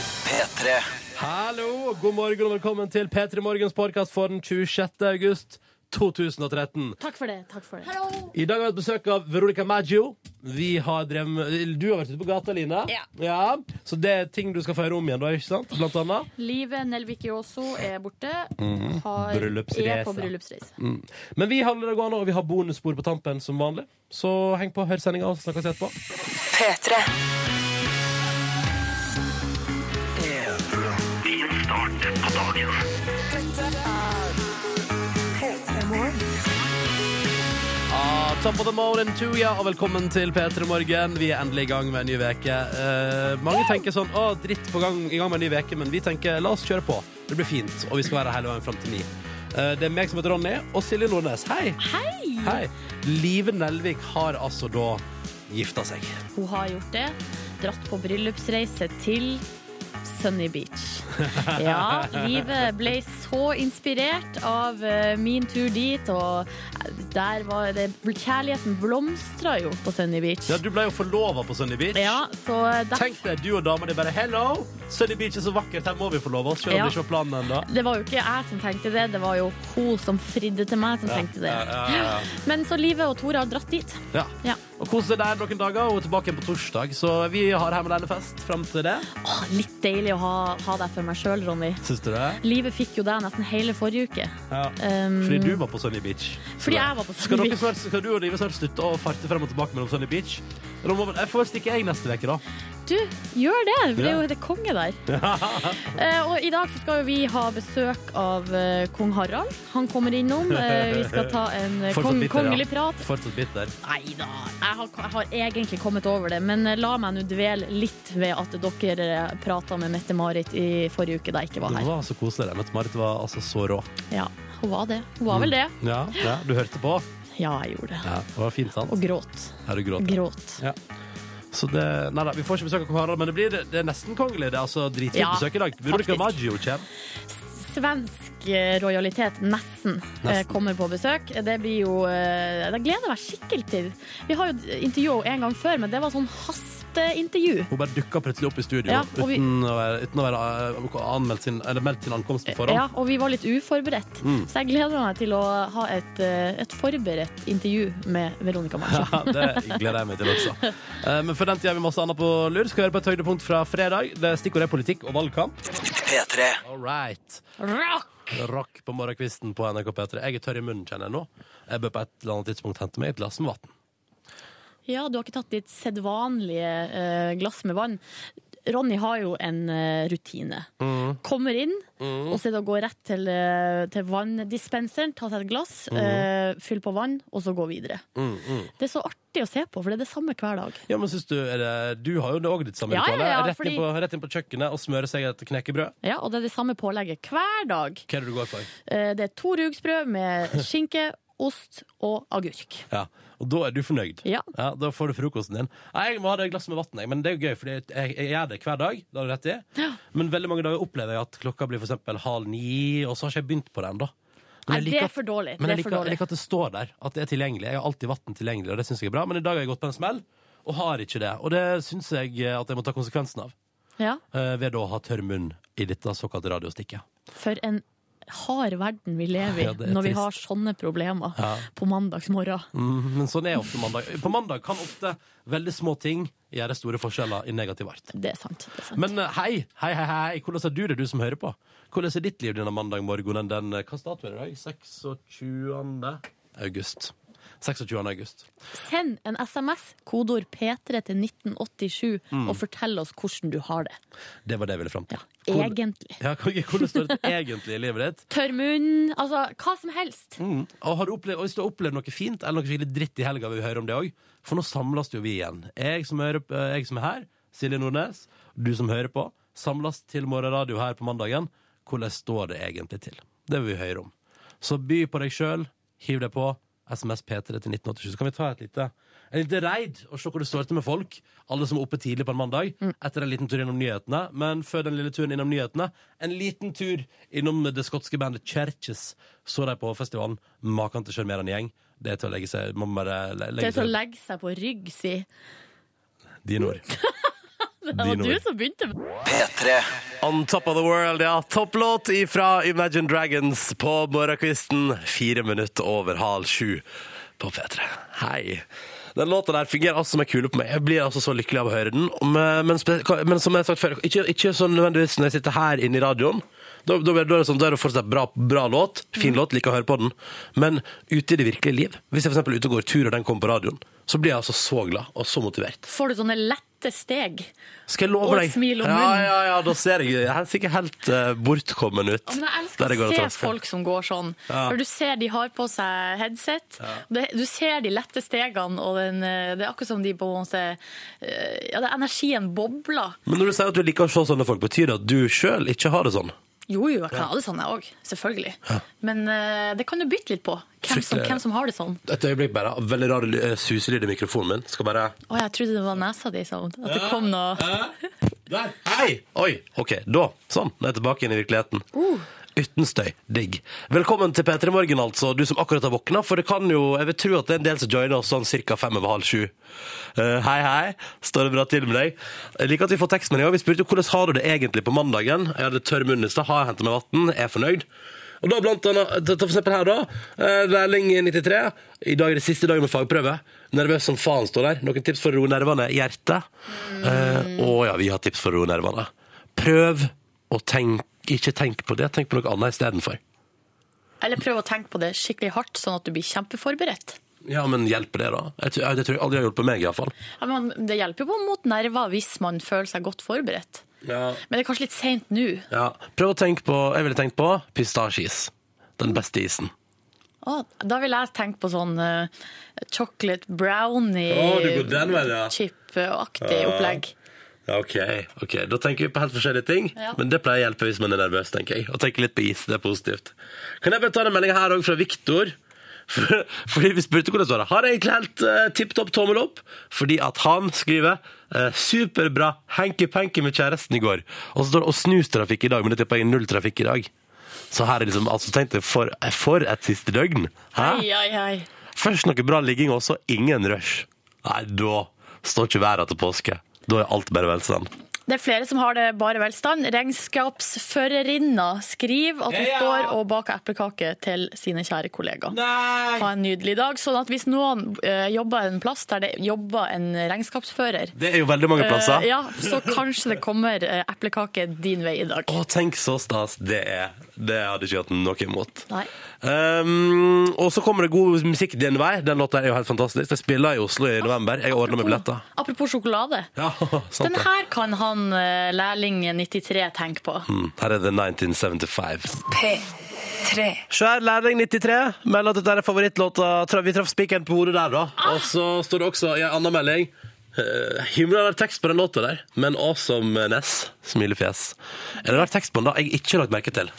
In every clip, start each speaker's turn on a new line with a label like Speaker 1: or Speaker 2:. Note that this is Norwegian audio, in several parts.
Speaker 1: P3.
Speaker 2: Hallo, god morgen og velkommen til P3 Morgens podkast for den 26. august 2013.
Speaker 3: Takk for det. takk for det
Speaker 2: I dag har vi hatt besøk av Veronica Maggio. Vi har drevet, du har vært ute på gata, Line.
Speaker 3: Ja.
Speaker 2: Så det er ting du skal få høre om igjen, da, ikke sant? Blant annet.
Speaker 3: Livet Nelvik Jåså er borte. Har,
Speaker 2: Mhm. Bryllupsreise. Mm.
Speaker 3: Er på bryllupsreise.
Speaker 2: Men vi handler det gående, og vi har bonusspor på tampen som vanlig. Så heng på, hør sendinga, og så snakkes vi etterpå.
Speaker 4: P3.
Speaker 2: Ah, top of the morning to ya, og velkommen til P3 Morgen. Vi er endelig i gang med en ny veke. Eh, mange tenker sånn å, dritt på gang, i gang med en ny veke, men vi tenker la oss kjøre på. Det blir fint, og vi skal være her hele veien fram til ni. Eh, det er meg som heter Ronny, og Silje Nordnes. Hei!
Speaker 3: Hei!
Speaker 2: Hei. Live Nelvik har altså da gifta seg.
Speaker 3: Hun har gjort det. Dratt på bryllupsreise til Sunny Beach. Ja, livet ble så inspirert av eh, min tur dit, og eh, der var det Kjærligheten blomstra jo på Sunny Beach.
Speaker 2: Ja, du ble jo forlova på Sunny Beach.
Speaker 3: Ja, så der,
Speaker 2: Tenk deg, du og dama di bare 'hello, Sunny Beach er så vakkert, her må vi forlove oss', selv om
Speaker 3: Ja.
Speaker 2: det ikke var planen ennå.
Speaker 3: det var jo ikke jeg som tenkte det, det var jo hun som fridde til meg, som tenkte det.
Speaker 2: Ja, ja, ja, ja.
Speaker 3: Men så Live og Tore har dratt dit.
Speaker 2: Ja.
Speaker 3: Ja.
Speaker 2: Og kos deg der noen dager, og tilbake igjen på torsdag. Så vi har hjemme alene-fest fram til det.
Speaker 3: Åh, Ah, litt deilig å ha, ha deg for meg sjøl, Ronny.
Speaker 2: Syns du det?
Speaker 3: Livet fikk jo deg nesten hele forrige uke.
Speaker 2: Ja.
Speaker 3: Um,
Speaker 2: Fordi du var på Sunny Beach.
Speaker 3: Fordi jeg var på Sunny
Speaker 2: skal dere
Speaker 3: Beach.
Speaker 2: Snart, skal du og Live snart slutte å farte frem og tilbake mellom Sunny Beach? Eller må vel- Jeg får stikke jeg neste uke, da.
Speaker 3: Du, gjør det! Det er
Speaker 2: Ja.
Speaker 3: jo det konge der. Eh, og i dag så skal jo vi ha besøk av eh, kong Harald. Han kommer innom. Eh, vi skal ta en eh,
Speaker 2: Fortsatt
Speaker 3: kong,
Speaker 2: bitter, ja.
Speaker 3: kongelig prat.
Speaker 2: Fortsatt bitter.
Speaker 3: Nei da, jeg har, jeg har egentlig kommet over det. Men eh, la meg nå dvele litt ved at dere prata med Mette-Marit i forrige uke da jeg ikke var
Speaker 2: Det
Speaker 3: her.
Speaker 2: var så koselig. Jeg møtte Marit var altså så rå.
Speaker 3: Ja, hun var det. Hun
Speaker 2: Mm.
Speaker 3: var vel det.
Speaker 2: Ja, ja Du hørte på?
Speaker 3: Ja, jeg gjorde det.
Speaker 2: Ja, Det var fint, sant?
Speaker 3: Og gråt.
Speaker 2: Ja, du gråt.
Speaker 3: Gråt.
Speaker 2: Ja. Så det, nei da, Vi får ikke besøk av kong Harald, men det, blir, det er nesten kongelig. Det er altså dritfint
Speaker 3: Ja,
Speaker 2: besøk i dag. Veronica
Speaker 3: faktisk.
Speaker 2: Maggio kommer.
Speaker 3: svensk eh, rojalitet, nesten,
Speaker 2: Nesten.
Speaker 3: eh, kommer på besøk. Det blir jo eh, Det gleder jeg meg skikkelig til. Vi har jo intervjua henne en gang før, men det var sånn hasteintervju.
Speaker 2: Hun bare dukka plutselig opp i studio
Speaker 3: Ja, og vi-
Speaker 2: uten, å være, uten å være eh, anmeldt sin, eller meldt sin ankomst på forhånd.
Speaker 3: Ja, og vi var litt uforberedt, så jeg gleder meg til å ha et, eh, et forberedt intervju med Veronica Maggio.
Speaker 2: Ja, det gleder jeg meg til også. Eh, Men for den tida har vi masse annet på lur. Skal høre på et høydepunkt fra fredag. Det Stikkordet er politikk og valgkamp.
Speaker 1: P3.
Speaker 2: All right.
Speaker 3: Rock!
Speaker 2: Rock på morgenkvisten på NRK P3. Jeg er tørr i munnen, kjenner jeg nå. Jeg bør på et eller annet tidspunkt hente meg et glass med vann.
Speaker 3: Ja, du har ikke tatt ditt sedvanlige eh, glass med vann. Ronny har jo en eh, rutine.
Speaker 2: Mm.
Speaker 3: Kommer inn, og så er det å gå rett til, eh, til vanndispenseren, ta seg et glass,
Speaker 2: Mm.
Speaker 3: eh, fyll på vann, og så gå videre. Det er så artig å se på, for det er det samme hver dag.
Speaker 2: Ja, men synes Du er det, du har jo det òg, ditt samme
Speaker 3: Ja, ja,
Speaker 2: ritual. eh?
Speaker 3: ja,
Speaker 2: rett,
Speaker 3: fordi-
Speaker 2: inn på, rett inn på kjøkkenet og smøre seg et knekkebrød.
Speaker 3: Ja, Og det er det samme pålegget hver dag.
Speaker 2: Hva er det du går for?
Speaker 3: Eh, det er to rugsbrød med skinke, ost og agurk.
Speaker 2: Ja, Og da er du fornøyd?
Speaker 3: Ja.
Speaker 2: Da får du frokosten din. Nei, jeg må ha det glasset med vann, men det er jo gøy, for jeg, jeg gjør det hver dag. Det har du rett i. Men veldig mange dager opplever jeg at klokka blir for eksempel halv ni, og så har ikke jeg begynt på det ennå. Men
Speaker 3: Nei,
Speaker 2: jeg
Speaker 3: det
Speaker 2: liker
Speaker 3: er
Speaker 2: at-
Speaker 3: for
Speaker 2: Men
Speaker 3: dårlig. Det
Speaker 2: jeg
Speaker 3: er
Speaker 2: liker,
Speaker 3: for
Speaker 2: jeg
Speaker 3: dårlig.
Speaker 2: liker at det står der, at det er tilgjengelig. Jeg har alltid vann tilgjengelig, og det syns jeg er bra. Men i dag har jeg gått på en smell, og har ikke det. Og det syns jeg eh, at jeg må ta konsekvensen av.
Speaker 3: Ja,
Speaker 2: eh, Ved å ha tørr munn i dette såkalte radiostikket.
Speaker 3: For en hard verden vi lever i
Speaker 2: Ja, det er
Speaker 3: når vi
Speaker 2: trist.
Speaker 3: har sånne problemer på mandagsmorgen.
Speaker 2: Mm, Men sånn er ofte mandag. På mandag kan ofte veldig små ting gjøre store forskjeller i negativ art.
Speaker 3: Det er sant. Det er sant.
Speaker 2: Men eh, hei, hei, hei, hei, hvordan er du det, du som hører på? Hvordan er ditt liv denne mandag morgenen den eh, Hva dato er det i dag? 26. august. 26. august.
Speaker 3: Send en SMS, kodeord P3 til 1987,
Speaker 2: Mm.
Speaker 3: og fortell oss hvordan du har det.
Speaker 2: Det var det jeg ville fram til. Hvordan-
Speaker 3: Egentlig.
Speaker 2: Ja, hvordan hvordan står det egentlig i livet ditt?
Speaker 3: Tørr munn, altså hva som helst.
Speaker 2: Mm. Og har du opplevd, og hvis du har opplevd noe fint eller noe skikkelig dritt i helga, vil vi høre om det òg. For nå samles jo vi igjen. Jeg som, hører, eh, jeg som er her, Silje Nordnes, du som hører på, samles til morgenradio her på mandagen. Hvordan står det egentlig til? Det vil vi høre om. Så by på deg sjøl, hiv deg på. SMS P3 til 1987. Så kan vi ta et lite, en lite raid og se hvor det står til med folk. Alle som er oppe tidlig på en mandag.
Speaker 3: Mm.
Speaker 2: Etter en liten tur innom nyhetene. Men før den lille turen innom nyhetene, en liten tur innom det skotske bandet Churches. Så de på festivalen. Maken til sjarmerende gjeng. Det er til å legge seg Man må bare le-
Speaker 3: Det
Speaker 2: legge
Speaker 3: er til å
Speaker 2: seg
Speaker 3: legge seg på rygg, si.
Speaker 2: Dine ord.
Speaker 3: Det var
Speaker 2: Dine
Speaker 3: du
Speaker 2: ord.
Speaker 3: som begynte med
Speaker 1: P3
Speaker 2: On Top of the World, ja. Topplåt ifra Imagine Dragons på morgenkvisten. Fire minutter over halv sju på P3. Hei. Den låta der fungerer altså som en kule på meg. Jeg blir altså så lykkelig av å høre den. Men, men, spe- men som jeg har sagt før, ikke, ikke sånn nødvendigvis når jeg sitter her inne i radioen. Da, da, blir- da er det sånn, da er det fortsatt bra, bra låt, fin låt, liker å høre på den. Men ute i det virkelige liv, hvis jeg for eksempel er ute og går tur og den kommer på radioen, så blir jeg altså så glad og så motivert.
Speaker 3: Får du sånne lette steg?
Speaker 2: Skal jeg love
Speaker 3: Og
Speaker 2: deg?
Speaker 3: smil om
Speaker 2: ja,
Speaker 3: munnen.
Speaker 2: ja, ja, da ser jeg Jeg er sikkert helt eh, bortkommen ut.
Speaker 3: Ja, men jeg
Speaker 2: Der
Speaker 3: elsker
Speaker 2: går
Speaker 3: å
Speaker 2: og
Speaker 3: se
Speaker 2: trasker.
Speaker 3: folk som går sånn. For Du ser de har på seg headset. Det, du ser de lette stegene, og den, eh, det er akkurat som de på en måte eh, Ja, det er energien bobler.
Speaker 2: Men når du sier at du liker å se sånne folk, betyr det at du sjøl ikke har det sånn?
Speaker 3: Jo, jo, jeg kan ha det sånn, jeg òg. Selvfølgelig. Men eh, det kan du bytte litt på. Hvem som,
Speaker 2: Fryktelig.
Speaker 3: hvem som har det sånn.
Speaker 2: Et øyeblikk bare. Veldig rar eh, suselyd i mikrofonen min. Skal bare Eh,
Speaker 3: Å, jeg trodde det var nesa di som At det kom noe
Speaker 2: Der! Hei! Oi! OK, da. Sånn. Nå er jeg tilbake inn i virkeligheten.
Speaker 3: Uh.
Speaker 2: Uten støy. Digg. Velkommen til P3 Morgen, altså, du som akkurat har våkna. For det kan jo Jeg vil tro at det er en del som joiner oss sånn ca. fem over halv sju. Eh, hei, hei. Står det bra til med deg? Jeg liker at vi får tekstmelding. også. Vi spurte jo hvordan har du det egentlig på mandagen. Jeg hadde tørr munn i stad. Har jeg henta meg vann? Er fornøyd? Og da blant annet, ta ta for eksempel her da, eh, lærling i 93, i dag er det siste dagen med fagprøve. Nervøs som faen står der. Noen tips for å roe nervene? Hjerte? Eh, Å ja, vi har tips for å roe nervene. Prøv å tenk, ikke tenk på det, tenk på noe annet istedenfor.
Speaker 3: Eller prøv å tenke på det skikkelig hardt, sånn at du blir kjempeforberedt.
Speaker 2: Ja, men hjelper det da? Jeg tror, det tror jeg aldri har hjulpet meg i hvert fall.
Speaker 3: Ja, men det hjelper jo mot nerver hvis man føler seg godt forberedt.
Speaker 2: Ja.
Speaker 3: Men det er kanskje litt seint nå.
Speaker 2: Ja, prøv å tenke på, jeg ville tenkt på pistasjeis. Den beste isen.
Speaker 3: Å, da vil jeg tenke på sånn eh,
Speaker 2: Å,
Speaker 3: chocolate
Speaker 2: du går
Speaker 3: brownie
Speaker 2: den veien, ja.
Speaker 3: chip-aktig opplegg.
Speaker 2: Ja, ok. ok. Da tenker vi på helt forskjellige ting.
Speaker 3: Ja.
Speaker 2: Men det pleier å hjelpe hvis man er nervøs, tenker jeg. Og tenker litt på is, det er positivt. Kan jeg bare ta den meldinga her òg, fra Viktor? For, fordi vi spurte hvordan det var. Har egentlig helt uh, tipp topp tommel opp. Fordi at han skriver eh, 'superbra hanky-panky med kjæresten i går'. Og så står det 'og snustrafikk i dag', men det tipper jeg er null trafikk i dag. Så her er liksom, altså tenk deg, for, for et siste døgn. Hæ?
Speaker 3: Ai, ai, ai.
Speaker 2: Først noe bra ligging, og så ingen rush. Nei, da står ikke været til påske. Da er alt bare velstand.
Speaker 3: Det er flere som har det bare velstand. Regnskapsførerinna skriver at hun
Speaker 2: Ja, ja.
Speaker 3: står og baker eplekake til sine kjære kollegaer.
Speaker 2: Nei!
Speaker 3: Ha en nydelig dag. Sånn at hvis noen eh, jobber en plass der det jobber en regnskapsfører,
Speaker 2: Det er jo veldig mange plasser.
Speaker 3: eh, ja, så kanskje det kommer eh, eplekake din vei i dag.
Speaker 2: Å, tenk så stas det er. Det hadde ikke hatt noe imot.
Speaker 3: Nei.
Speaker 2: Um, og så kommer det god musikk din vei. Den låta er jo helt fantastisk. Jeg spiller i Oslo i november. Jeg ordner med billetter.
Speaker 3: Apropos sjokolade.
Speaker 2: Ja, sant
Speaker 3: Den
Speaker 2: det.
Speaker 3: her kan han eh, lærling 93 tenke på.
Speaker 2: Mm, Her er det 1975.
Speaker 4: P3
Speaker 2: Svær lærling 93 melder at dette er favorittlåta. Tra- Vi traff spikeren på hodet der, da.
Speaker 3: Ah.
Speaker 2: Og så står det også i en annen melding uh, Himla rar tekst på den låta der, men awesomeness. Smilefjes. Er det rar tekst på den da? Jeg har ikke lagt merke til.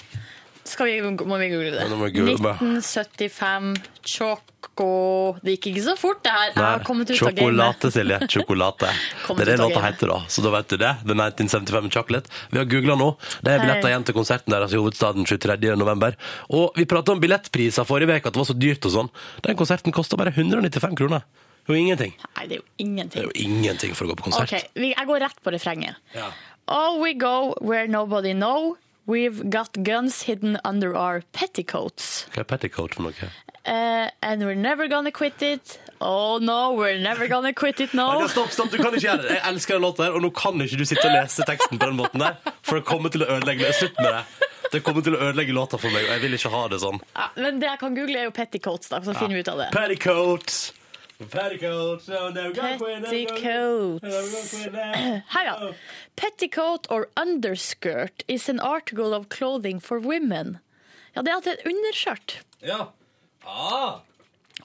Speaker 3: Skal vi, må vi google det?
Speaker 2: nå må vi google det.
Speaker 3: 1975, choco Det gikk ikke så fort, det her. Jeg har kommet ut av gamet.
Speaker 2: Sjokolate, Silje. Sjokolate.
Speaker 3: Kommet
Speaker 2: det er det
Speaker 3: ut av
Speaker 2: låta
Speaker 3: gamet.
Speaker 2: heter, da. Så da vet du det. The 1975 Chocolate. Vi har googla nå. Det er billetter
Speaker 3: Hei.
Speaker 2: igjen til konserten deres i hovedstaden 23. november. Og vi prata om billettpriser forrige uke, at det var så dyrt og sånn. Den konserten kosta bare 195 kroner. Det er jo ingenting.
Speaker 3: Nei, det er jo
Speaker 2: Det
Speaker 3: ingenting.
Speaker 2: er jo ingenting for å gå på konsert.
Speaker 3: Ok, vi- jeg går rett på refrenget.
Speaker 2: Ja.
Speaker 3: Oh, we go where nobody know. We've got guns hidden under our petticoats.
Speaker 2: Hva er petticoat for noe?
Speaker 3: Eh, and we're never gonna quit it. Oh no, we're never gonna quit it now.
Speaker 2: Stopp, stopp, du kan ikke gjøre det. Jeg elsker den låten der, og nå kan ikke du sitte og lese teksten på den måten der. For det kommer til å ødelegge det. Slutt med det. Det kommer til å ødelegge låta for meg, og jeg vil ikke ha det sånn.
Speaker 3: Ja, men det jeg kan google, er jo petticoats, da, så finner vi ut av det.
Speaker 2: Petticoats. Petticoats. Oh, never gonna quit, never gonna quit, never gonna
Speaker 3: Petticoats.
Speaker 2: quit now.
Speaker 3: Her, ja. Petticoat or underskirt is an article of clothing for women. Ja, det er at det er et underskjørt.
Speaker 2: Ja. Ah.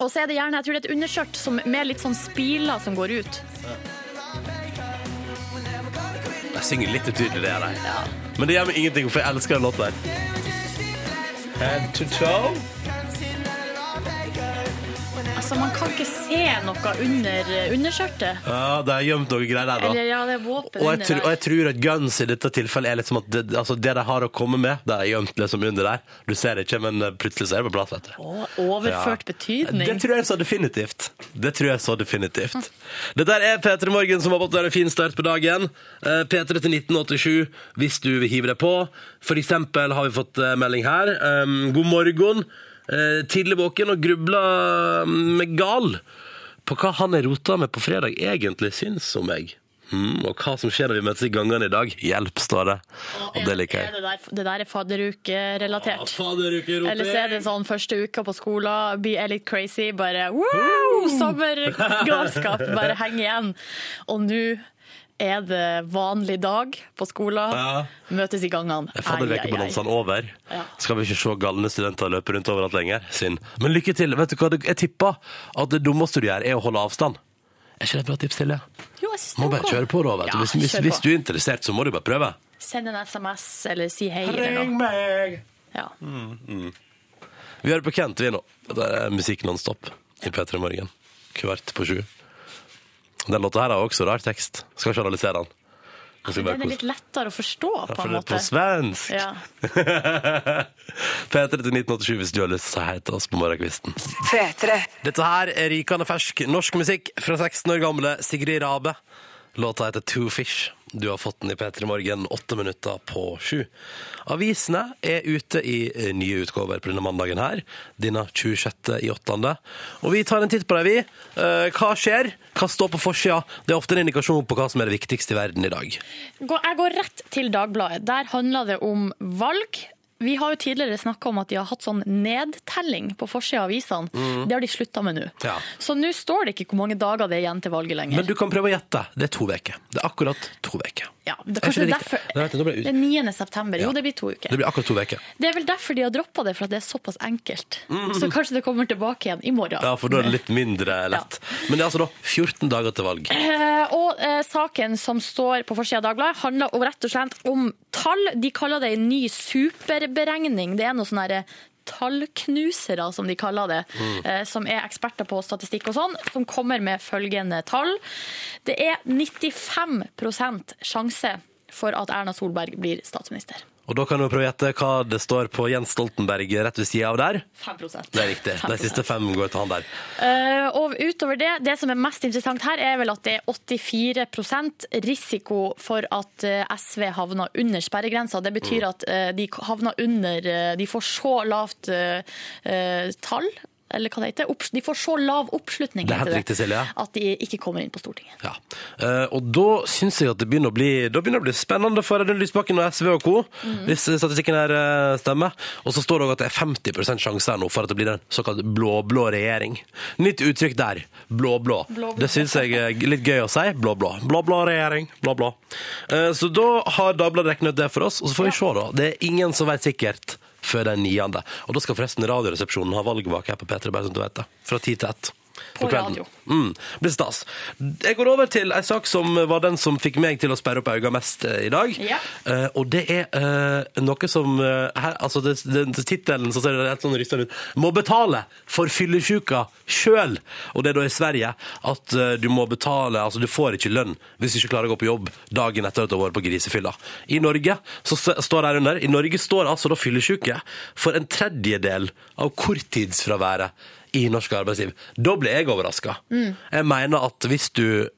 Speaker 3: Og så er det gjerne jeg tror det er et underskjørt som, med litt sånn spiler som går ut.
Speaker 2: Jeg synger litt utydelig, det er jeg. Men det gjør meg ingenting, for jeg elsker den låten der. Head to toe.
Speaker 3: Altså, man kan kan ikke se noe under eh, underskjørtet.
Speaker 2: Ja, det er gjemt noe greier der, da.
Speaker 3: Eller ja, det er våpen
Speaker 2: Og jeg,
Speaker 3: under
Speaker 2: tror, og
Speaker 3: der.
Speaker 2: jeg tror at guns i dette tilfellet er litt som at det, altså det de har å komme med, det er gjemt liksom under der. Du ser det ikke, men eh, plutselig så er det på plass, vet du.
Speaker 3: Å, overført
Speaker 2: Ja.
Speaker 3: betydning.
Speaker 2: Det tror jeg så definitivt. Det tror jeg så definitivt. Det der er P3 Morgen som har fått en fin start på dagen. Eh, P3 til 1987 hvis du vil hive deg på. For eksempel har vi fått eh, melding her. Um, God morgen. Eh, Tidlig våken og grubla med gal på hva han er rota med på fredag egentlig syns om meg. Mm, og hva som skjer når vi møtes i gangene i dag. Hjelp, står det. Og det liker
Speaker 3: Er
Speaker 2: jeg.
Speaker 3: Det der, det der er fadderukerelatert. Eller så er det sånn første uka på skolen, blir jeg litt crazy, bare wow, sommergalskap, bare heng igjen. Og nå er det vanlig dag på skolen,
Speaker 2: Ja.
Speaker 3: møtes i gangene.
Speaker 2: Fadder
Speaker 3: Ai, ai, ai.
Speaker 2: vekebalansene over.
Speaker 3: Ja.
Speaker 2: Skal vi ikke se galne studenter løpe rundt overalt lenger? Synd. Men lykke til. Vet du hva, jeg tipper at det dummeste du gjør, er å holde avstand. Er ikke det et bra tips, Silje?
Speaker 3: Jo, jeg synes det
Speaker 2: Må
Speaker 3: er
Speaker 2: bare
Speaker 3: ok.
Speaker 2: kjøre på, da. vet du.
Speaker 3: Ja,
Speaker 2: Hvis, hvis,
Speaker 3: kjør
Speaker 2: hvis
Speaker 3: på.
Speaker 2: du er interessert, så må du bare prøve.
Speaker 3: Send en SMS eller si hei eller noe.
Speaker 2: meg!
Speaker 3: Ja.
Speaker 2: Vi hører på Kent, vi nå. Det er musikk nonstop i P3 Morgen. Kvart på sju. Den låta her har også rar tekst. Skal ikke analysere den. Jeg skal bare
Speaker 3: Den er
Speaker 2: kose-
Speaker 3: litt lettere å forstå,
Speaker 2: Ja,
Speaker 3: på
Speaker 2: for
Speaker 3: en
Speaker 2: det er
Speaker 3: måte.
Speaker 2: på svensk!
Speaker 3: Ja.
Speaker 2: P3 til 1987 hvis du har lyst, så hei til oss på morgenkvisten.
Speaker 1: P3.
Speaker 2: Dette her er rykende fersk norsk musikk fra 16 år gamle Sigrid Rabe. Låta heter Two Fish. Du har fått den i P3 Morgen åtte minutter på sju. Avisene er ute i eh, nye utgaver på denne mandagen her. Denne 26. i åttende. Og vi tar en titt på dem, vi. Eh, Hva skjer? Hva står på forsida? Det er ofte en indikasjon på hva som er det viktigste i verden i dag.
Speaker 3: Gå- Jeg går rett til Dagbladet. Der handler det om valg. Vi har jo tidligere snakka om at de har hatt sånn nedtelling på forsida av avisene. Det har de slutta med nå.
Speaker 2: Mm. Ja.
Speaker 3: Så nå står det ikke hvor mange dager det er igjen til valget lenger.
Speaker 2: Men du kan prøve å gjette. Det er to uker. Det er akkurat to uker.
Speaker 3: ja,
Speaker 2: Er ikke
Speaker 3: det, er kanskje det er
Speaker 2: riktig?
Speaker 3: derfor
Speaker 2: Nei, vent, nå ble jeg ut-
Speaker 3: Det er 9. september.
Speaker 2: Ja.
Speaker 3: Jo, det blir to uker.
Speaker 2: Det blir akkurat to uker.
Speaker 3: Det er vel derfor de har droppa det, for at det er såpass enkelt. Så kanskje det kommer tilbake igjen i morgen.
Speaker 2: Mm. Ja, for da er det litt mindre lett. Men det er altså da 14 dager til valg.
Speaker 3: Eh, og eh, saken som står på forsida av Dagbladet, handler om, rett og slett om tall. De kaller det en ny superberegning. Det er noe sånn herre Tallknusere, som de kaller det,
Speaker 2: Mm.
Speaker 3: eh, som er eksperter på statistikk og sånn, som kommer med følgende tall. Det er 95 sjanse for at Erna Solberg blir statsminister.
Speaker 2: Og da kan du prøve å gjette hva det står på Jens Stoltenberg rett ved sida av der.
Speaker 3: 5
Speaker 2: Det er riktig. De siste fem går til han der.
Speaker 3: Eh, og utover det, det som er mest interessant her, er vel at det er 84 risiko for at eh, SV havner under sperregrensa. Det betyr
Speaker 2: Mm.
Speaker 3: at eh, de havner under eh, De får så lavt eh, eh, tall, eller hva det heter. Opps- De får så lav oppslutning
Speaker 2: Det er helt
Speaker 3: heter
Speaker 2: riktig, Silje.
Speaker 3: at de ikke kommer inn på Stortinget.
Speaker 2: Ja. Eh, og da syns jeg at det begynner å bli, da begynner det å bli spennende for Audun Lysbakken og SV og co.
Speaker 3: Mhm.
Speaker 2: Hvis statistikken her eh, stemmer. Og så står det òg at det er 50 sjanse her nå for at det blir en såkalt blå-blå regjering. Nytt uttrykk der. Blå-blå.
Speaker 3: Blå-blå.
Speaker 2: Det syns jeg er litt gøy å si. Blå-blå. Blå-blå regjering. Blå-blå. Eh, så da har Dagbladet regnet ut det for oss, og så får vi se, da. Det er ingen som vet sikkert før den 9. Og da skal forresten Radioresepsjonen ha valgvake her på P3, bare så du vet det. Fra 10 til 1.
Speaker 3: På
Speaker 2: kvelden.
Speaker 3: radio.
Speaker 2: Mm, blir stas. Jeg går over til en sak som var den som fikk meg til å sperre opp øynene mest eh, i dag.
Speaker 3: Ja.
Speaker 2: Eh, og det er eh, noe som eh, her, altså det, den Tittelen så ser det helt sånn rystende ut. 'Må betale for fyllesyka sjøl'. Og det er da i Sverige at eh, du må betale Altså, du får ikke lønn hvis du ikke klarer å gå på jobb dagen etter at du har vært på grisefylla. I Norge så s- står det her under I Norge står altså da fyllesyke for en tredjedel av korttidsfraværet i norsk arbeidsliv. Da ble jeg overraska. Jeg mener at hvis du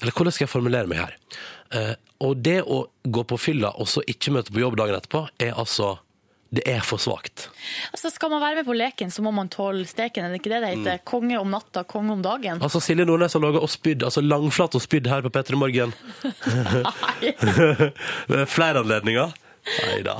Speaker 2: Eller hvordan skal jeg formulere meg her? Eh, og det å gå på fylla og så ikke møte på jobb dagen etterpå, er altså Det er for svakt.
Speaker 3: Altså, skal man være med på leken, så må man tåle steken, er det ikke det det heter?
Speaker 2: Mm.
Speaker 3: Konge om natta, konge om dagen.
Speaker 2: Altså, Silje Nordnes har laga og spydd, altså langflat og spydd her på P3 Morgen. Ved Flere anledninger. Nei da.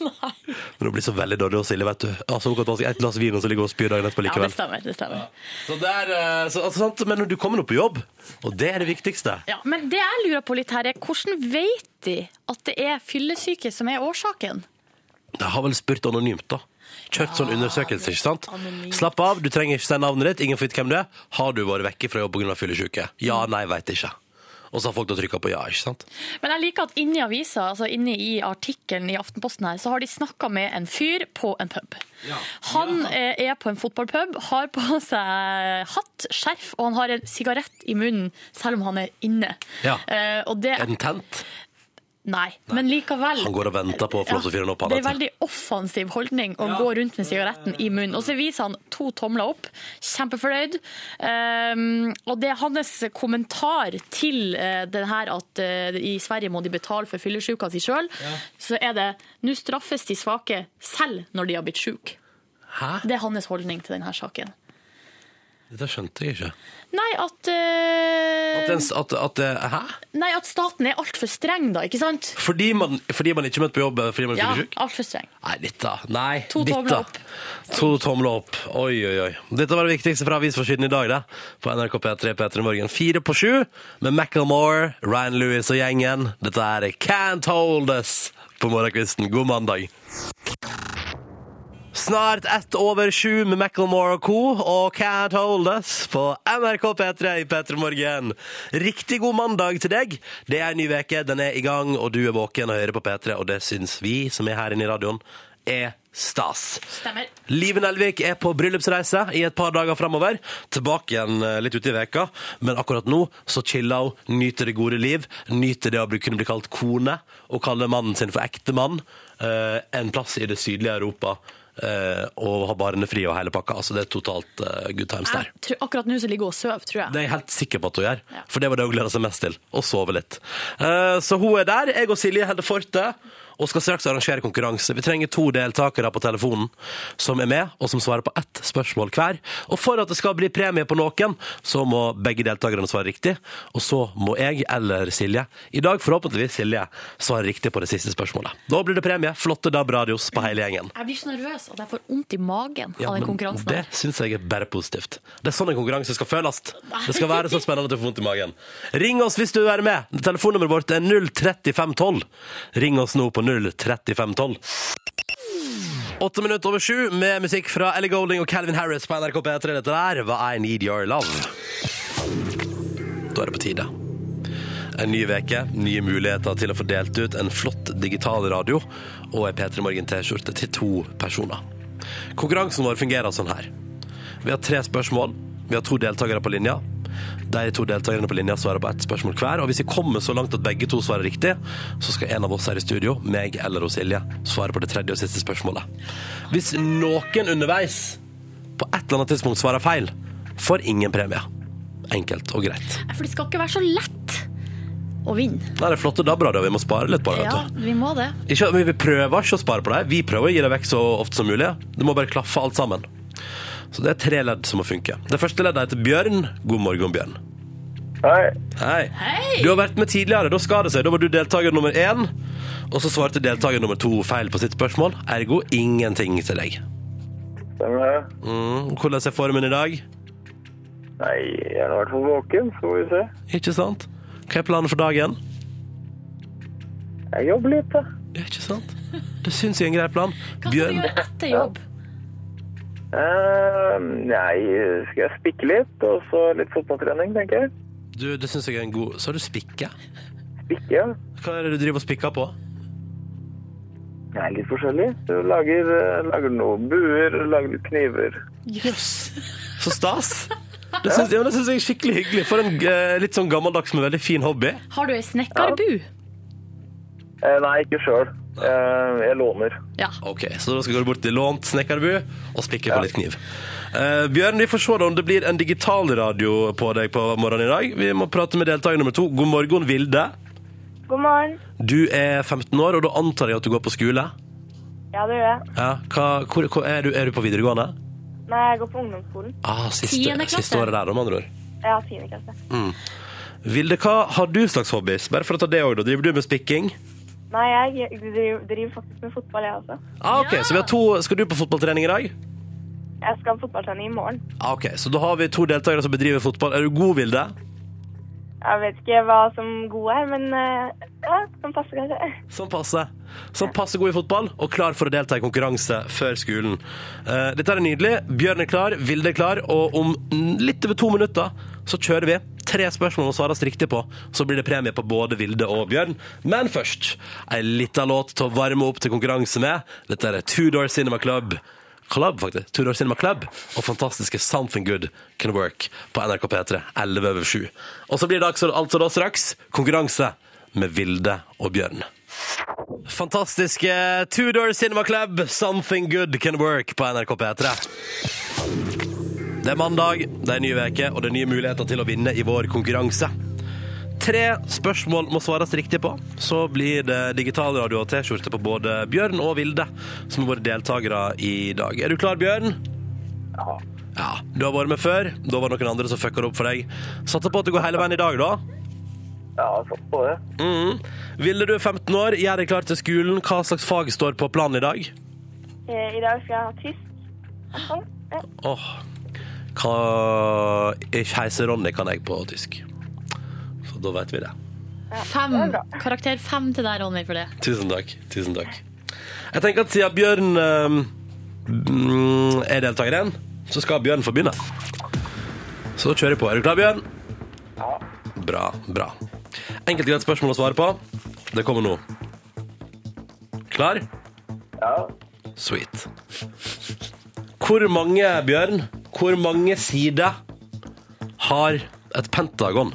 Speaker 2: Men hun blir så veldig dårlig, Silje, vet du. Altså, hun kan ta seg et glass vin og så ligge og spy dagen etterpå
Speaker 3: Ja, det
Speaker 2: likevel.
Speaker 3: stemmer. det stemmer.
Speaker 2: så der, eh, så, altså, sant? Men du kommer nå på jobb, og det er det viktigste.
Speaker 3: Ja, men det jeg lurer på litt her er, hvordan vet de at det er fyllesyke som er årsaken?
Speaker 2: Jeg har vel spurt anonymt, da. Kjørt sånn undersøkelse, ikke sant?
Speaker 3: anonymt.
Speaker 2: Slapp av,
Speaker 3: Mm.
Speaker 2: du trenger ikke si navnet ditt, ingen får vite hvem du er. Har du vært vekke fra jobb pga. fyllesyke? Ja, nei, veit ikke. Og så har folk da trykka på ja, ikke sant?
Speaker 3: Men jeg liker at inni avisa, altså inni i artikkelen i Aftenposten her, så har de snakka med en fyr på en pub. Han eh, er på en fotballpub, har på seg hatt, skjerf, og han har en sigarett i munnen selv om han er inne.
Speaker 2: Ja.
Speaker 3: Eh, og det
Speaker 2: Er den tent?
Speaker 3: Nei, men likevel.
Speaker 2: Han går og venter på å få lov til å fyre den opp. han,
Speaker 3: det er
Speaker 2: vet du.
Speaker 3: veldig offensiv holdning å gå rundt med sigaretten i munnen. Og så viser han to tomler opp, kjempefornøyd. Um, og det er hans kommentar til uh, den her at uh, i Sverige må de betale for fyllesyka si sjøl, så er det nå straffes de svake selv når de har blitt sjuke.
Speaker 2: Hæ?
Speaker 3: Det er hans holdning til denne saken.
Speaker 2: Dette skjønte jeg ikke.
Speaker 3: Nei, at, uh,
Speaker 2: At, den, s- at, at eh, Hæ?
Speaker 3: nei, at staten er altfor streng, da, ikke sant?
Speaker 2: Fordi man, fordi man ikke møtte på jobb eh, fordi man er
Speaker 3: Ja,
Speaker 2: fyllesyk?
Speaker 3: altfor streng.
Speaker 2: Nei, dette. Nei,
Speaker 3: To
Speaker 2: dette.
Speaker 3: tomler opp.
Speaker 2: To tomler opp. Oi, oi, oi. Dette var det viktigste fra avisforsiden i dag, det. På NRK P3 P3 Morgen. Fire på sju med Macclemore, Ryan Lewis og gjengen. Dette er Can't Hold Us på morgenkvisten. God mandag. Snart ett over sju med Macclemore og co. og Can't Hold Us på NRK P3 i P3 Morgen. Riktig god mandag til deg. Det er en ny veke, den er i gang, og du er våken og hører på P3, og det syns vi som er her inne i radioen, er stas.
Speaker 3: Stemmer.
Speaker 2: Liven Elvik er på bryllupsreise i et par dager framover. Tilbake igjen eh, litt ute i veka, men akkurat nå så chiller hun, nyter det gode liv, nyter det å bli, kunne bli kalt kone, og kaller mannen sin for ektemann. eh, en plass i det sydlige Europa, eh, og har barene fri og hele pakka. Altså det er totalt eh, good times der.
Speaker 3: Jeg tror, akkurat nå så ligger hun og sover, tror jeg.
Speaker 2: Det er jeg helt sikker på at hun gjør,
Speaker 3: Ja.
Speaker 2: for det var det hun gleda seg mest til. Å sove litt. Eh, så hun er der. Jeg og Silje holder fortet og skal straks arrangere konkurranse. Vi trenger to deltakere på telefonen som er med, og som svarer på ett spørsmål hver. Og for at det skal bli premie på noen, så må begge deltakerne svare riktig. Og så må jeg eller Silje, i dag forhåpentligvis Silje, svare riktig på det siste spørsmålet. Da blir det premie. Flotte DAB-radios på hele gjengen.
Speaker 3: Jeg blir så nervøs at jeg får vondt i magen
Speaker 2: Ja,
Speaker 3: av den
Speaker 2: men
Speaker 3: konkurransen.
Speaker 2: Det syns jeg er bare positivt. Det er sånn en konkurranse skal føles. Det skal være så spennende at du får vondt i magen. Ring oss hvis du er med. Telefonnummeret vårt er 03512. Ring oss nå på 03512. Åtte minutter over sju med musikk fra Ellie Golding og Calvin Harris på NRK P3. Dette der var I Need Your Love. Da er det på tide. En ny veke, nye muligheter til å få delt ut en flott digital radio og ei P3 Morgen T-skjorte til to personer. Konkurransen vår fungerer sånn her. Vi har tre spørsmål. Vi har to deltakere på linja. De to deltakerne på linja svarer på ett spørsmål hver. Og hvis vi kommer så langt at begge to svarer riktig, så skal en av oss her i studio, meg eller hos Silje, svare på det tredje og siste spørsmålet. Hvis noen underveis på et eller annet tidspunkt svarer feil, får ingen premie. Enkelt og greit.
Speaker 3: Nei, For det skal ikke være så lett å vinne.
Speaker 2: Nei, det er flotte DAB-radioer. Vi må spare litt på det.
Speaker 3: Ja,
Speaker 2: vet du.
Speaker 3: vi må det.
Speaker 2: Ikke, men vi prøver ikke å spare på det. Vi prøver å gi det vekk så ofte som mulig. Det må bare klaffe alt sammen. Så det er tre ledd som må funke. Det første leddet heter Bjørn. God morgen, Bjørn.
Speaker 1: Hei.
Speaker 2: Hei.
Speaker 3: Hei!
Speaker 2: Du har vært med tidligere. Da skal det seg. Da var du deltaker nummer én. Og så svarte deltaker nummer to feil på sitt spørsmål. Ergo ingenting til deg.
Speaker 1: Stemmer det?
Speaker 2: Mm, Hvordan er formen i dag?
Speaker 1: Nei, jeg er i hvert fall våken, så får vi se.
Speaker 2: Ikke sant? Hva er planen for dagen?
Speaker 1: Jeg jobber litt, da.
Speaker 2: Ikke sant? Det syns jeg er en grei plan.
Speaker 3: Hva skal du
Speaker 2: Bjørn,
Speaker 3: gjøre etter jobb?
Speaker 1: Eh, nei, skal jeg spikke litt, og så litt fotballtrening, tenker jeg.
Speaker 2: du, det syns jeg er en god Så har du spikke.
Speaker 1: Spikke, ja.
Speaker 2: Hva er det du driver og spikker på?
Speaker 1: Det er litt forskjellig. Du lager, eh, lager noe buer, lager litt kniver.
Speaker 3: Jøss.
Speaker 2: Så stas. Det syns, ja, men det syns jeg er skikkelig hyggelig. For en eh, litt sånn gammeldags, men veldig fin hobby.
Speaker 3: Har du ei snekkerbu?
Speaker 1: Eh, nei, ikke sjøl. Eh, jeg låner.
Speaker 3: Ja.
Speaker 2: Ok, Så da skal du bort til lånt snekkerbu og spikke på litt kniv. Eh, Bjørn, vi får se da om det blir en digital radio på deg på morgenen i dag. Vi må prate med deltaker nummer to. God morgen, Vilde.
Speaker 4: God morgen.
Speaker 2: Du er 15 år, og da antar jeg at du går på skole?
Speaker 4: Ja, det gjør jeg.
Speaker 2: Ja, hva, hvor, hvor er, du, er du på videregående?
Speaker 4: Nei, jeg går på ungdomsskolen.
Speaker 2: Ah, siste,
Speaker 3: Tiende klasse.
Speaker 2: siste året der, om andre ord.
Speaker 4: Jeg har tiende klasse.
Speaker 2: Vilde, hva har du slags hobbies? Bare for å ta det også, da. Driver du med spikking?
Speaker 4: Nei, jeg driver, driver faktisk med fotball, jeg også.
Speaker 2: Ah, ok,
Speaker 3: Ja.
Speaker 2: Så vi har to Skal du på fotballtrening i dag?
Speaker 4: Jeg skal på fotballtrening i morgen.
Speaker 2: Ah, Ok, Så da har vi to deltakere som bedriver fotball. Er du god, Vilde?
Speaker 4: Jeg vet ikke hva som god er, men eh, ja, som passer kanskje.
Speaker 2: Som passer. Som passer god i fotball og klar for å delta i konkurranse før skolen. Eh, dette er nydelig. Bjørn er klar, Vilde er klar, og om mm, litt over to minutter så kjører vi tre spørsmål må svares riktig på, så blir det premie på både Vilde og Bjørn. Men først ei lita låt til å varme opp til konkurranse med. Dette er Two Door Cinema Club. Club, faktisk. Two Door Cinema Club og fantastiske Something Good Can Work på NRK P3 11 over 7. Og så blir det altså- altså da straks konkurranse med Vilde og Bjørn. Fantastiske Tudor Cinema Club, Something Good Can Work på NRK P3. Det er mandag, det er ny uke, og det er nye muligheter til å vinne i vår konkurranse. Tre spørsmål må svares riktig på. Så blir det digitalradio og T-skjorte på både Bjørn og Vilde, som er våre deltakere i dag. Er du klar, Bjørn?
Speaker 1: Ja.
Speaker 2: Ja. Du har vært med før. Da var det noen andre som fucka det opp for deg. Satser på at det går hele veien i dag, da.
Speaker 1: Ja, satt på det.
Speaker 2: Mhm. Ville du er 15 år, gjør deg klar til skolen. Hva slags fag står på planen i dag?
Speaker 4: Eh, I dag skal jeg ha tysk. i hvert fall. Ja.
Speaker 2: Åh, hva Ich heiße Ronny kan jeg på tysk. Så da vet vi det.
Speaker 3: Fem. Karakter fem til deg, Ronny, for det.
Speaker 2: Tusen takk. Tusen takk. Jeg tenker at siden Bjørn eh, mm, er deltakeren, så skal Bjørn få begynne. Så da kjører jeg på. Er du klar, Bjørn?
Speaker 1: Ja.
Speaker 2: Bra, bra. Enkelt og greit spørsmål å svare på. Det kommer nå. Klar?
Speaker 1: Ja.
Speaker 2: Sweet. Hvor mange, Bjørn, hvor mange sider har et pentagon?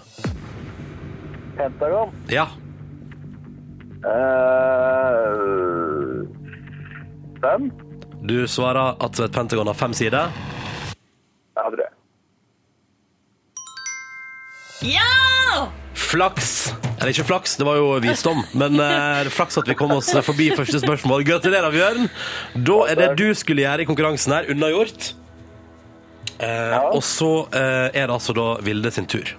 Speaker 1: Pentagon.
Speaker 2: Ja,
Speaker 1: Eh, Fem?
Speaker 2: du svarer at et pentagon har fem sider.
Speaker 1: Ja, tror jeg.
Speaker 3: Ja!
Speaker 2: Flaks! Eller ikke flaks, det var jo visdom, men eh, det er flaks at vi kom oss forbi første spørsmål. Gratulerer, Bjørn! Da er det du skulle gjøre i konkurransen her, unnagjort. Eh, og så eh, er det altså da Vilde sin tur.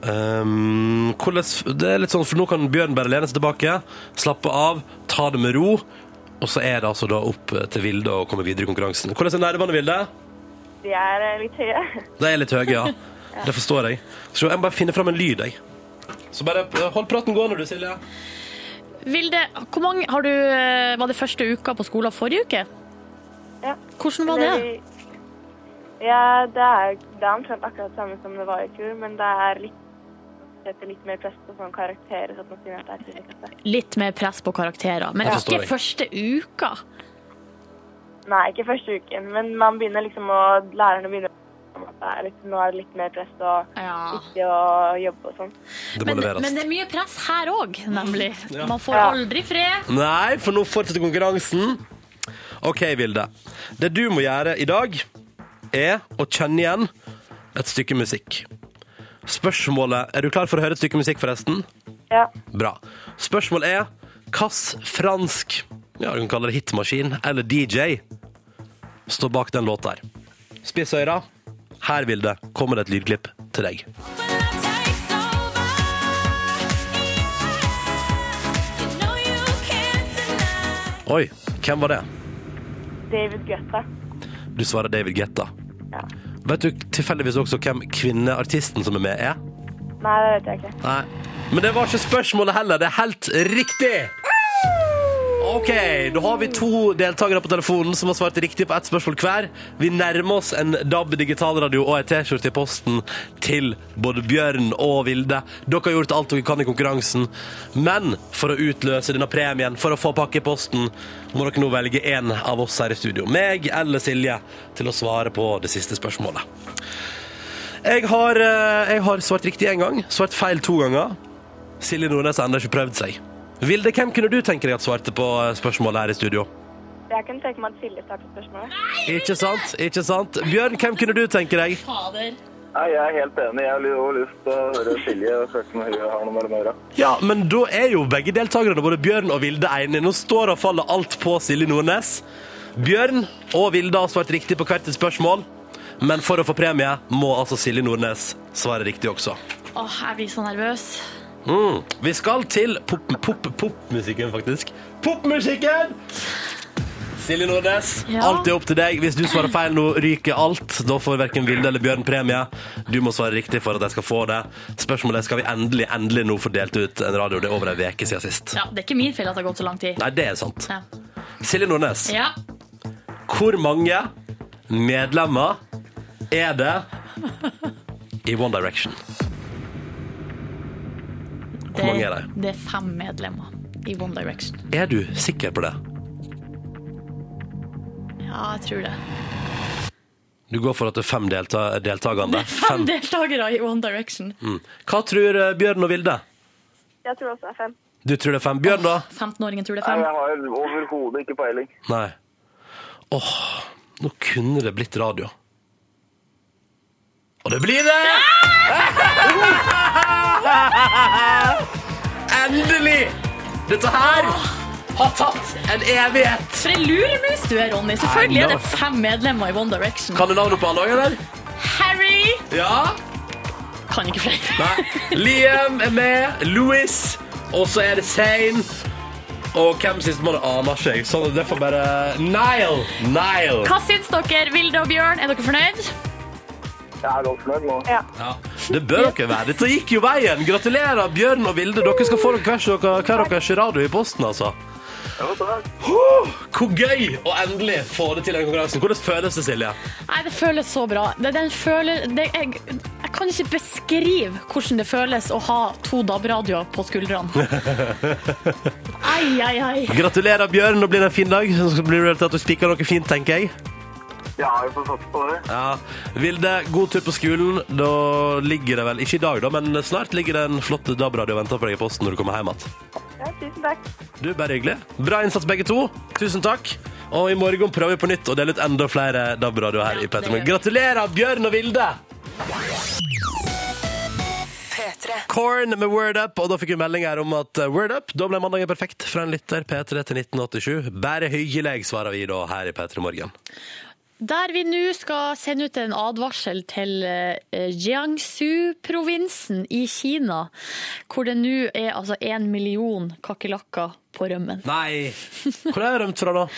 Speaker 2: Um, hvordan, det er litt sånn, for Nå kan Bjørn bare lene seg tilbake, slappe av, ta det med ro. Og så er det altså da opp til Vilde å komme videre i konkurransen. Hvordan er nervene, Vilde?
Speaker 4: De er eh, litt høye.
Speaker 2: Det er litt høye, ja. Det forstår jeg. Så jeg må bare finne fram en lyd, jeg. Så bare eh, hold praten gående, du, Silje.
Speaker 3: Vilde, hvor mange har du eh, Var det første uka på skolen forrige uke?
Speaker 4: Ja.
Speaker 3: Hvordan var det?
Speaker 4: Eller- Ja, det er, det er omtrent akkurat det samme som det var i fjor, men det er litt setter litt mer press på sånne karakterer. sånn at man finner at det er tidligere.
Speaker 3: Litt mer press på karakterer, men
Speaker 2: Jeg forstår
Speaker 3: ikke
Speaker 2: deg.
Speaker 3: første uka.
Speaker 4: Nei, ikke første uken, men man begynner liksom å Lærerne begynner å at det er litt, nå er det litt mer press og
Speaker 3: Ja.
Speaker 4: viktig å jobbe og sånn.
Speaker 2: Det må
Speaker 3: Men,
Speaker 2: leveres.
Speaker 3: men det er mye press her òg, nemlig.
Speaker 2: Ja.
Speaker 3: Man får
Speaker 4: Ja.
Speaker 3: aldri fred.
Speaker 2: Nei, for nå fortsetter konkurransen. OK, Vilde. Det du må gjøre i dag, er å kjenne igjen et stykke musikk. Spørsmålet Er du klar for å høre et stykke musikk, forresten?
Speaker 4: Ja.
Speaker 2: Bra. Spørsmålet er hvilken fransk ja, du kan kalle det hitmaskin eller DJ står bak den låta her. Spiss øyra. Her, Vilde, kommer det et lydklipp til deg. Oi, hvem var det?
Speaker 4: David Guetta.
Speaker 2: Du svarer David Guetta.
Speaker 4: Ja.
Speaker 2: Vet du tilfeldigvis også hvem kvinneartisten som er med, er?
Speaker 4: Nei, det vet jeg ikke.
Speaker 2: Nei. Men det var ikke spørsmålet heller. Det er helt riktig. OK, da har vi to deltakere på telefonen som har svart riktig på ett spørsmål hver. Vi nærmer oss en DAB digitalradio og ei T-skjorte i posten til både Bjørn og Vilde. Dere har gjort alt dere kan i konkurransen, men for å utløse denne premien, for å få pakke i posten, må dere nå velge én av oss her i studio, meg eller Silje, til å svare på det siste spørsmålet. Jeg har, eh, jeg har svart riktig én gang, svart feil to ganger. Silje Nordnes har ennå ikke prøvd seg. Vilde, hvem kunne du tenke deg at svarte på eh, spørsmålet her i studio?
Speaker 4: Jeg kunne tenke meg at Silje starter spørsmålet.
Speaker 2: Ikke sant? ikke sant? Bjørn, hvem kunne du tenke deg?
Speaker 3: Fader.
Speaker 1: Nei, jeg er helt enig. Jeg har jo lyst til å høre Silje og følte om hun har noe mellom øra.
Speaker 2: Ja, men da er jo begge deltakerne, både Bjørn og Vilde, enige. Nå står og faller alt på Silje Nordnes. Bjørn og Vilde har svart riktig på hvert et spørsmål, men for å få premie må altså Silje Nordnes svare riktig også.
Speaker 3: Åh, jeg blir så nervøs.
Speaker 2: Mm. Vi skal til pop- pop- popmusikken, faktisk. Popmusikken! Silje Nordnes,
Speaker 3: Ja.
Speaker 2: alt er opp til deg. Hvis du svarer feil nå, ryker alt. Da får verken Vilde eller Bjørn premie. Du må svare riktig for at jeg skal få det. Spørsmålet er, skal vi endelig endelig nå få delt ut en radio. Det er over ei uke siden sist.
Speaker 3: Ja, det er ikke min feil at det har gått så lang tid.
Speaker 2: Nei, det er sant.
Speaker 3: Ja.
Speaker 2: Silje Nordnes,
Speaker 3: ja.
Speaker 2: hvor mange medlemmer er det i One Direction?
Speaker 3: Det,
Speaker 2: mange er de?
Speaker 3: det er fem medlemmer i One Direction.
Speaker 2: Er du sikker på det?
Speaker 3: Ja, jeg tror det.
Speaker 2: Du går for at det er fem delta deltakende?
Speaker 3: Det er fem deltakere i One Direction.
Speaker 2: Mm. Hva tror eh, Bjørn og Vilde?
Speaker 4: Jeg tror også det er fem.
Speaker 2: Du tror det er fem? Bjørn, da?
Speaker 3: 15-åringen tror det er
Speaker 1: Nei,
Speaker 3: fem.
Speaker 1: jeg har overhodet ikke peiling.
Speaker 2: Nei. Åh, nå kunne det blitt radio. Og det blir det! Endelig! Dette her har tatt en evighet.
Speaker 3: For en luremus du er, Ronny. Selvfølgelig
Speaker 2: I
Speaker 3: er
Speaker 2: know.
Speaker 3: det fem medlemmer i One Direction.
Speaker 2: Kan du navnet på han òg, eller?
Speaker 3: Harry
Speaker 2: Ja?
Speaker 3: kan ikke flere.
Speaker 2: Nei. Liam er med. Louis. Og så er det Zain. Og hvem sist må det aner ikke jeg. Så det får bare Nile. Nile.
Speaker 3: Hva syns dere, Vilde og Bjørn? Er dere fornøyd?
Speaker 1: Jeg er godt fornøyd nå.
Speaker 4: Ja.
Speaker 2: Ja, det bør dere være. Dette gikk jo veien. Gratulerer, Bjørn og Vilde. Dere skal få dere hver sin- hver deres radio i posten, altså.
Speaker 1: Ja, takk.
Speaker 2: Hvor gøy å endelig få det til i den konkurransen. Hvordan føles det, Silje?
Speaker 3: Nei, det føles så bra. Det, den føler, det, jeg, jeg kan ikke beskrive hvordan det føles å ha to DAB-radioer på skuldrene. Ai, ai, ai.
Speaker 2: Gratulerer, Bjørn. Nå blir det en fin dag. Så blir det til at du spiker noe fint, tenker jeg.
Speaker 1: Ja, vi får satse på det.
Speaker 2: Ja. Vilde, god tur på skolen. Da ligger det vel Ikke i dag, da, men snart ligger det en flott DAB-radio og venter på deg i posten når du kommer hjem igjen.
Speaker 4: ja, tusen takk.
Speaker 2: Du, bare hyggelig. Bra innsats, begge to. Tusen takk. Og i morgen prøver vi på nytt å dele ut enda flere DAB-radioer her i
Speaker 3: Ja, det
Speaker 2: Petter Morgen.
Speaker 3: gjør
Speaker 2: Gratulerer, Bjørn og Vilde! Korn med Word Up, og da fikk vi melding her om at eh, Word Up, da ble mandagen perfekt fra en lytter P3 til 1987. Bare hyggelig, svarer vi da her i P3 Morgen.
Speaker 3: Der vi nå skal sende ut en advarsel til eh, Jiangsu-provinsen i Kina, hvor det nå er altså én million kakerlakker på rømmen.
Speaker 2: Nei! Hvor er jeg rømt fra, da?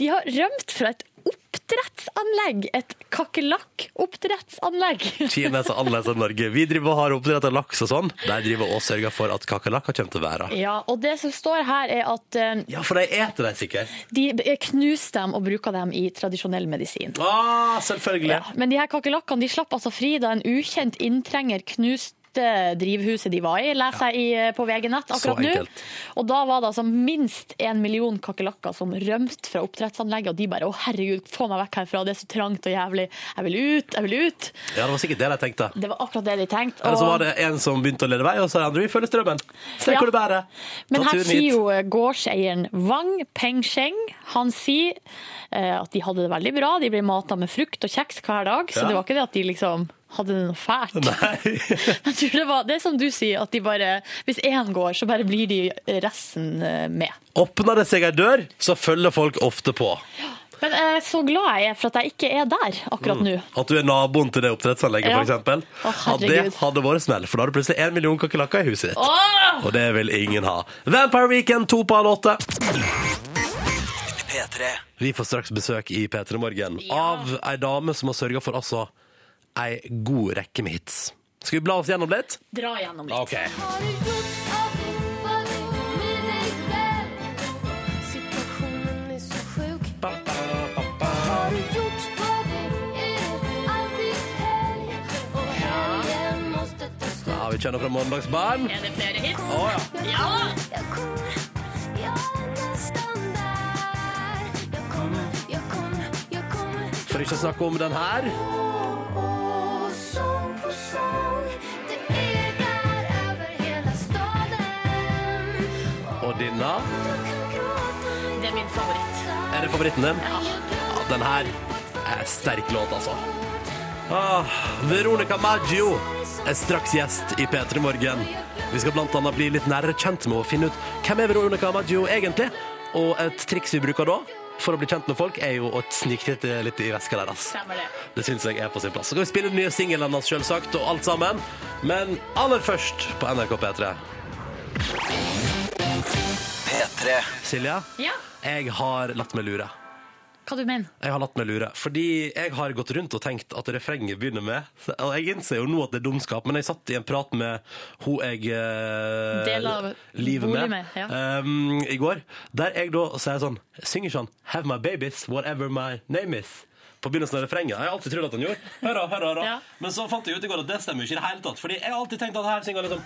Speaker 3: De har rømt fra et oppdrettsanlegg. Et kakerlakk-oppdrettsanlegg.
Speaker 2: Kina er så annerledes enn Norge. Vi driver og har oppdrett av laks og sånn. De driver og sørger for at kakerlakker kommer til verden.
Speaker 3: Ja, og det som står her, er at eh,
Speaker 2: Ja, for de eter de sikkert.
Speaker 3: de knuser dem og bruker dem i tradisjonell medisin.
Speaker 2: Ah, selvfølgelig.
Speaker 3: Ja, men de her kakerlakkene de slapp altså fri da en ukjent inntrenger knuste drivhuset de var i, leser jeg i, eh, på VG Nett akkurat
Speaker 2: Så
Speaker 3: nå.
Speaker 2: enkelt.
Speaker 3: Og da var det altså minst en million kakerlakker som rømte fra oppdrettsanlegget, og de bare 'Å, herregud, få meg vekk herfra, det er så trangt og jævlig. Jeg vil ut, jeg vil ut'.
Speaker 2: Ja, det var sikkert det de tenkte.
Speaker 3: Det var akkurat det de tenkte.
Speaker 2: Eller så
Speaker 3: og-
Speaker 2: var det en som begynte å lede vei, og så er andre vi følger strømmen. Se
Speaker 3: Ja.
Speaker 2: hvor det bærer.
Speaker 3: Men
Speaker 2: Ta
Speaker 3: her
Speaker 2: turen
Speaker 3: sier
Speaker 2: hit.
Speaker 3: jo eh, gårdseieren Wang Pengsheng Han sier eh, at de hadde det veldig bra. De ble mata med frukt og kjeks hver dag, så
Speaker 2: Ja.
Speaker 3: det var ikke det at de liksom hadde det noe fælt.
Speaker 2: Nei.
Speaker 3: Jeg tror det, var, det er som du sier, at de bare, hvis én går, så bare blir de resten eh, med.
Speaker 2: Åpner det seg ei dør, så følger folk ofte på.
Speaker 3: Men jeg er så glad jeg er for at jeg ikke er der
Speaker 2: Mm.
Speaker 3: akkurat nå.
Speaker 2: At du er naboen til det oppdrettsanlegget,
Speaker 3: Ja.
Speaker 2: for eksempel.
Speaker 3: Å,
Speaker 2: At
Speaker 3: herregud.
Speaker 2: det hadde vært smell, for da hadde du plutselig en million kakerlakker i huset ditt.
Speaker 3: Åh!
Speaker 2: Og det vil ingen ha. Vampire Weekend, to på halv åtte. Vi får straks besøk i P3 Morgen av ei dame som har sørga for altså ei god rekke med hits. Skal vi bla oss gjennom litt?
Speaker 3: Dra gjennom litt.
Speaker 2: Ok.
Speaker 5: Situationen är så sjuk Har du gjort vad det är alltid helg Och helgen måste ta slut
Speaker 2: Ja, vi kjenner fra Mandagsbarn.
Speaker 3: Er det flere hits?
Speaker 2: Å, ja.
Speaker 5: Jag
Speaker 3: Ja.
Speaker 5: kommer, jag kommer, jag är nästan där Jag kommer, jag kommer, jag kommer
Speaker 2: For ikke å snakke om den her.
Speaker 5: Åh, åh, sång på sång Det ekar över hela staden
Speaker 2: Og denne.
Speaker 5: Du kan gråta
Speaker 3: Det er min favoritt.
Speaker 2: Er det favoritten din? Ja. Den her er sterk låt, altså. Ah, Veronica Maggio er straks gjest i P3 Morgen. Vi skal blant annet bli litt nærere kjent med å finne ut hvem er Veronica Maggio egentlig. Og et triks vi bruker da for å bli kjent med folk, er jo å sniktitte litt i veska deres.
Speaker 3: Stemmer det.
Speaker 2: Det syns jeg er på sin plass. Så kan vi spille den nye singelen hans, selvsagt, og alt sammen. Men aller først på NRK P3. Silje,
Speaker 3: Ja.
Speaker 2: jeg har latt meg lure.
Speaker 3: Hva du mener
Speaker 2: Jeg har latt meg lure. Fordi jeg har gått rundt og tenkt at refrenget begynner med Og jeg innser jo nå at det er dumskap, men jeg satt i en prat med hun jeg eh,
Speaker 3: Del av
Speaker 2: livet
Speaker 3: bolig
Speaker 2: med,
Speaker 3: med, ja.
Speaker 2: ehm, i går, der jeg da sier sånn Synger sånn Have my babies, whatever my name is. På begynnelsen av refrenget. Jeg har alltid trodd at han gjorde. Hør da, hør da, hør da.
Speaker 3: Ja.
Speaker 2: Men så fant jeg ut i går at det stemmer jo ikke i det hele tatt. Fordi jeg har alltid tenkt at her synger han liksom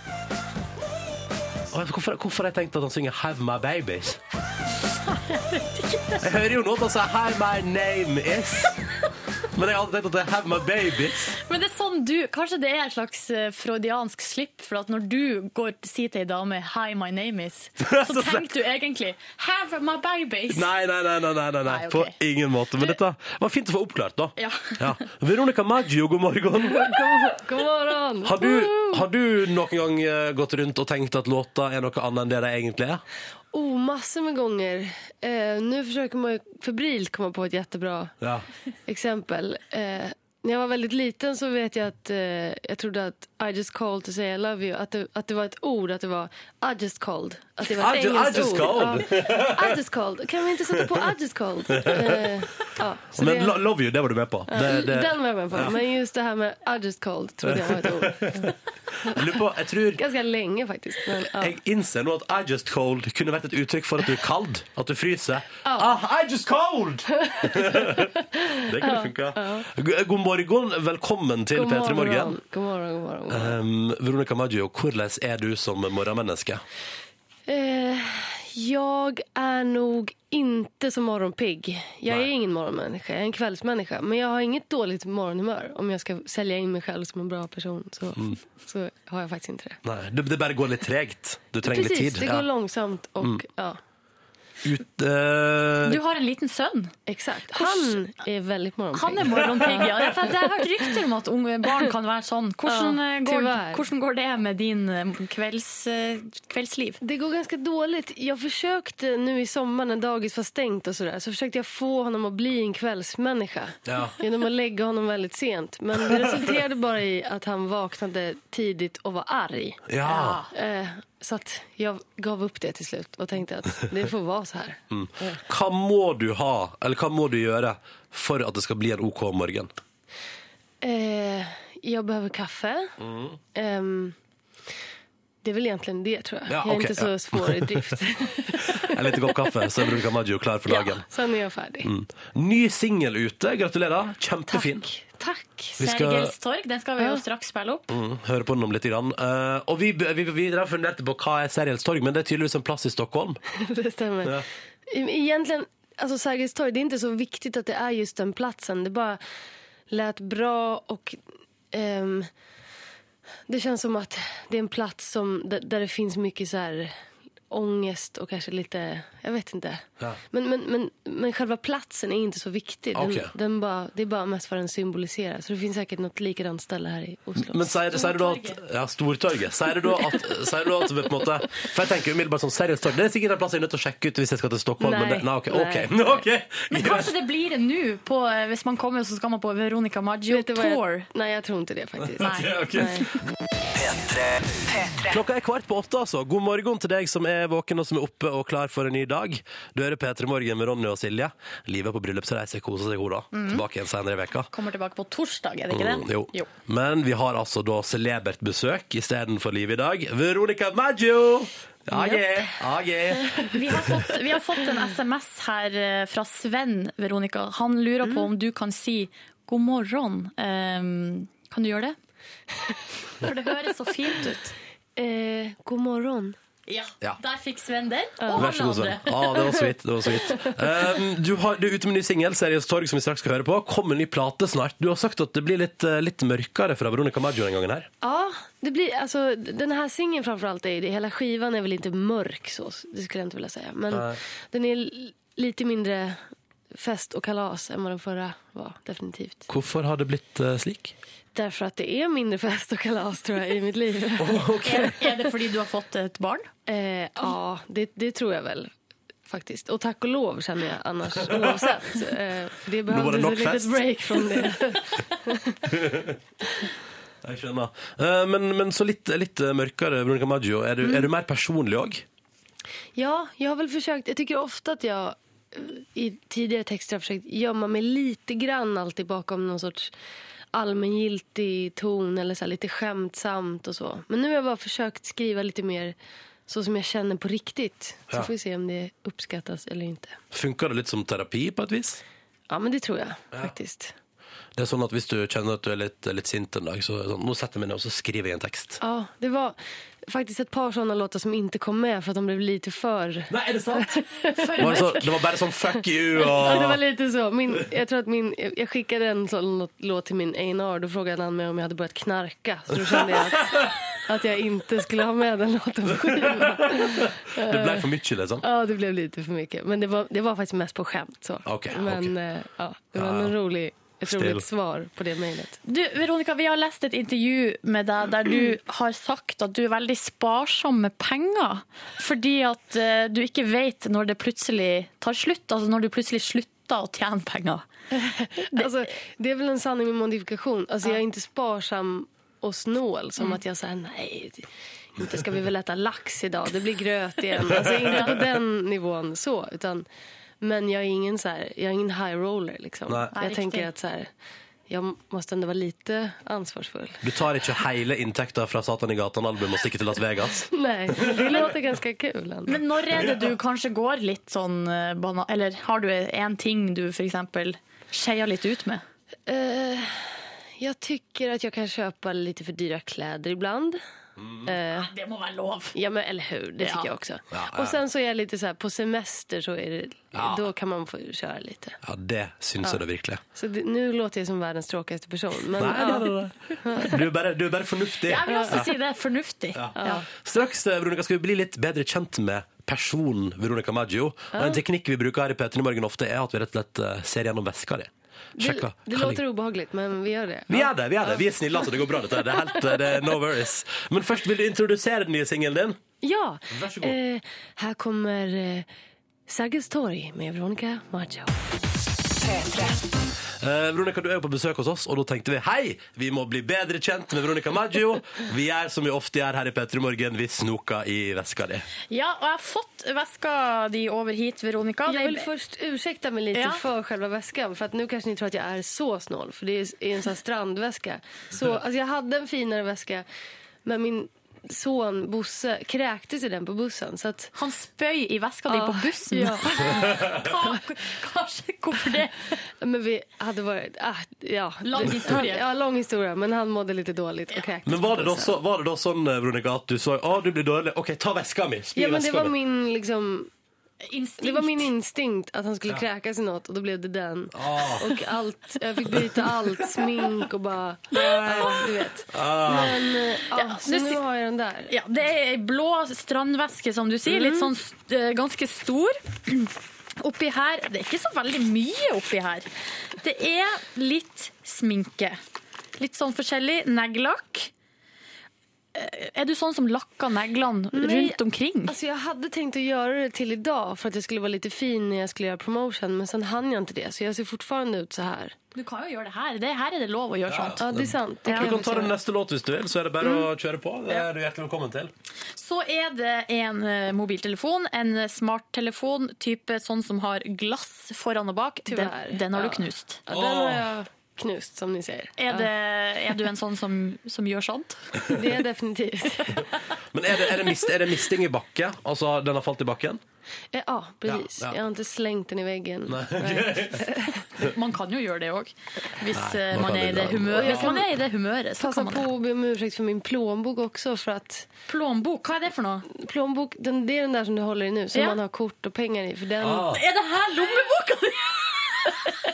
Speaker 2: Og jeg- Hvorfor, hvorfor har jeg tenkt at han synger 'Have My Babies'? Jeg hører jo nå at han sier 'Hi, my name is'. Men jeg har alltid tenkt at det er 'Have My Babies'.
Speaker 3: Men det er sånn du, kanskje det er et slags eh, freudiansk slipp, for at når du går sier til ei dame 'Hi, my name is', så tenker du egentlig 'Have my babies'.
Speaker 2: Nei, nei, nei, nei, nei, nei, nei.
Speaker 3: Nei, ok.
Speaker 2: på ingen måte. Men dette var fint å få oppklart, da.
Speaker 3: Ja.
Speaker 2: Veronica Maggio, god morgen.
Speaker 6: God morgen!
Speaker 2: Har du,
Speaker 6: Mm.
Speaker 2: har du noen gang eh, gått rundt og tenkt at låta er noe annet enn det det egentlig er?
Speaker 6: Oh, massor med gånger. Eh, nu försöker man ju febrilt komma på ett jättebra
Speaker 2: Ja.
Speaker 6: exempel. Eh, när jag var väldigt liten så vet jag att eh, jag trodde att I just called to say I love you, att det, att det var ett ord, att det var I just called. Att det var
Speaker 2: I
Speaker 6: ett
Speaker 2: ju- I
Speaker 6: engelskt
Speaker 2: just
Speaker 6: ord.
Speaker 2: called.
Speaker 6: Ja. I just called. Kan vi inte sätta på I just called? Eh, ja, så
Speaker 2: Men
Speaker 6: det- Mm,
Speaker 2: lo- 'Love You', det var du med på. Det, det,
Speaker 6: Den var jag med på. Men just det här med I just called trodde jag var ett ord.
Speaker 2: jeg lurer på, jeg tror
Speaker 6: Ganska länge faktiskt. Men, ja.
Speaker 2: Jeg innser nå at I just cold kunne vært et uttrykk for at du er kald. At du fryser. Ah, I just cold! det kunne funka. G- God morgen, velkommen til
Speaker 6: God
Speaker 2: P3 Morgen.
Speaker 6: morgon, god morgon, god morgon.
Speaker 2: Um, Veronica Maggio, hvordan er du som morgenmenneske?
Speaker 6: Eh, jag är nog inte så morgonpigg. Jag
Speaker 2: Nej.
Speaker 6: är ingen morgonmänniska, jag är en kvällsmänniska. Men jag har inget dåligt morgonhumör. Om jag ska sälja in mig själv som en bra person så,
Speaker 2: Mm.
Speaker 6: så har jag faktiskt inte det.
Speaker 2: Nei, det, det bare går litt tregt. Du trenger
Speaker 6: Precis,
Speaker 2: litt
Speaker 6: det
Speaker 2: tid.
Speaker 6: går
Speaker 2: Ja. Mm.
Speaker 6: långsamt och ja,
Speaker 2: Ut, eh,
Speaker 3: Du har en liten sønn.
Speaker 6: exakt. Han är väldigt morgonpigg.
Speaker 3: Han er morgenpigg. Ja. Det er for- det har vært rykter om at unge barn kan være sånn. Hvordan,
Speaker 6: Ja,
Speaker 3: eh, går,
Speaker 6: tyvärr.
Speaker 3: hvordan går det med din eh, kvelds, eh, kveldsliv?
Speaker 6: Det går ganska dåligt. Jag försökte nu i sommar när dagis var stängt och sådär så försökte jag få honom att bli en kvällsmänniska.
Speaker 2: Ja.
Speaker 6: Genom att lägga honom väldigt sent. Men det resulterade bara i att han vaknade tidigt och var arg.
Speaker 2: ja.
Speaker 6: Eh, så att jag gav upp det till slut och tänkte att det får vara så här.
Speaker 2: Mm. Hva må du ha, eller hva må du gjøre for at det skal bli en OK morgen?
Speaker 6: Eh, jag behöver kaffe.
Speaker 2: Mm.
Speaker 6: Ehm, det är väl egentligen det tror jag.
Speaker 2: Ja,
Speaker 6: jag är
Speaker 2: okej,
Speaker 6: inte så
Speaker 2: ja.
Speaker 6: svår i drift.
Speaker 2: En liten kopp kaffe, så er Veronica Maggio klar for dagen. Mm.
Speaker 6: Sen är jag färdig.
Speaker 2: Ny singel ute. Gratulerer. Kjempefin.
Speaker 6: Tack.
Speaker 2: Vi skal-
Speaker 3: Sergels torg, den skal vi jo straks spille opp.
Speaker 2: Mm, høre på den om litt. Grann. Eh, og vi, vi, vi dere funderte på hva er Sergels torg, men det er tydeligvis en plass i Stockholm.
Speaker 6: Det stämmer.
Speaker 2: Ja.
Speaker 6: E- Egentligen, alltså Sergels torg, det är inte så viktigt att det är just den platsen. Det bara lät bra och ehm, det känns som att det är en plats som, där, där det finns mycket så här ångest och kanske lite, jag vet inte.
Speaker 2: Ja.
Speaker 6: Men, men, men, men själva platsen är inte så viktig. Den,
Speaker 2: Okej.
Speaker 6: den bara, det är bara mest vad den symboliserar. Så det finns säkert något likadant ställe här i Oslo.
Speaker 2: Men sier, sier du da at Ja, Stortorget. Sier du da at, sier du da at på en måte, For jeg tenker umiddelbart sånn Sergels torg Det er sikkert en plass jeg er nødt til å sjekke ut hvis jeg skal til Stockholm. Men
Speaker 6: Nei.
Speaker 2: det, nei, ok,
Speaker 6: Nei.
Speaker 2: ok, ok.
Speaker 3: Men kanskje det blir det nå, på, eh, hvis man kommer, så skal man på Veronica Maggio
Speaker 6: Vet du vad
Speaker 3: Tour.
Speaker 6: jag, nej, jag tror inte det faktiskt.
Speaker 3: Nei.
Speaker 6: Nej.
Speaker 2: Klokka er kvart på åtte, altså. God morgen til deg som er våken og som er oppe og klar for en ny dag. Du hører P3 Morgen med Ronny og Silje. Livet på bryllupsreise koser seg, hun da. Tilbake igjen senere i veka.
Speaker 3: Kommer tilbake på torsdag, Mhm. er det ikke det?
Speaker 2: Mm, jo. Men vi har altså da celebert besøk istedenfor Liv i dag. Veronica Maggio! Ja, yeah, ja, yeah.
Speaker 3: Vi har, fått, vi har fått en SMS her eh, fra Sven, Veronica. Han lurer på
Speaker 6: Mm.
Speaker 3: om du kan si god morgen. Ehm, kan du gjøre det? For det høres så fint ut.
Speaker 6: Eh, god morgon.
Speaker 3: Ja,
Speaker 2: Ja.
Speaker 3: der fikk Sven den, og
Speaker 2: Vær
Speaker 3: alle
Speaker 2: så god, Sven.
Speaker 3: andre.
Speaker 2: Ja, det var sweet. Det var sweet. Um, du, har, du er ute med en ny singel, 'Seriøs torg', som vi straks skal høre på. Kommer en ny plate snart. Du har sagt at det blir litt, eh, litt mørkere fra Veronica Maggio den gangen her.
Speaker 6: Ja, det blir, alltså, den här singeln framförallt, är ju det. hela skivan är väl inte mörk så, det skulle jag inte vilja säga. Men den är l- lite mindre fest och kalas än vad den förra var, definitivt.
Speaker 2: Hvorfor har det blitt eh, slik?
Speaker 6: Därför att det är mindre fest och kalas tror jag i mitt liv.
Speaker 3: Er, er det fordi du har fått et barn?
Speaker 6: Eh, ja, det, det tror jag väl faktiskt. Och tack och lov känner jag annars oavsett. Eh, för det
Speaker 2: var det
Speaker 6: behövdes
Speaker 2: nog
Speaker 6: ett litet
Speaker 2: fest.
Speaker 6: break från det.
Speaker 2: Jeg skjønner. Eh, men, men så litt, litt eh, mørkere, Veronica Maggio. Er
Speaker 6: Mm.
Speaker 2: du, er du mer personlig òg?
Speaker 6: Ja, jag har väl försökt. Jag tycker ofta att jag eh, i tidigare texter har försökt gömma mig lite grann alltid bakom någon sorts allmängiltig ton eller så här lite skämtsamt och så. Men nu har jag bara försökt skriva lite mer så som jag känner på riktigt. Så
Speaker 2: Ja.
Speaker 6: får vi se om det uppskattas eller inte.
Speaker 2: Funker det litt som terapi på et vis?
Speaker 6: Ja, men det tror jag faktiskt.
Speaker 2: Det er sånn at Hvis du kjenner at du er litt, litt sint en dag, så er det sånn, nå setter jeg meg ned og så skriver jeg en tekst.
Speaker 6: Ja, det var faktiskt ett par sådana låtar som inte kom med för att de blev lite för...
Speaker 2: Nei, er det sant? Var det, så, det var bare sånn fuck you
Speaker 6: Ja, det var
Speaker 2: og
Speaker 6: lite så. Min, jag, tror att min, jag skickade en sån låt- låt till min A&R då frågade han mig om jag hade börjat knarka. Så då kände jag att, att jag inte skulle ha med den låten på skivan.
Speaker 2: Det ble for mye, liksom.
Speaker 6: Ja, det blev lite för mycket. Men det var, det var faktiskt mest på skämt. Så.
Speaker 2: Okej,
Speaker 6: Men
Speaker 2: okej.
Speaker 6: eh, ja, det var en rolig, ett
Speaker 2: Still.
Speaker 6: roligt svar på det mejlet.
Speaker 3: Du, Veronica, vi har lest et intervju med deg der du har sagt at du er veldig sparsom med penger. Fordi at eh, du ikke vet når det plutselig tar slutt. Altså når du plutselig slutter å tjene penger.
Speaker 6: Alltså, det är väl en sanning med modifikation. Alltså, Jag är inte sparsam och snål som att jag säger nej, det- inte ska vi väl äta lax idag, det blir gröt igen. Alltså, inte på den nivån så. Utan, men jag är ingen, så här, jag är ingen high roller. Liksom.
Speaker 2: Nej.
Speaker 6: Jag
Speaker 3: Nej,
Speaker 6: tänker
Speaker 3: riktigt.
Speaker 6: att så här, jag måste ändå vara lite ansvarsfull.
Speaker 2: Du tar ikke hele inntekta fra Satan i gatan-albumet og stikker til Las Vegas.
Speaker 6: Nej, det låter ganska kul ändå.
Speaker 3: Men når er det du kanskje går litt sånn eh, bana... Eller har du en ting du f.eks. skeier litt ut med?
Speaker 6: Eh, jag tycker att jag kan köpa lite för dyra kläder ibland. Eh,
Speaker 3: Det må være lov.
Speaker 6: Ja, men eller hur. Det tycker
Speaker 3: Ja.
Speaker 6: jag också.
Speaker 2: Ja, ja.
Speaker 6: Och sen så är jag lite så här, på semester så är det,
Speaker 2: Ja.
Speaker 6: då kan man få köra lite.
Speaker 2: Ja, det syns jeg da virkelig.
Speaker 6: Så det, nu låter jag som världens tråkigaste person. Men,
Speaker 2: Nei,
Speaker 6: ja.
Speaker 2: nei, nei, nei. Du, er bare, du er bare fornuftig.
Speaker 3: Jeg vil også si det er fornuftig. Ja.
Speaker 2: Straks eh, Veronica, skal vi bli litt bedre kjent med personen Veronica Maggio. Og En teknikk vi bruker her i P3 Morgen ofte, er at vi rett og slett eh, ser gjennom veska di. Sjekk
Speaker 6: Det,
Speaker 2: hva-
Speaker 6: det
Speaker 2: hva
Speaker 6: låter obehagligt, men vi gör det.
Speaker 2: Vi er det, vi er det. Vi er snille, altså. Det går bra, dette. her. Det er helt eh, det er no worries. Men først vil du introdusere den nye singelen din.
Speaker 6: Ja,
Speaker 2: Varsågod.
Speaker 6: Eh, här kommer eh, Sergels torg med Veronica Maggio.
Speaker 2: Eh, Veronica, du er jo på besøk hos oss, og da tenkte vi hei, vi må bli bedre kjent med Veronica Maggio. Vi er som vi ofte gjør her i P3 Morgen, vi snoker i veska di.
Speaker 3: ja, og jeg har fått veska di over hit, Veronica.
Speaker 6: Jag vill
Speaker 3: Det-
Speaker 6: först ursäkta mig lite
Speaker 3: Ja.
Speaker 6: för själva väskan. För att nu kanske ni tror att jag är så snål. För det är är en sån här strandväska. Så,
Speaker 2: Mm.
Speaker 6: alltså jag hade en finare väska. Men min son Bosse kräktes i den på bussen. Så att
Speaker 3: Han spøy i veska di
Speaker 6: Ja.
Speaker 3: på bussen.
Speaker 6: Ja.
Speaker 3: Hva, kanskje, hvorfor det?
Speaker 6: Men vi hade varit... Ah, ja.
Speaker 3: Lång historia.
Speaker 6: Ja, lång historia. Men han mådde lite dåligt och kräktes.
Speaker 2: Men var det, da
Speaker 6: på
Speaker 2: så, var det da sånn, eh, Veronica, at du så å, du blir dårlig, OK, ta veska mi, spy
Speaker 6: Ja, men det
Speaker 2: veska
Speaker 6: var
Speaker 2: mi.
Speaker 6: min, liksom,
Speaker 3: Instinkt.
Speaker 6: det var min instinkt att han skulle kräkas i något och då blev det den.
Speaker 2: Ah.
Speaker 6: Och allt, jag fick byta allt, smink och bara... Ja, du vet.
Speaker 2: Ah.
Speaker 6: Men, eh, ja, så
Speaker 3: nu
Speaker 6: nu
Speaker 3: sit-
Speaker 6: har jag den där.
Speaker 3: Ja, det er ei blå strandveske, som du sier. Litt sånn st- eh, ganske stor. Oppi her Det er ikke så veldig mye oppi her. Det er litt sminke. Litt sånn forskjellig. Neglelakk. Eh, Er du sånn som lakker neglene
Speaker 6: Nei,
Speaker 3: rundt omkring?
Speaker 6: Alltså jag hade tänkt att göra det till idag för att jag skulle vara lite fin när jag skulle göra promotion men sen hann jag inte det så jeg ser fortfarande ut så här.
Speaker 3: Du kan jo gjøre det her. Det her er det lov å gjøre sånt.
Speaker 6: Ja, det är sant. Det
Speaker 2: Du
Speaker 6: jag
Speaker 2: kan ta
Speaker 6: väl
Speaker 2: den
Speaker 6: säga.
Speaker 2: neste låt hvis du vil, så er det bare å kjøre på. Det er du hjertelig velkommen til.
Speaker 3: Så er det en eh, mobiltelefon, en smarttelefon, type sånn som har glass foran og bak. Den,
Speaker 6: Tyvärr.
Speaker 3: den har du
Speaker 6: Ja.
Speaker 3: knust.
Speaker 6: Ja, den har jag knust som ni ser.
Speaker 3: Er, det, er du en sånn som, som gjør sånt?
Speaker 6: Ja, det är definitivt.
Speaker 2: Men er det, er det, mist, er det misting i bakke? Altså, den har falt i bakken?
Speaker 6: Eh, Ja, precis.
Speaker 2: Ja, ja.
Speaker 6: Jag har inte slängt den i väggen. Nej.
Speaker 3: Man kan jo gjøre det òg, hvis, eh,
Speaker 2: man
Speaker 3: man
Speaker 2: kan
Speaker 3: er i
Speaker 2: det
Speaker 3: det
Speaker 2: bra.
Speaker 3: humøret.
Speaker 6: Og jeg
Speaker 3: Hvis
Speaker 6: kan
Speaker 3: man er i det humøret, så
Speaker 6: Passa
Speaker 3: kan man
Speaker 6: på
Speaker 3: det.
Speaker 6: att be om ursäkt för min plånbok också för att
Speaker 3: Plånbok, hva er det for noe?
Speaker 6: plånbok, den, det är den där som du håller i nu som
Speaker 3: Ja.
Speaker 6: man har kort og pengar i för den
Speaker 2: Ah.
Speaker 3: Er det her lommeboka di?!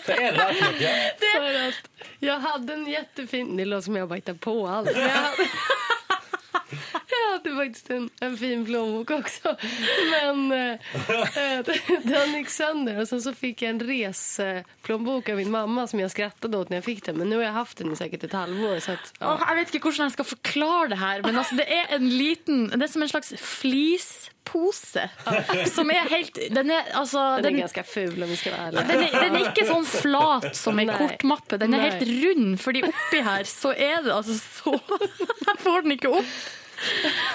Speaker 2: Hva er det her for noe?
Speaker 6: För att jag hade en jättefin... Det låter som jag bara hittar på allt. Men Jag hade, jag hade faktiskt en, en fin plånbok också. Men eh, eh, den gick sönder. Och sen så fick jag en resplånbok av min mamma som jag skrattade åt när jag fick den. Men nu har jag haft den i säkert ett halvår. Så att, ja.
Speaker 3: Åh, jeg vet ikke hvordan jeg skal forklare det her, men altså, det er en liten Det er som en slags flispose. Som er helt Den er altså
Speaker 6: Den är
Speaker 3: den,
Speaker 6: ganska ful om vi ska vara ärliga.
Speaker 3: den, er, den er ikke sånn flat som ei
Speaker 6: Nei.
Speaker 3: kortmappe. Den er
Speaker 6: Nei.
Speaker 3: helt rund, fordi oppi her så er det altså så Jeg får den ikke opp.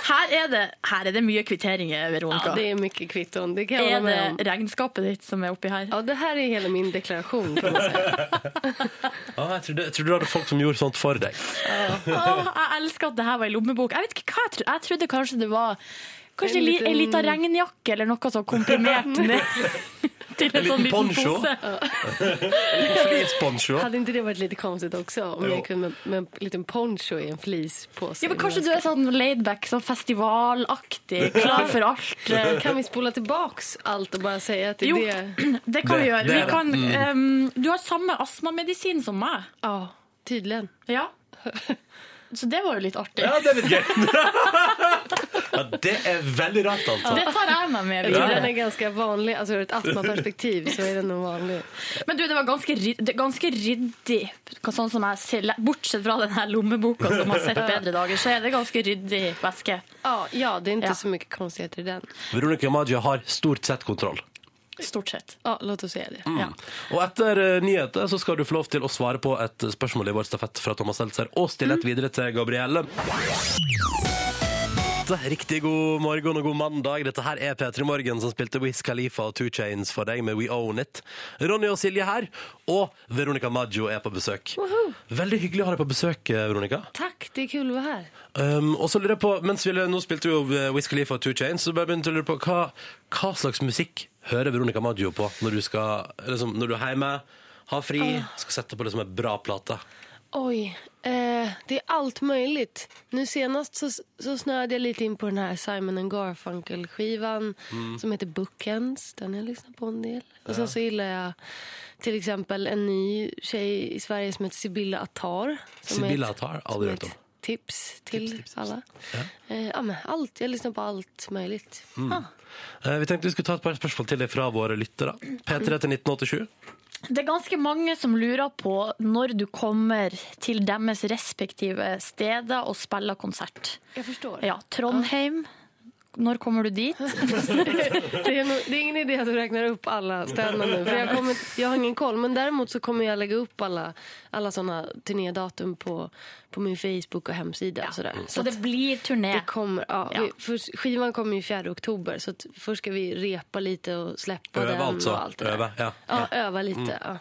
Speaker 3: Her er det, her er det mye kvitteringer, Veronica.
Speaker 6: Ja, det är mycket kvitton. Det kan jag hålla
Speaker 3: Er
Speaker 6: med om.
Speaker 3: det regnskapet ditt som er oppi her?
Speaker 6: Ja, det här är hela min deklaration kan man säga.
Speaker 2: Ah, jeg, trodde, jeg trodde du hadde folk som gjorde sånt for deg.
Speaker 3: Åh, jeg elsker at det her var i lommebok. Jeg vet ikke hva jeg trodde. Jeg trodde kanskje det var Kanskje
Speaker 6: En
Speaker 3: en, li,
Speaker 6: liten-
Speaker 3: en liten regnjakke eller noe sånn komprimert ned Til en,
Speaker 2: En liten
Speaker 3: sånn liten
Speaker 2: poncho.
Speaker 3: pose.
Speaker 2: Fleeceponcho.
Speaker 6: Hade inte det varit lite konstigt också om
Speaker 2: Jo.
Speaker 6: jag kunde med, med en liten poncho i en fleece på sig?
Speaker 3: Ja, men kanskje du er sånn laidback, sånn festivalaktig, klar for alt. eh,
Speaker 6: Kan vi spola tillbaks allt och bara säga att det
Speaker 3: Jo.
Speaker 6: är det?
Speaker 3: Det kan vi
Speaker 2: Det-
Speaker 3: gjøre.
Speaker 2: det Mm.
Speaker 3: Vi
Speaker 2: er det.
Speaker 3: kan, ehm, du har samme astmamedisin som meg.
Speaker 6: Ja, tydligen.
Speaker 3: Ja. Så det var jo litt artig.
Speaker 2: Ja, det er litt gøy. ja, det er veldig rart, altså.
Speaker 3: Det tar jeg meg med
Speaker 6: Jag tror
Speaker 3: videre.
Speaker 6: den är ganska vanlig, alltså ur ett astmaperspektiv så är den nog vanlig.
Speaker 3: Men du, det var ganske, ryd- det- ganske ryddig. Sånn som jeg ser, bortsett fra den her lommeboka som har sett bedre dager, så er det ganske ryddig væske.
Speaker 6: Ja, ja det är inte
Speaker 3: Ja.
Speaker 6: så mycket konstigheter i den.
Speaker 2: Veronica Maggio har stort sett kontroll.
Speaker 3: Stort sett.
Speaker 6: Ja, låt oss säga det.
Speaker 2: Mm.
Speaker 3: Ja.
Speaker 2: Og etter eh, nyheter så skal du få lov til å svare på et spørsmål i vår stafett fra Thomas Seltzer, og stille et videre til Gabrielle. Riktig god morgen og god mandag. Dette her er P3 Morgen som spilte Wiz Khalifa og Two Chains for deg med We Own It. Ronny og Silje her, og Veronica Maggio er på besøk. Veldig hyggelig å ha deg på besøk, eh, Veronica.
Speaker 6: Tack, det är kul att vara här.
Speaker 2: Um, og så lurer jeg på, mens vi nå spilte vi jo eh, Wiz Khalifa og Two Chains, så bare begynte jeg å lure på hva, hva slags musikk hører Veronica Maggio på når du, skal, liksom, når du er hjemme, har fri, skal sette på liksom en bra plate?
Speaker 6: Oj, eh, det är allt möjligt. Nu senast så, så snöade jag lite in på den här Simon and Garfunkel-skivan
Speaker 3: Mm.
Speaker 6: som heter Bookends. Den har jag lyssnat på en del. Och sen så gillar jag till exempel en ny tjej i Sverige som heter Sibylla Attar. som är
Speaker 2: Sibylla
Speaker 6: ett-
Speaker 2: Attar,
Speaker 6: som
Speaker 2: aldrig
Speaker 6: är
Speaker 2: hört
Speaker 6: ett
Speaker 2: om.
Speaker 6: Tips till alla. Ja. Eh, ja, men allt. Jag lyssnar på allt möjligt.
Speaker 2: Eh, vi tenkte vi skulle ta et par spørsmål til deg fra våre lyttere. P3 til 1987.
Speaker 3: Det er ganske mange som lurer på når du kommer til deres respektive steder og spiller konsert.
Speaker 6: Jag förstår.
Speaker 3: Ja, Trondheim. Når kommer du dit?
Speaker 6: Det är, nog, det är ingen idé att du räknar upp alla ställen nu. För jag, kommer, jag har ingen koll. Men däremot så kommer jag lägga upp alla, alla sådana turnédatum på, på min Facebook och hemsida. och sådär. Så
Speaker 3: Mm. Så det blir turné.
Speaker 6: det kommer, ja,
Speaker 3: Ja.
Speaker 6: Vi, för skivan kommer ju 4 oktober. Så att först ska vi repa lite och släppa
Speaker 2: Öva
Speaker 6: den
Speaker 2: alltså.
Speaker 6: och allt det där.
Speaker 2: Öva, ja.
Speaker 6: ja, öva lite. Ja.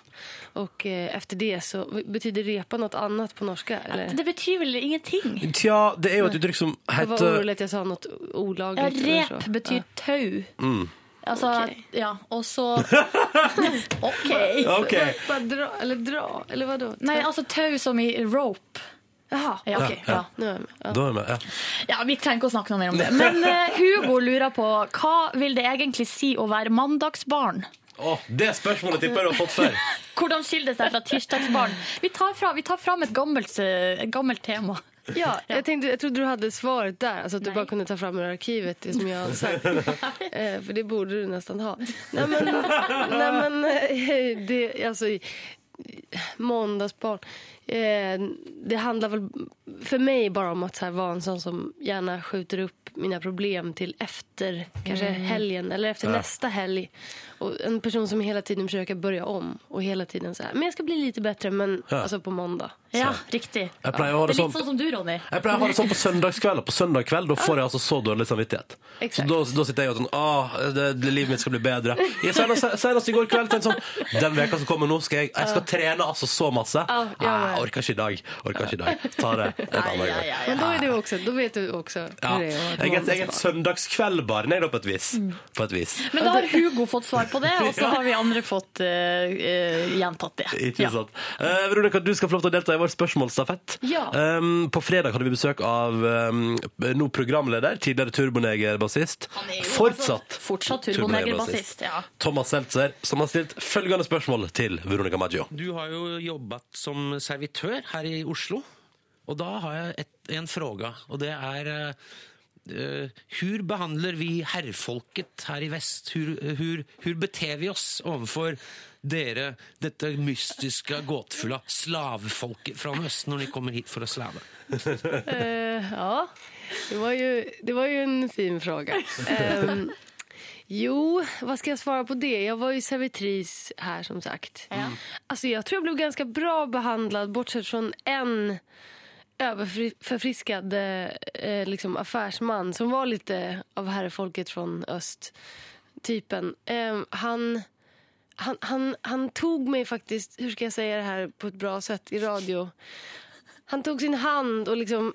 Speaker 6: Och eh, efter det så betyder repa något annat på norska? Eller?
Speaker 3: Det betyr vel ingenting?
Speaker 2: Tja, det er jo et eh, uttrykk som
Speaker 6: Jag var
Speaker 2: heter
Speaker 6: orolig att jag sa något
Speaker 3: Ja,
Speaker 6: olagligt. eller så.
Speaker 3: rep betyr tau.
Speaker 2: Mm.
Speaker 3: Altså,
Speaker 6: Ok.
Speaker 3: ja, och så OK.
Speaker 2: OK.
Speaker 6: Bara dra, eller dra, eller vadå?
Speaker 3: Nei, altså tau som i rope.
Speaker 6: Jaha,
Speaker 3: Ja,
Speaker 6: okej.
Speaker 3: ja.
Speaker 6: Ja, nu är jag med. Ja.
Speaker 2: Da er vi med. Ja.
Speaker 3: Ja, Vi trenger ikke å snakke noe mer om det. Men eh, Hugo lurer på hva vil det egentlig si å være mandagsbarn?
Speaker 2: Å, det spørsmålet tipper jeg du har fått før.
Speaker 3: Hvordan skiller det seg fra tirsdagsbarn? Vi tar, fra, vi tar fram et gammelt, eh, et gammelt tema.
Speaker 6: Ja, jag, tänkte, jag trodde du hade svaret där. Alltså att du
Speaker 3: Nej.
Speaker 6: bara kunde ta fram ur arkivet det som jag har sagt. eh, för det borde du nästan ha. Nej men, nej, men eh, det, alltså, i- måndagsbarn. Eh, det handlar väl för mig bara om att så här, vara en sån som gärna skjuter upp mina problem till efter kanske helgen eller efter nästa helg. Och en person som hela tiden försöker börja om och hela tiden så här, men jag ska bli lite bättre men alltså på måndag.
Speaker 3: Ja, riktig. Det
Speaker 2: Jeg pleier å ha
Speaker 3: er
Speaker 2: det
Speaker 3: litt
Speaker 2: sånn
Speaker 3: sånn som du, Ronny.
Speaker 2: Jeg pleier å ha det sånn på søndagskveld, og på søndag kveld da får jeg altså så dårlig samvittighet. Så
Speaker 6: Exakt.
Speaker 2: da, da sitter jeg og sånn Åh, det, det, livet mitt skal bli bedre. Jeg Senest senest i går kveld tenkte jeg sånn Den veka som kommer nå, skal jeg Jeg skal trene altså så masse.
Speaker 6: Ja,
Speaker 2: Nei,
Speaker 6: ja, ja.
Speaker 2: jeg orker ikke i dag. Orker ikke i dag. Ta det en annen gang.
Speaker 6: Men då, är du också, då vet du också
Speaker 2: Ja.
Speaker 6: hur det är att vara
Speaker 2: Jeg er et, jeg er et søndagskveldbarn, jeg, da, på et vis. På et vis.
Speaker 3: Men da har Hugo fått svar på det, og så har vi andre fått eh, eh, gjentatt det.
Speaker 2: Ikke sant. Eh, Veronica, du skal få lov til å delta i vår spørsmålsstafett.
Speaker 6: Ja.
Speaker 2: Um, på fredag hadde vi besøk av um, nå programleder, tidligere Turboneger-bassist.
Speaker 3: Han er jo
Speaker 2: Fortsatt,
Speaker 3: altså fortsatt Turboneger-bassist, ja.
Speaker 2: Thomas Seltzer, som har stilt følgende spørsmål til Veronica Maggio.
Speaker 7: Du har jo jobbet som servitør her i Oslo, og da har jeg et, en fråga, og det er eh, eh, hur behandler vi herrfolket her i vest? Hur, eh, hur, hur beter vi oss overfor dere, dette mystiske, gåtefulle slavefolket fra Østen når de kommer hit for å slave?
Speaker 6: Eh, ja, det var, ju, det var ju en fin fråga. Ehm, jo, vad ska jag svara på det? Jag var ju servitris här som sagt. Alltså, jag tror jag blev ganska bra behandlad bortsett från en överförfriskad eh, liksom affärsman som var lite av herrefolket från öst. Typen. Ehm, han... Han, han, han tog mig faktiskt, hur ska jag säga det här på ett bra sätt i radio? Han tog sin hand och liksom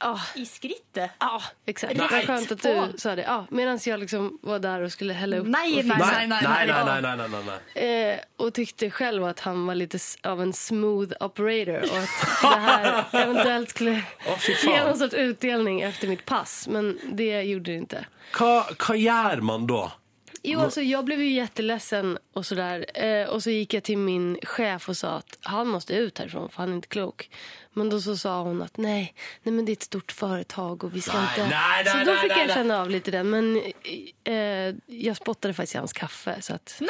Speaker 6: Ja,
Speaker 3: I skrittet?
Speaker 6: ja, exakt. Det var
Speaker 3: Nej.
Speaker 6: skönt att du sa det. Ja, Medan jag liksom var där och skulle hälla upp
Speaker 8: Nej,
Speaker 6: och
Speaker 8: nej,
Speaker 6: fixa.
Speaker 8: nej, nej,
Speaker 2: nei, nei, nei,
Speaker 8: nej.
Speaker 2: nei, nei, nei, nei.
Speaker 6: Eh, och tyckte själv att han var lite s- av en smooth operator och att det här eventuellt skulle
Speaker 2: Å, fy
Speaker 6: ge
Speaker 2: faen.
Speaker 6: någon sorts utdelning efter mitt pass. Men det gjorde det inte.
Speaker 2: Hva, hva gjør man da?
Speaker 6: Jo, alltså, jag blev ju jätteledsen och sådär. Eh, och så gick jag till min chef och sa att han måste ut härifrån för han är inte klok. Men då så sa hon att nej, nej men det är ett stort företag och vi ska
Speaker 2: Nej,
Speaker 6: inte...
Speaker 2: nej, nej,
Speaker 6: så då
Speaker 2: nej,
Speaker 6: fick
Speaker 2: nej,
Speaker 6: jag
Speaker 2: nej.
Speaker 6: känna av lite den. Men eh, jag spottade faktiskt i hans kaffe. Så att,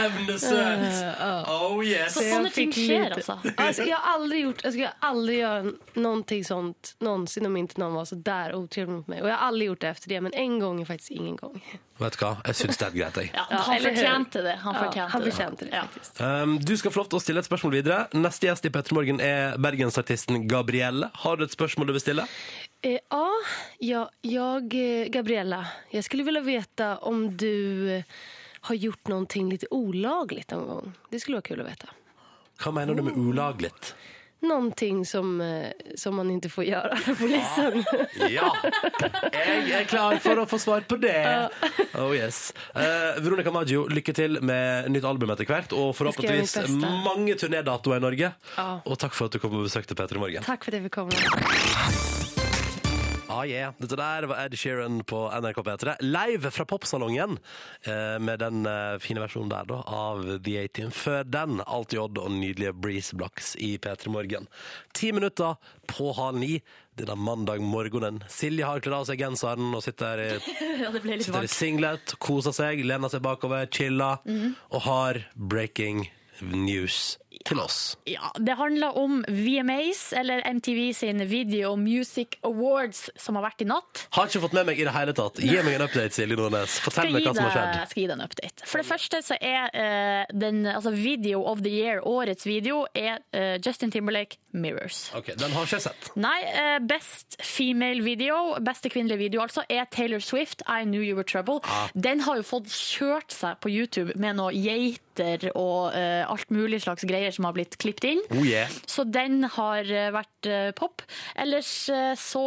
Speaker 2: Evnesøt! Oh yes!
Speaker 6: Så
Speaker 3: Sånne
Speaker 6: jeg
Speaker 3: ting
Speaker 6: fikk
Speaker 3: skjer,
Speaker 6: lite.
Speaker 3: altså.
Speaker 6: alltså, jag har aldrig gjort, jag skulle aldrig göra någonting sånt någonsin om inte någon var så där otrevlig mot mig. Och jag har aldrig gjort det efter det. Men en gång är faktiskt ingen gång.
Speaker 2: Vet du hva, jeg syns det er greit, jeg.
Speaker 3: Ja, han
Speaker 6: eller hur?
Speaker 3: fortjente det. Han fortjente
Speaker 6: ja, han
Speaker 3: det.
Speaker 6: förtjänte det,
Speaker 3: Ja.
Speaker 6: faktiskt.
Speaker 2: Um, du skal få lov til å stille et spørsmål videre. Neste gjest i Petter Morgen er bergensartisten Gabrielle. Har du et spørsmål du vil stille?
Speaker 6: Eh, ja, ja, jag, eh, Gabriella, jag skulle vilja veta om du eh, har gjort någonting lite olagligt någon gång. Det skulle vara kul att veta.
Speaker 2: Hva mener du med ulaglig?
Speaker 6: Någonting som, eh, som man inte får göra för polisen.
Speaker 2: Ja! Jeg er klar for å få svar på det. Oh yes. Eh, Veronica Maggio, lykke til med nytt album etter hvert, og
Speaker 6: skal gjøre mitt
Speaker 2: forhåpentligvis
Speaker 6: beste.
Speaker 2: mange turnédatoer i Norge.
Speaker 6: Ja.
Speaker 2: Og takk for at du kom på besøk til Petter Morgen.
Speaker 6: Tack för att jag fick komma.
Speaker 2: Ah, yeah. Dette der var Ed Sheeran på NRK P3. Live fra popsalongen, eh, med den eh, fine versjonen der da, av The 18. Før den, alt i odd og nydelige Breeze Blocks i P3 Morgen. Ti minutter på halv ni. Denne mandag morgenen. Silje har kledd av seg genseren og sitter i,
Speaker 3: Ja, det ble litt
Speaker 2: sitter i
Speaker 3: varmt.
Speaker 2: singlet, koser seg, lener seg bakover, chiller, og har breaking news til oss.
Speaker 3: Ja, det handler om VMAs, eller MTV sin Video Music Awards, som har vært i natt.
Speaker 2: Har ikke fått med meg i det hele tatt. Gi meg en update, Silje Nordnes. Fortell
Speaker 3: skal
Speaker 2: meg
Speaker 3: gi
Speaker 2: hva som har skjedd.
Speaker 3: deg- skal gi deg en update. For det første så er eh, den, altså Video of the Year, årets video, er eh, Justin Timberlake, 'Mirrors'.
Speaker 2: Ok, Den har ikke jeg sett.
Speaker 3: Nei, eh, best female video, beste kvinnelige video altså, er Taylor Swift, 'I Knew You Were Trouble'.
Speaker 2: Ah.
Speaker 3: Den har jo fått kjørt seg på YouTube med noen geiter og eh, alt mulig slags greier som har blitt klippet inn.
Speaker 2: Oh yeah.
Speaker 3: Så den har eh, vært eh, pop. Ellers eh, så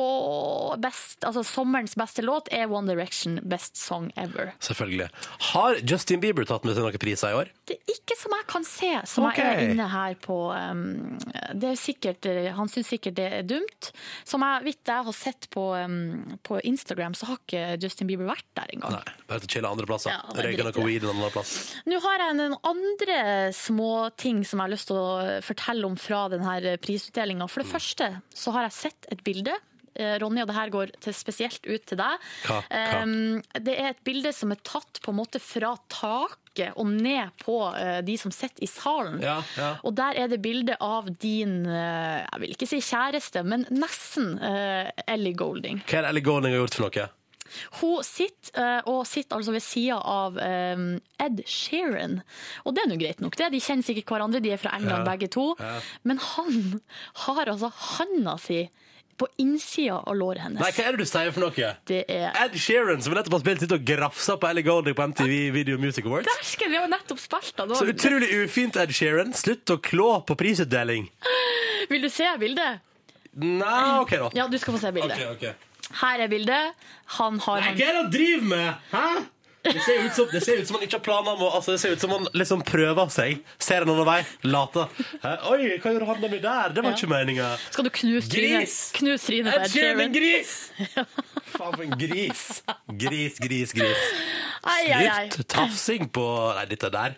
Speaker 3: best, altså Sommerens beste låt er One Direction, 'Best Song Ever'.
Speaker 2: Selvfølgelig. Har Justin Bieber tatt med seg noen priser i år?
Speaker 3: Det er ikke som jeg kan se, som
Speaker 2: Ok.
Speaker 3: jeg er inne her på um, det er sikkert, eh, Han syns sikkert det er dumt. Som jeg vidt jeg har sett på, um, på Instagram, så har ikke Justin Bieber vært der engang.
Speaker 2: Nei. Bare til å chille andre plasser.
Speaker 3: Ja, det er
Speaker 2: Røyke
Speaker 3: dritt,
Speaker 2: noe weed en annen plass.
Speaker 3: Nå har jeg noen andre småting som jeg har lyst til å fortelle om fra denne prisutdelinga.
Speaker 2: Mm.
Speaker 3: For det første så har jeg sett et bilde. Eh, Ronny, og det her går til spesielt ut til deg.
Speaker 2: Hva? Hva?
Speaker 3: Um, det er et bilde som er tatt på en måte fra taket og ned på eh, de som sitter i salen.
Speaker 2: Ja, ja.
Speaker 3: Og der er det bilde av din, eh, jeg vil ikke si kjæreste, men nesten eh, Ellie Golding.
Speaker 2: Hva er det Ellie Goulding har gjort for noe?
Speaker 3: Hun sitter, eh, og sitter altså ved sida av eh, Ed Sheeran. Og det er nå greit nok, det. De kjenner sikkert hverandre, de er fra England
Speaker 2: Ja,
Speaker 3: begge to.
Speaker 2: ja.
Speaker 3: Men han har altså handa si på innsida av låret hennes.
Speaker 2: Nei, hva er det du sier for noe?
Speaker 3: Det er
Speaker 2: Ed Sheeran, som nettopp har spilt, sitter og grafser på Ellie Goulding på MTV Video Music Awards.
Speaker 3: Dæsken, vi har jo nettopp spilt den!
Speaker 2: Så
Speaker 3: nå.
Speaker 2: utrolig ufint, Ed Sheeran. Slutt å klå på prisutdeling.
Speaker 3: Vil du se bildet?
Speaker 2: Nei, OK, da.
Speaker 3: Ja, du skal få se bildet.
Speaker 2: Ok, ok.
Speaker 3: Her er bildet. Han har
Speaker 2: Nei,
Speaker 3: han-
Speaker 2: hva er det han driver med? Hæ? Det ser ut som, det ser ut som han ikke har planer om å altså, Det ser ut som han liksom prøver seg. Ser en annen vei, later. Hæ? Oi, hva gjorde han med der? Det var ikke meninga.
Speaker 3: Skal du knuse trynet?
Speaker 2: Gris!
Speaker 3: Knus trynet på Ed Sheeran.
Speaker 2: gris! Faen for en gris. Gris, gris, gris.
Speaker 3: Ai, ai, ai.
Speaker 2: Litt tafsing på Nei, dette der.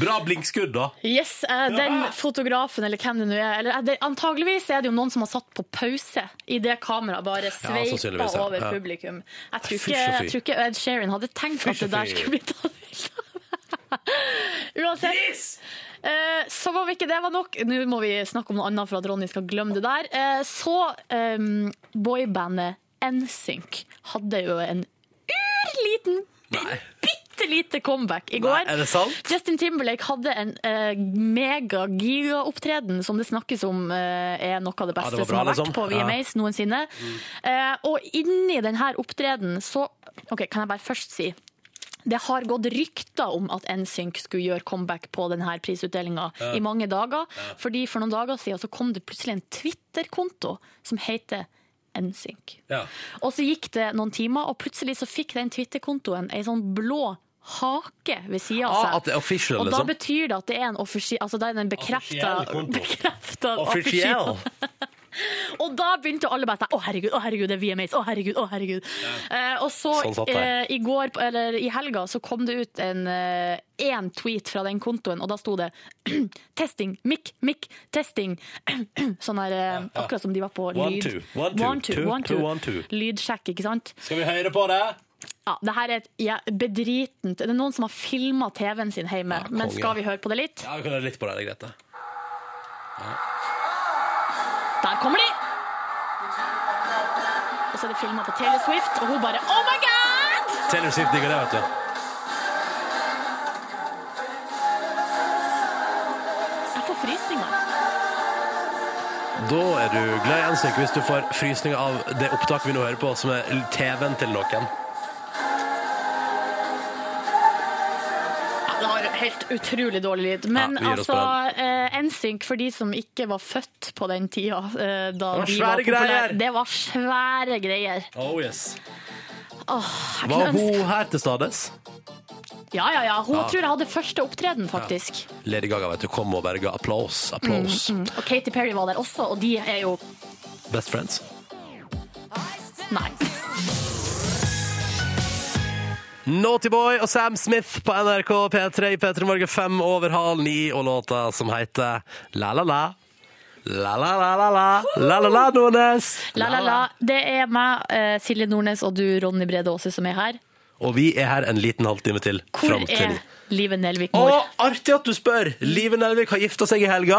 Speaker 2: Bra blinkskudd, da.
Speaker 3: Yes, eh, den fotografen eller hvem det nå er eller, eh, det, Antageligvis er det jo noen som har satt på pause i det kameraet bare sveipa
Speaker 2: sannsynligvis, ja.
Speaker 3: over
Speaker 2: Ja.
Speaker 3: publikum. Jeg tror,
Speaker 2: Fysj
Speaker 3: ikke,
Speaker 2: og fy.
Speaker 3: jeg tror ikke Ed Sheeran hadde tenkt at
Speaker 2: Fysj
Speaker 3: det
Speaker 2: og
Speaker 3: der
Speaker 2: fy.
Speaker 3: skulle bli tatt bilde av. Uansett, eh, som om ikke det var nok Nå må vi snakke om noe annet for at Ronny skal glemme det der. Eh, så um, boybandet NSYNC hadde jo en urliten
Speaker 2: Nei.
Speaker 3: bitte lite comeback i går.
Speaker 2: Nei, er det sant?
Speaker 3: Justin Timberlake hadde en eh, mega-giga-opptreden som det snakkes om eh, er noe av det
Speaker 2: Ja, Mm.
Speaker 3: beste
Speaker 2: det var
Speaker 3: som
Speaker 2: bra,
Speaker 3: har vært
Speaker 2: liksom.
Speaker 3: på VMAs noensinne. Eh, og inni denne opptredenen så Ok, kan jeg bare først si Det har gått rykter om at NSYNC skulle gjøre comeback på denne prisutdelinga i mange dager. Fordi For noen dager siden så kom det plutselig en Twitter-konto som heter NSYNC.
Speaker 2: Ja.
Speaker 3: Og så gikk det noen timer, og plutselig så fikk den Twitter-kontoen ei sånn blå hake ved sida av seg.
Speaker 2: Ah, at det er official,
Speaker 3: Altså, og da
Speaker 2: liksom.
Speaker 3: betyr det at det er en offisie- altså da er det en bekrefta
Speaker 2: Offisiell konto.
Speaker 3: bekrefta
Speaker 2: Officiell.
Speaker 3: Og da begynte jo alle bare sånn Å, herregud, å herregud, det er VMAs. Å, herregud, å, herregud. Eh, og så
Speaker 2: Sånn satt det.
Speaker 3: eh, i går, eller i helga, så kom det ut en eh, én tweet fra den kontoen, og da sto det testing, mikk, mikk, testing. sånn her, eh, akkurat som de var på
Speaker 2: One,
Speaker 3: lyd.
Speaker 2: two, one, two, two, two, one, two.
Speaker 3: Lydsjekk, ikke sant?
Speaker 2: Skal vi høre på det?
Speaker 3: Ja, det her er et ja, bedritent Det er noen som har filma TV-en sin hjemme,
Speaker 2: Ja,
Speaker 3: men
Speaker 2: konge.
Speaker 3: skal vi høre på det litt?
Speaker 2: Ja, vi kan høre litt på det, det er greit. det.
Speaker 3: Der kommer de! Og så er det filma på Taylor Swift, og hun bare Oh my God!
Speaker 2: Taylor Swift digger det, vet du.
Speaker 3: Jeg får frysninger.
Speaker 2: Da er du glad i NSYNC hvis du får frysninger av det opptaket vi nå hører på, som er TV-en til noen.
Speaker 3: Ja, det har helt utrolig dårlig lyd. Men
Speaker 2: Ja, vi gir oss
Speaker 3: altså, eh, NSYNC, for de som ikke var født på den tida eh, da
Speaker 2: var
Speaker 3: de
Speaker 2: svære
Speaker 3: var
Speaker 2: greier.
Speaker 3: populære Det var svære greier.
Speaker 2: Oh yes.
Speaker 3: Åh, jeg kunne
Speaker 2: Var
Speaker 3: ønske
Speaker 2: hun her til stades?
Speaker 3: Ja, ja, ja. Hun tror jeg hadde første opptreden, faktisk.
Speaker 2: Lady Gaga vet du, kom og berga applaus. Applaus.
Speaker 3: Og Katy Perry var der også, og de er jo mm.
Speaker 2: Best friends.
Speaker 3: Nei.
Speaker 2: Naughty Boy og Sam Smith på NRK P3 i P3 Morgen fem over halv ni, og låta som heter La La La. La la la la la, la la la Nordnes.
Speaker 3: La, la, la. Det er meg, eh, Silje Nordnes, og du, Ronny Brede Aase, som er her.
Speaker 2: Og vi er her en liten halvtime til.
Speaker 3: Hvor
Speaker 2: fram til
Speaker 3: er Live Nelvik
Speaker 2: Å,
Speaker 3: mor?
Speaker 2: artig at du spør! Live Nelvik har gifta seg i helga.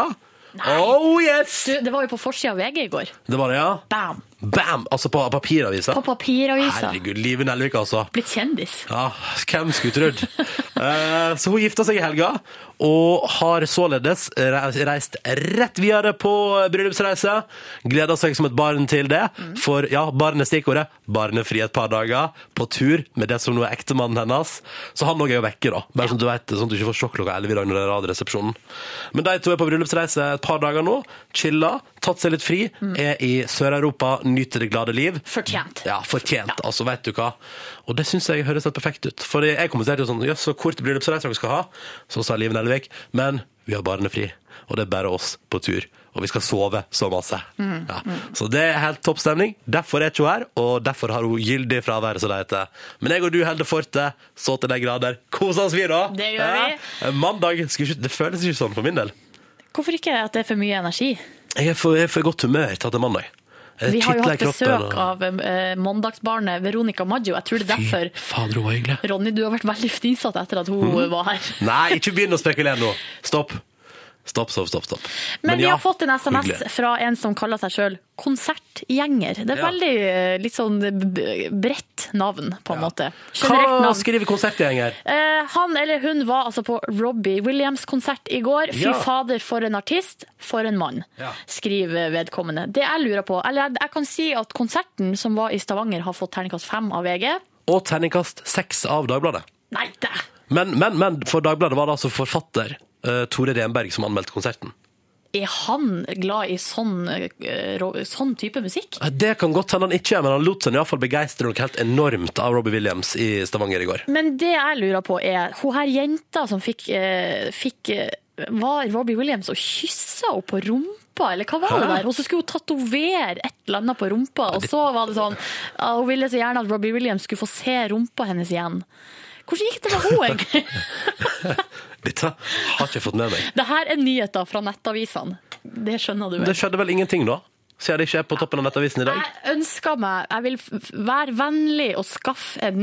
Speaker 2: Oh yes!
Speaker 3: Du, det var jo på forsida av VG i går.
Speaker 2: Det var det, ja.
Speaker 3: Bam!
Speaker 2: Bam! Altså på papiravisa.
Speaker 3: På papiravisa.
Speaker 2: Herregud, Live Nelvik, altså.
Speaker 3: Blitt kjendis.
Speaker 2: Ja, hvem skulle trodd? Eh, så hun gifta seg i helga, og har således re- reist rett videre på bryllupsreise. Gleda seg som et barn til det, for ja, barnet stikkordet. Barnefri et par dager, på tur med det som nå er ektemannen hennes. Så han òg er jo vekke, da. Bare sånn at du vet, sånn at du ikke får sjokk klokka 11 i dag når det er Radioresepsjonen. Men de to er på bryllupsreise et par dager nå. Chilla, tatt seg litt fri, er i Sør-Europa, nyter det glade liv.
Speaker 3: Fortjent.
Speaker 2: Ja, fortjent. Altså, vet du hva. Og det syns jeg høres helt perfekt ut. For jeg kommenterte jo sånn Jøss, så kort bryllupsreise dere skal ha. Så sa Liv Nelvik. Men vi har barnefri. Og det er bare oss på tur. Og vi skal sove så masse.
Speaker 3: Mm,
Speaker 2: Ja. Så det er helt topp stemning. Derfor er ikke hun her, og derfor har hun gyldig fravær, som det heter. Men jeg og du holder fortet så til de grader. Kos oss, vi, da!
Speaker 3: Det gjør vi.
Speaker 2: Ja. Mandag skal ikke, Det føles ikke sånn for min del.
Speaker 3: Hvorfor ikke at det er for mye energi?
Speaker 2: Jeg er for, jeg er for godt humør til at det er mandag. Jeg
Speaker 3: Vi har
Speaker 2: titler
Speaker 3: jo
Speaker 2: i
Speaker 3: hatt
Speaker 2: kroppen,
Speaker 3: besøk
Speaker 2: og-
Speaker 3: av eh, mandagsbarnet Veronica Maggio. Jeg tror det er derfor.
Speaker 2: Fy Fader, hun var hyggelig.
Speaker 3: Ronny, du har vært veldig fnisete etter at hun
Speaker 2: Mm.
Speaker 3: var her.
Speaker 2: Nei, ikke begynn å spekulere nå. Stopp. Stopp, stopp, stopp. stopp.
Speaker 3: Men vi
Speaker 2: ja,
Speaker 3: har fått en SMS
Speaker 2: hyggelig.
Speaker 3: fra en som kaller seg sjøl konsertgjenger. Det er
Speaker 2: Ja.
Speaker 3: veldig eh, litt sånn b- bredt navn, på en måte. Generelt
Speaker 2: Hva
Speaker 3: navn.
Speaker 2: skriver konsertgjenger?
Speaker 3: Eh, han eller hun var altså på Robbie Williams-konsert i går. Fy
Speaker 2: Ja.
Speaker 3: fader, for en artist, for en mann,
Speaker 2: Ja.
Speaker 3: skriver vedkommende. Det jeg lurer på, eller jeg, jeg kan si at konserten som var i Stavanger har fått terningkast fem av VG.
Speaker 2: Og terningkast seks av Dagbladet.
Speaker 3: Nei, det!
Speaker 2: Men, men, men for Dagbladet var det altså forfatter eh, Tore Renberg som anmeldte konserten.
Speaker 3: Er han glad i sånn, eh, ro- sånn type musikk?
Speaker 2: Eh, Det kan godt hende han ikke er, men han lot seg iallfall begeistre noe helt enormt av Robbie Williams i Stavanger i går.
Speaker 3: Men det jeg lurer på er, hun her jenta som fikk, eh, fikk eh, Var Robbie Williams og kyssa henne på rumpa, eller hva var det
Speaker 2: Hæ?
Speaker 3: der? Og så skulle hun tatovere et eller annet på rumpa, og så var det sånn ja, Hun ville så gjerne at Robbie Williams skulle få se rumpa hennes igjen. Hvordan gikk det med henne, egentlig?
Speaker 2: Dette har ikke jeg fått med meg.
Speaker 3: det her er nyheter fra nettavisene. Det skjønner du
Speaker 2: Det
Speaker 3: vel.
Speaker 2: skjedde vel ingenting, da? Siden det ikke er på toppen av Nettavisen i dag?
Speaker 3: Jeg ønsker meg Jeg vil f- være vennlig og skaffe en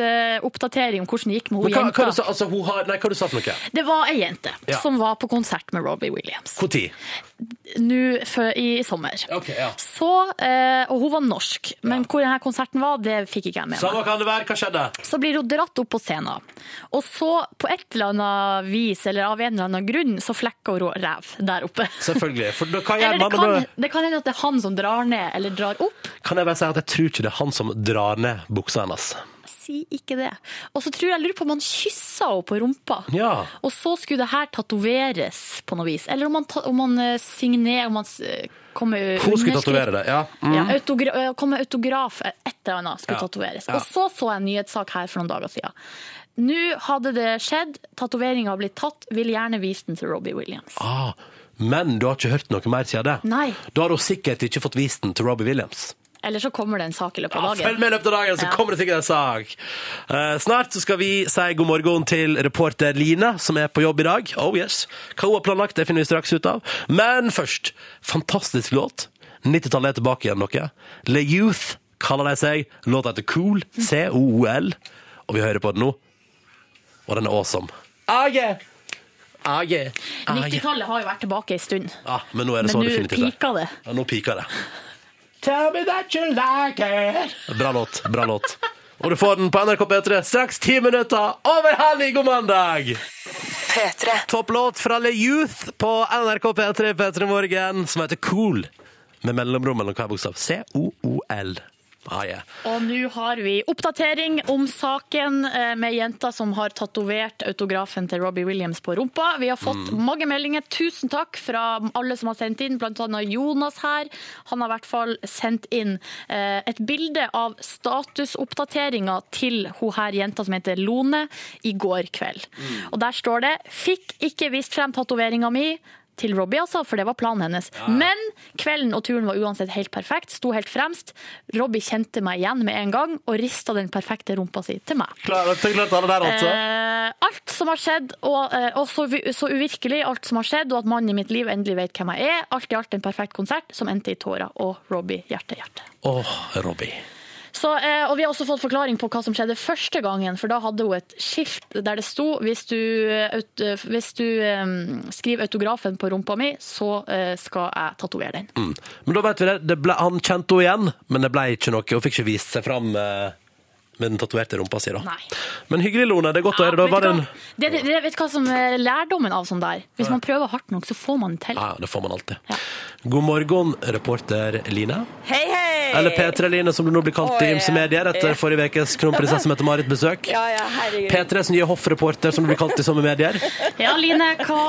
Speaker 3: nyhetsoppdatering om hvordan det gikk med
Speaker 2: Men hva, hva,
Speaker 3: hun jenta.
Speaker 2: du sa, altså, hun har, nei, hva du sa for noe?
Speaker 3: Det var ei jente
Speaker 2: Ja.
Speaker 3: som var på konsert med Robbie Williams.
Speaker 2: Når?
Speaker 3: nå fø- i sommer.
Speaker 2: Ok, ja.
Speaker 3: Så, eh, og hun var norsk, men hvor denne konserten var, det fikk ikke jeg med meg.
Speaker 2: Samme kan det være, hva skjedde?
Speaker 3: Så blir hun dratt opp på scenen, og så på et eller annet vis, eller av en eller annen grunn, så flekker hun ræv der oppe.
Speaker 2: Selvfølgelig. For da, hva gjør
Speaker 3: Eller det
Speaker 2: man da?
Speaker 3: kan, det kan hende at det er han som drar ned, eller drar opp.
Speaker 2: Kan jeg bare si at jeg tror ikke det er han som drar ned buksa hennes.
Speaker 3: sier ikke det. Og så tror jeg, jeg lurer på om han kyssa henne på rumpa.
Speaker 2: Ja.
Speaker 3: Og så skulle det her tatoveres på noe vis. Eller om han, ta- om han eh, signerer, om han eh, kom med
Speaker 2: Hun skulle
Speaker 3: underskrift.
Speaker 2: tatovere det. Ja.
Speaker 3: Ja, autogra eh, kom med autograf, eh, et eller annet skulle
Speaker 2: Ja.
Speaker 3: tatoveres.
Speaker 2: Ja.
Speaker 3: Og så så jeg en nyhetssak her for noen dager siden. Nå hadde det skjedd, tatoveringa har blitt tatt, vil gjerne vise den til Robbie Williams.
Speaker 2: Ah, men du har ikke hørt noe mer siden det?
Speaker 3: Nei.
Speaker 2: Da har hun sikkert ikke fått vist den til Robbie Williams.
Speaker 3: Eller så kommer det en sak i løpet
Speaker 2: Ja,
Speaker 3: av
Speaker 2: følg
Speaker 3: dagen.
Speaker 2: med i løpet av dagen, så
Speaker 3: Ja.
Speaker 2: kommer det sikkert en sak. Eh, snart så skal vi si god morgen til reporter Line, som er på jobb i dag. Oh yes. Hva hun har planlagt, det finner vi straks ut av. Men først, fantastisk låt. 90-tallet er tilbake igjen noe. Le Youth kaller de seg. Låta heter Cool, C-O-O-L. Og vi hører på den nå. Og den er awesome. Age! Age! Age.
Speaker 3: 90-tallet har jo vært tilbake en stund,
Speaker 2: Ja, men nå er det så
Speaker 3: men nå
Speaker 2: definitivt. det.
Speaker 3: piker det.
Speaker 2: Ja, nå piker det. Tell me that you like it. Bra låt. Bra låt. Og du får den på NRK P3 straks ti minutter over halv i god mandag. Topplåt fra Le Youth på NRK P3 P3 Morgen som heter Cool. Med mellomrom mellom hver bokstav. C-O-O-L. Ah, yeah.
Speaker 3: Og nå har vi oppdatering om saken eh, med jenta som har tatovert autografen til Robbie Williams på rumpa. Vi har fått mange meldinger. Tusen takk fra alle som har sendt inn, blant annet Jonas her. Han har i hvert fall sendt inn eh, et bilde av statusoppdateringa til hun her jenta som heter Lone i går kveld. Og der står det 'Fikk ikke vist frem tatoveringa mi' til Robbie, altså, for det var planen hennes. Men kvelden og turen var uansett helt perfekt, sto helt fremst. Robbie kjente meg igjen med en gang og rista den perfekte rumpa si til meg.
Speaker 2: Klar, klar tale der, altså.
Speaker 3: Eh, alt som har skjedd, og, eh, og så, vi- så uvirkelig alt som har skjedd, og at mannen i mitt liv endelig vet hvem jeg er. Alt i alt en perfekt konsert som endte i tårer og Robbie hjerte, hjerte.
Speaker 2: Åh, Robbie.
Speaker 3: Så, eh, og vi har også fått forklaring på hva som skjedde første gangen, for da hadde hun et skilt der det sto hvis du, eh, aut- eh, hvis du eh, skriver autografen på rumpa mi, så eh, skal jeg tatovere den.
Speaker 2: Mm. Men da vet vi det. det ble, han kjente henne igjen, men det ble ikke noe. Hun fikk ikke vist seg fram eh, med den tatoverte rumpa si. da.
Speaker 3: Nei.
Speaker 2: Men hyggelig, Lone. Det er godt å høre.
Speaker 3: Ja,
Speaker 2: Da
Speaker 3: vet
Speaker 2: var
Speaker 3: du
Speaker 2: det en...
Speaker 3: hva? det, det, det, vet du hva som er lærdommen av sånn der? Hvis man prøver hardt nok, så får man det til.
Speaker 2: Ja, ja, det får man alltid.
Speaker 3: Ja.
Speaker 2: God morgen, reporter Line.
Speaker 9: Hei, hei!
Speaker 2: Eller P3-Line, som du nå blir kalt i
Speaker 9: Oi,
Speaker 2: ymse medier etter
Speaker 9: ja.
Speaker 2: forrige ukes kronprinsesse Mette-Marit besøk.
Speaker 9: Ja, ja, herregud.
Speaker 2: P3s nye hoffreporter, som du blir kalt i samme medier.
Speaker 3: Ja, Line, hva,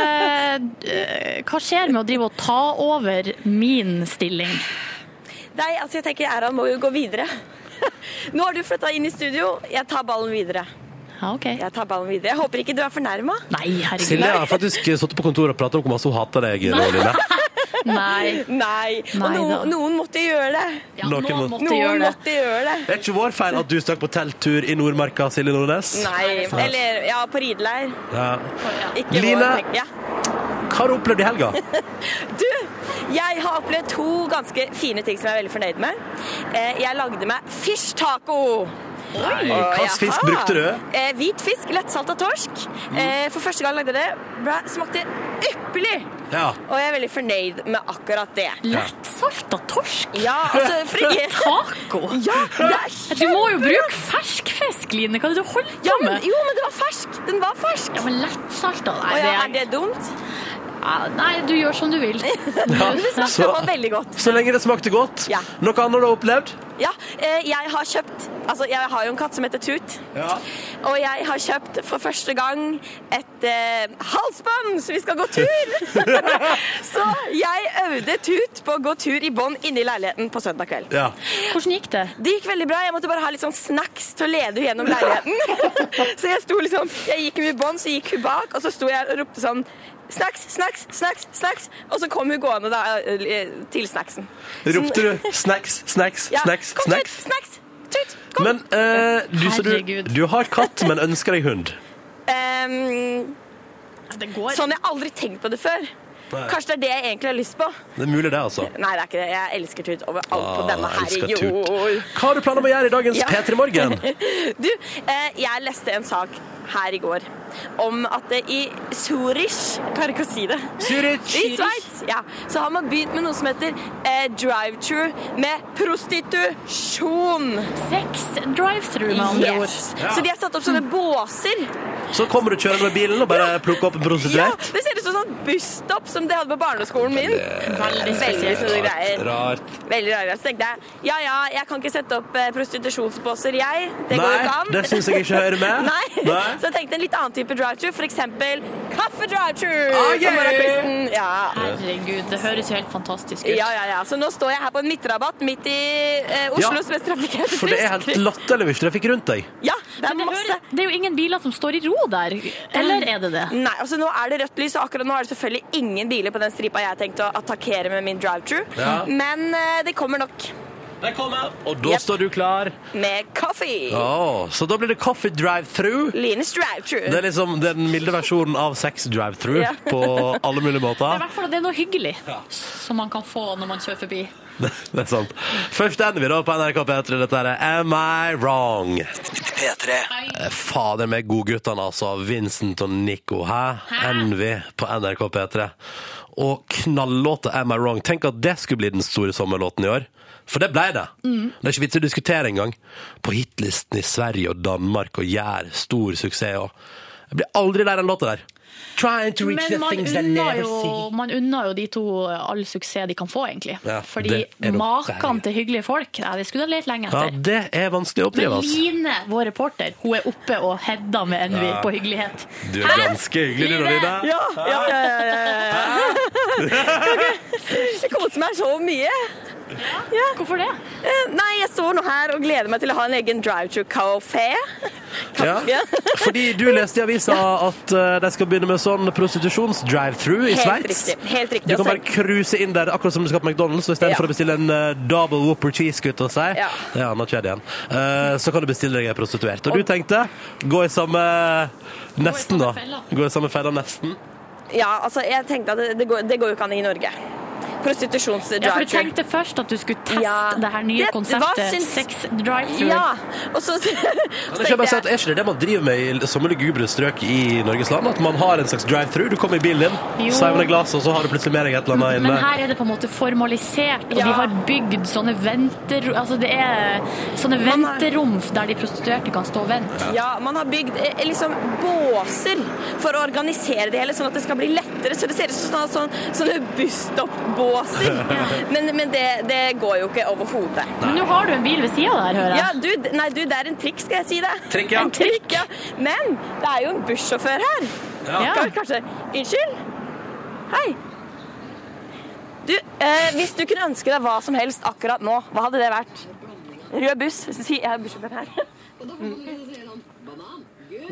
Speaker 3: eh, d- hva skjer med å drive og ta over min stilling?
Speaker 9: Nei, altså jeg tenker Erhan må jo gå videre. Nå har du flytta inn i studio. Jeg tar ballen videre.
Speaker 3: Ja, ok.
Speaker 9: Jeg tar ballen videre. Jeg håper ikke du er fornærma.
Speaker 3: Nei, herregud.
Speaker 2: Silje har faktisk sittet på kontoret og pratet om hvor masse hun hater deg. nå, Line.
Speaker 3: Nei.
Speaker 9: Nei. Og
Speaker 3: Nei da.
Speaker 9: noen, noen måtte gjøre det.
Speaker 3: Ja,
Speaker 2: Noen
Speaker 3: noen
Speaker 2: må-
Speaker 3: måtte
Speaker 9: Noen
Speaker 3: gjøre det.
Speaker 9: måtte gjøre det.
Speaker 2: Det er ikke vår feil at du stakk på telttur i Nordmarka, Silje Nordnes. Sånn
Speaker 9: Nei. Eller ja, på rideleir.
Speaker 2: Ja.
Speaker 9: Ikke vår
Speaker 2: Line.
Speaker 9: tenk- Ja.
Speaker 2: Hva har du opplevd i helga?
Speaker 9: Du, jeg har opplevd to ganske fine ting som jeg er veldig fornøyd med. Eh, Jeg lagde meg fish taco.
Speaker 2: Nei,
Speaker 9: Og
Speaker 2: hva
Speaker 9: jeg
Speaker 2: slags fisk
Speaker 9: har-
Speaker 2: brukte du? Mm.
Speaker 9: Eh, Hvit fisk, lettsalta torsk. Eh, For første gang lagde jeg det. Bra- Smakte ypperlig.
Speaker 2: Ja.
Speaker 9: Og jeg er veldig fornøyd med akkurat det.
Speaker 3: Lettsalta torsk?
Speaker 9: Ja, altså for
Speaker 3: Taco?
Speaker 9: Ja, det er
Speaker 3: Du må jo bruke fersk fisk, Line. Hva er det du holder på
Speaker 9: ja, men,
Speaker 3: med?
Speaker 9: Jo, men det var fersk. Den var fersk.
Speaker 3: Ja, men lettsalta
Speaker 9: Og
Speaker 3: Nei,
Speaker 9: ja, er
Speaker 3: det er,
Speaker 9: det dumt?
Speaker 3: ja, nei, du gjør som du vil.
Speaker 9: Men det smakte
Speaker 2: Så-
Speaker 9: var veldig godt.
Speaker 2: Så lenge det smakte godt.
Speaker 9: Ja.
Speaker 2: Noe annet du har opplevd?
Speaker 9: Ja, eh, jeg har kjøpt Altså, jeg har jo en katt som heter Tut.
Speaker 2: Ja.
Speaker 9: Og jeg har kjøpt for første gang et eh, halsbånd, så vi skal gå tur! så jeg øvde Tut på å gå tur i bånd inne i leiligheten på søndag kveld.
Speaker 2: ja.
Speaker 3: Hvordan gikk det?
Speaker 9: Det gikk veldig bra. Jeg måtte bare ha litt sånn snacks til å lede henne gjennom leiligheten. så jeg sto liksom Jeg gikk med bånd, så gikk hun bak, og så sto jeg og ropte sånn Snacks, snacks, snacks, snacks. Og så kom hun gående da eh, til snacksen.
Speaker 2: Ropte du 'snacks, snacks,
Speaker 9: Ja,
Speaker 2: snacks'?
Speaker 9: kom,
Speaker 2: snacks?
Speaker 9: Tut, snacks. Tut, kom.
Speaker 2: Men eh, du, så du,
Speaker 3: Herregud.
Speaker 2: du har katt, men ønsker deg hund.
Speaker 9: Ehm,
Speaker 3: Det går.
Speaker 9: sånn jeg aldri tenkt på det før.
Speaker 2: Nei.
Speaker 9: Kanskje det er det jeg egentlig har lyst på.
Speaker 2: Det er mulig, det, altså.
Speaker 9: Nei, det er ikke det. Jeg elsker Tut over alt på
Speaker 2: Ah,
Speaker 9: denne
Speaker 2: elsker
Speaker 9: her
Speaker 2: Tut.
Speaker 9: jord.
Speaker 2: Hva har du planer om å gjøre i dagens
Speaker 9: Ja.
Speaker 2: P3 Morgen?
Speaker 9: Du, eh, jeg leste en sak her i går om at det i Zurich Jeg klarer ikke å si det.
Speaker 10: Zurich.
Speaker 9: I Sveits ja. så har man begynt med noe som heter eh, drive-thru med prostitusjon.
Speaker 3: Sex drive-through, med andre ord.
Speaker 9: Yes. Så de har satt opp sånne båser.
Speaker 2: Så kommer du kjørende med bilen og bare plukker opp en
Speaker 9: Ja,
Speaker 2: prostituert.
Speaker 9: Det ser ut som sånn busstopp som de hadde på barneskolen min. Veldig snille greier.
Speaker 2: Rart.
Speaker 9: Veldig rart. Så tenkte jeg ja ja, jeg kan ikke sette opp eh, prostitusjonsbåser, jeg. Det går
Speaker 2: Nei,
Speaker 9: jo ikke an.
Speaker 2: det syns jeg ikke hører med.
Speaker 9: Nei.
Speaker 2: Nei.
Speaker 9: Så jeg tenkte en litt annen type drive-thru, f.eks. kaffe-drive-thru.
Speaker 2: Ah,
Speaker 9: på
Speaker 2: yeah.
Speaker 9: morgenkvisten. Ja.
Speaker 3: Herregud, det høres jo helt fantastisk ut.
Speaker 9: ja, ja, ja. Så nå står jeg her på en midtrabatt midt i eh, Oslos mest trafikkerte
Speaker 2: For det er helt latterlig hvis trafikk rundt deg.
Speaker 9: Ja, det er
Speaker 3: Men det,
Speaker 9: masse.
Speaker 3: høres, det er jo ingen biler som står i ro der. Eller er det det?
Speaker 9: Nei, altså nå er det rødt lys, og akkurat nå er det selvfølgelig ingen biler på den stripa jeg har tenkt å attakkere med min drive-thru.
Speaker 2: Ja.
Speaker 9: Men eh, det kommer nok
Speaker 2: Og da
Speaker 9: Yep.
Speaker 2: står du klar.
Speaker 9: med kaffe.
Speaker 2: Å, så da blir det kaffe drive-through.
Speaker 9: Lines drive-thru.
Speaker 2: Det er liksom den milde versjonen av sex drive-through
Speaker 9: Ja.
Speaker 2: på alle mulige
Speaker 3: I
Speaker 2: måter.
Speaker 3: hvert fall at det er noe hyggelig som man kan få når man kjører forbi.
Speaker 2: Det, det er sant. Først ender vi da på NRK P3. Dette er Am I Wrong? Eh, Fader med godguttene, altså. Vincent og Nico. Hæ? Envy på NRK P3. Og knallåta Am I Wrong. Tenk at det skulle bli den store sommerlåten i år. For det ble det.
Speaker 3: Mm.
Speaker 2: Det er ikke vits i å diskutere engang. På hitlisten i Sverige og Danmark og gjør stor suksess. Og jeg blir aldri lei den låta der. Trying to reach
Speaker 3: Men
Speaker 2: the
Speaker 3: man
Speaker 2: things I never
Speaker 3: unner, jo,
Speaker 2: see.
Speaker 3: man unner jo de to eh, all suksess de kan få, egentlig.
Speaker 2: Ja,
Speaker 3: Fordi
Speaker 2: det er nok
Speaker 3: maken
Speaker 2: deilig.
Speaker 3: til hyggelige folk, nei, det skulle jeg lett lenge
Speaker 2: Ja,
Speaker 3: etter.
Speaker 2: det er vanskelig å oppdrive,
Speaker 3: Men
Speaker 2: altså.
Speaker 3: Line, vår reporter, hun er oppe og hedda med envy på hyggelighet.
Speaker 2: Du er ganske hyggelig, du,
Speaker 3: Line?
Speaker 2: Nina.
Speaker 9: Ja, ja, ja, ja, ja, ja. Jeg koser meg så mye.
Speaker 3: Hvorfor det?
Speaker 9: Eh, Nei, jeg står nå her og gleder meg til å ha en egen drive-thru-kafé.
Speaker 2: Ja. Fordi du leste i avisa at eh, de skal begynne med sånn prostitusjons-drive-through i
Speaker 9: Helt
Speaker 2: Sveits.
Speaker 9: riktig. Helt riktig. Altså,
Speaker 2: Du kan
Speaker 9: Og så-
Speaker 2: bare cruise inn der, akkurat som du skal på McDonald's. Og istedenfor
Speaker 9: Ja.
Speaker 2: for å bestille en eh, double whopper cheese, skulle jeg til å si,
Speaker 9: Ja.
Speaker 2: det er annet kjede igjen, Eh, så kan du bestille deg en prostituert. Og du tenkte gå i samme Nesten, da.
Speaker 3: samme fella.
Speaker 2: Gå i samme fella nesten.
Speaker 9: Ja, altså, jeg tenkte at det, det, går, det går jo ikke an i Norge.
Speaker 3: Ja, for du
Speaker 9: Prostitusjons-drive-thru.
Speaker 3: tenkte først at du skulle teste
Speaker 9: Ja.
Speaker 3: det her nye
Speaker 9: Det- hva
Speaker 3: konseptet
Speaker 9: syns-
Speaker 3: Sex Drive-Through.
Speaker 9: Ja, og så, så
Speaker 2: Det er,
Speaker 9: tenkte
Speaker 2: bare si at,
Speaker 9: jeg
Speaker 2: er ikke det det man driver med i somme lugubre strøk i Norges land? At man har en slags drive-through? Du kommer i bilen din,
Speaker 3: Jo.
Speaker 2: sveiver ned glasset, og så har du plutselig med deg et eller annet
Speaker 3: Men
Speaker 2: inne.
Speaker 3: her er det på en måte formalisert, og
Speaker 9: Ja.
Speaker 3: de har bygd sånne venter... Altså det er sånne
Speaker 9: har-
Speaker 3: venterom der de prostituerte kan stå og vente.
Speaker 9: ja, man har bygd eh, liksom båser for å organisere det hele, sånn at det skal bli lettere. Så det ser ut som sånn, sånn, sånne busstoppbåser. Men, men det, det går jo ikke overhodet.
Speaker 3: Men nå har du en bil ved siden av der, hører
Speaker 9: Ja,
Speaker 3: jeg.
Speaker 9: du, d- nei, du, det er en trikk, skal jeg si det.
Speaker 2: Trikk, ja.
Speaker 9: En trikk, ja. Men det er jo en bussjåfør her.
Speaker 3: Ja.
Speaker 9: Kan, kanskje. Unnskyld? Hei. Du, eh, hvis du kunne ønske deg hva som helst akkurat nå, hva hadde det vært? Rød buss. Si, jeg er bussjåfør her.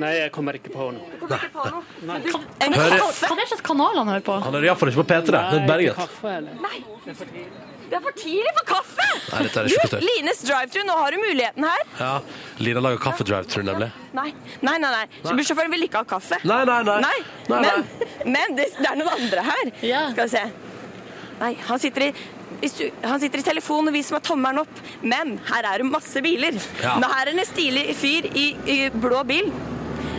Speaker 1: Nei, jeg kommer ikke på noe.
Speaker 9: En
Speaker 2: Hører-
Speaker 9: kaffe.
Speaker 3: Hva er det slags kanal han hører på?
Speaker 2: Han er iallfall ikke på P3. Det er Berget.
Speaker 1: kaffe, eller?
Speaker 9: Det er for tidlig for kaffe!
Speaker 2: Nei, dette er ikke for
Speaker 9: Du,
Speaker 2: tøft.
Speaker 9: Lines drive-thru, nå har du muligheten her.
Speaker 2: Ja. Lina lager kaffedrive-through, nemlig.
Speaker 9: Nei, nei, nei. nei. Så Bussjåføren vil ikke ha kaffe.
Speaker 2: Nei, nei, nei.
Speaker 9: Nei,
Speaker 2: Nei,
Speaker 9: men,
Speaker 2: nei.
Speaker 9: men det, det er noen andre her.
Speaker 3: Ja.
Speaker 9: Skal vi se. Nei, han sitter i i stu- han sitter i telefonen og viser meg tommelen opp, men her er det masse biler.
Speaker 2: Ja.
Speaker 9: Nå her er det en stilig fyr i, i blå bil.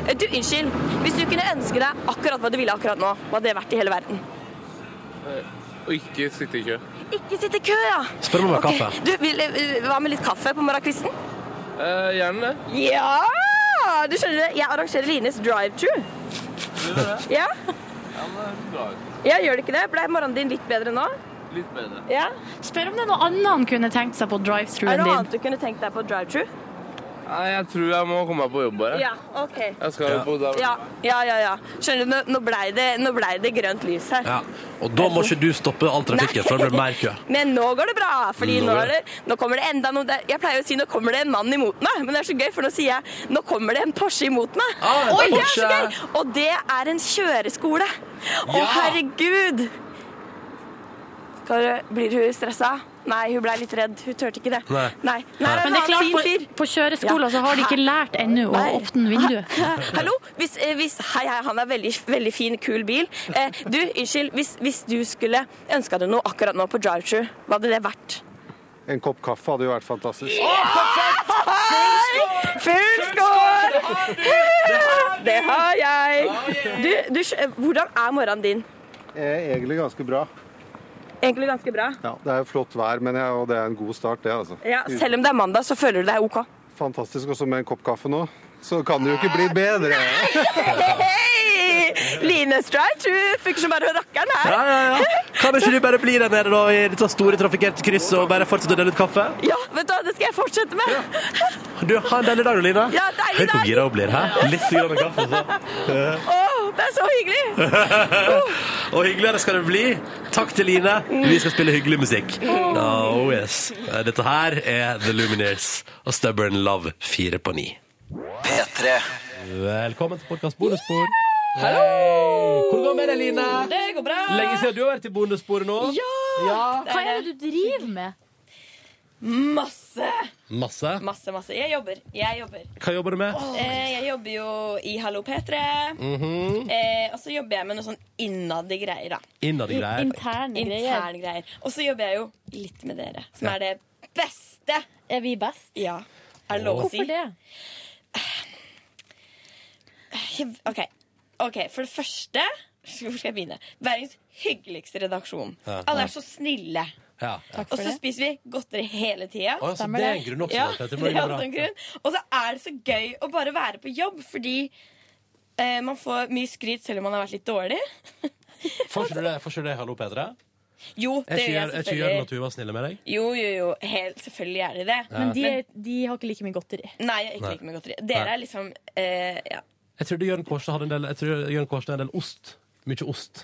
Speaker 9: Eh, Du, unnskyld. Hvis du kunne ønske deg akkurat hva du ville akkurat nå, hva hadde det vært i hele verden?
Speaker 1: Og ikke sitte i kø.
Speaker 9: Ikke sitte i kø, ja.
Speaker 2: Spør om det er
Speaker 9: Ok,
Speaker 2: kaffe.
Speaker 9: Du, vil, eh, hva med litt kaffe på morgenkvisten?
Speaker 1: Eh, gjerne det.
Speaker 9: Ja! Du skjønner det, jeg arrangerer Lines drive-thru. Ja. ja, gjør det ikke det? Ble morgenen din litt bedre nå?
Speaker 1: Litt bedre.
Speaker 9: Ja.
Speaker 3: Spør om det er noe annet han kunne tenkt seg på
Speaker 9: Er
Speaker 3: drive-thruen
Speaker 9: det noe
Speaker 3: din.
Speaker 9: annet du kunne tenkt deg på drive-thru?
Speaker 1: Nei, jeg tror jeg må komme meg på jobb bare.
Speaker 9: Ja, ok.
Speaker 1: Jeg skal jo på der.
Speaker 9: Ja, ja, ja. ja. Skjønner du, nå- nå blei det, nå ble det grønt lys her.
Speaker 2: Ja. Og da må ikke du stoppe all trafikken, for det blir mer kø.
Speaker 9: Men nå går det bra, fordi
Speaker 2: Nå
Speaker 9: nå,
Speaker 2: går
Speaker 9: er det, nå kommer det enda noe Jeg pleier å si 'nå kommer det en mann imot meg', men det er så gøy, for nå sier jeg 'nå kommer det en Porsche imot meg'.
Speaker 2: Ah, en
Speaker 9: Oi, det er
Speaker 2: Porsche.
Speaker 9: så gøy! Og det er en kjøreskole. Å,
Speaker 2: Ja.
Speaker 9: herregud! Skal du- Blir hun stressa? Nei, hun blei litt redd. Hun turte ikke det.
Speaker 2: Nei.
Speaker 9: Nei, Nei,
Speaker 3: Men det
Speaker 9: det er
Speaker 3: er
Speaker 9: en annen
Speaker 3: klart,
Speaker 9: fin fyr.
Speaker 3: på, på kjøreskolen så har de ikke lært ennå å
Speaker 9: Nei.
Speaker 3: åpne vinduet.
Speaker 9: Hallo? Hvis, eh, hvis, hei, hei, han er veldig, veldig fin, kul bil. Eh, du, unnskyld, hvis, hvis du skulle ønska deg noe akkurat nå på drive-thru, hva hadde det vært?
Speaker 11: En kopp kaffe hadde jo vært fantastisk.
Speaker 9: Full skål!
Speaker 8: Det har jeg. Du, du, skj- hvordan er morgenen din?
Speaker 12: Eh, Egentlig ganske bra.
Speaker 8: Egentlig ganske bra.
Speaker 12: Ja, det er jo flott vær, men jeg, og det er en god start, det, altså.
Speaker 8: Ja, selv om det er mandag, så føler du deg OK.
Speaker 12: Fantastisk også med en kopp kaffe nå. Så kan det jo ikke bli
Speaker 6: Ah.
Speaker 12: bedre.
Speaker 8: Hei! Line Stride, du funker som bare rakkeren her.
Speaker 2: Ja, ja, ja. Kan ikke du bare bli der nede da, i dette store trafikkerte krysset og bare fortsette å dele ut kaffe?
Speaker 8: Ja, vet du hva, det skal jeg fortsette med.
Speaker 2: Du, Ha en deilig dag, du, Line.
Speaker 8: Ja, deilig
Speaker 2: Hør hvor
Speaker 8: dag.
Speaker 2: gira hun blir. Hæ? Litt grann kaffe, så.
Speaker 8: Å, det er så hyggelig.
Speaker 2: Og hyggeligere skal det bli. Takk til Line.
Speaker 8: Mm.
Speaker 2: Vi skal spille hyggelig musikk. Oh, yes. Dette her er The Lumineers og Stubborn Love 4 på 9.
Speaker 13: P3
Speaker 2: Velkommen til podkast Bonusspor. Hallo! Hvordan går det med deg, Line?
Speaker 9: Det går bra.
Speaker 2: Lenge siden du har vært i bonussporet nå.
Speaker 9: Ja!
Speaker 3: Hva er det du driver med?
Speaker 9: Masse.
Speaker 2: Masse.
Speaker 9: Masse, masse. Jeg jobber. Jeg jobber.
Speaker 2: Hva jobber du med?
Speaker 9: Eh, jeg jobber jo i Hallo P3.
Speaker 2: Mhm.
Speaker 9: Eh, og så jobber jeg med noe sånn innad i greier, da.
Speaker 2: Innad i greier.
Speaker 9: Interne
Speaker 3: greier.
Speaker 9: greier. Og så jobber jeg jo litt med dere, som
Speaker 2: Ja.
Speaker 9: er det beste.
Speaker 3: Er vi best?
Speaker 9: Ja. Er det lov å si?
Speaker 3: Hvorfor det?
Speaker 9: Jeg- OK. Ok, For det første Hvor skal jeg begynne? Verdens hyggeligste redaksjon.
Speaker 2: Ja.
Speaker 9: Alle er så snille.
Speaker 2: Ja.
Speaker 9: Og så spiser vi godteri hele tida.
Speaker 2: Å, ja, sånn så Stemmer det er det. en grunn også,
Speaker 9: Ja,
Speaker 2: Petter.
Speaker 9: det
Speaker 2: Men det
Speaker 9: er
Speaker 2: går bra.
Speaker 9: også en grunn. Og så er det så gøy å bare være på jobb, fordi eh, man får mye skryt selv om man har vært litt dårlig.
Speaker 2: Får ikke du det, får ikke du det Hallo, Petra?
Speaker 9: Jo,
Speaker 2: Er ikke
Speaker 9: det gjør jeg
Speaker 2: Jørn- er ikke Jørn og
Speaker 9: selvfølgelig.
Speaker 2: Tuva snille med deg?
Speaker 9: Jo, jo, jo. Helt, selvfølgelig er de det.
Speaker 2: Ja. Men de er-
Speaker 3: har ikke like mye godteri.
Speaker 9: Nei, jeg er ikke
Speaker 2: Nei.
Speaker 9: like mye godteri.
Speaker 2: Nei.
Speaker 9: Dere er liksom eh, ja.
Speaker 2: Jeg trodde Jørn Kårstad hadde en del, jeg tror Jørn Kårstad hadde en del ost. Mye ost.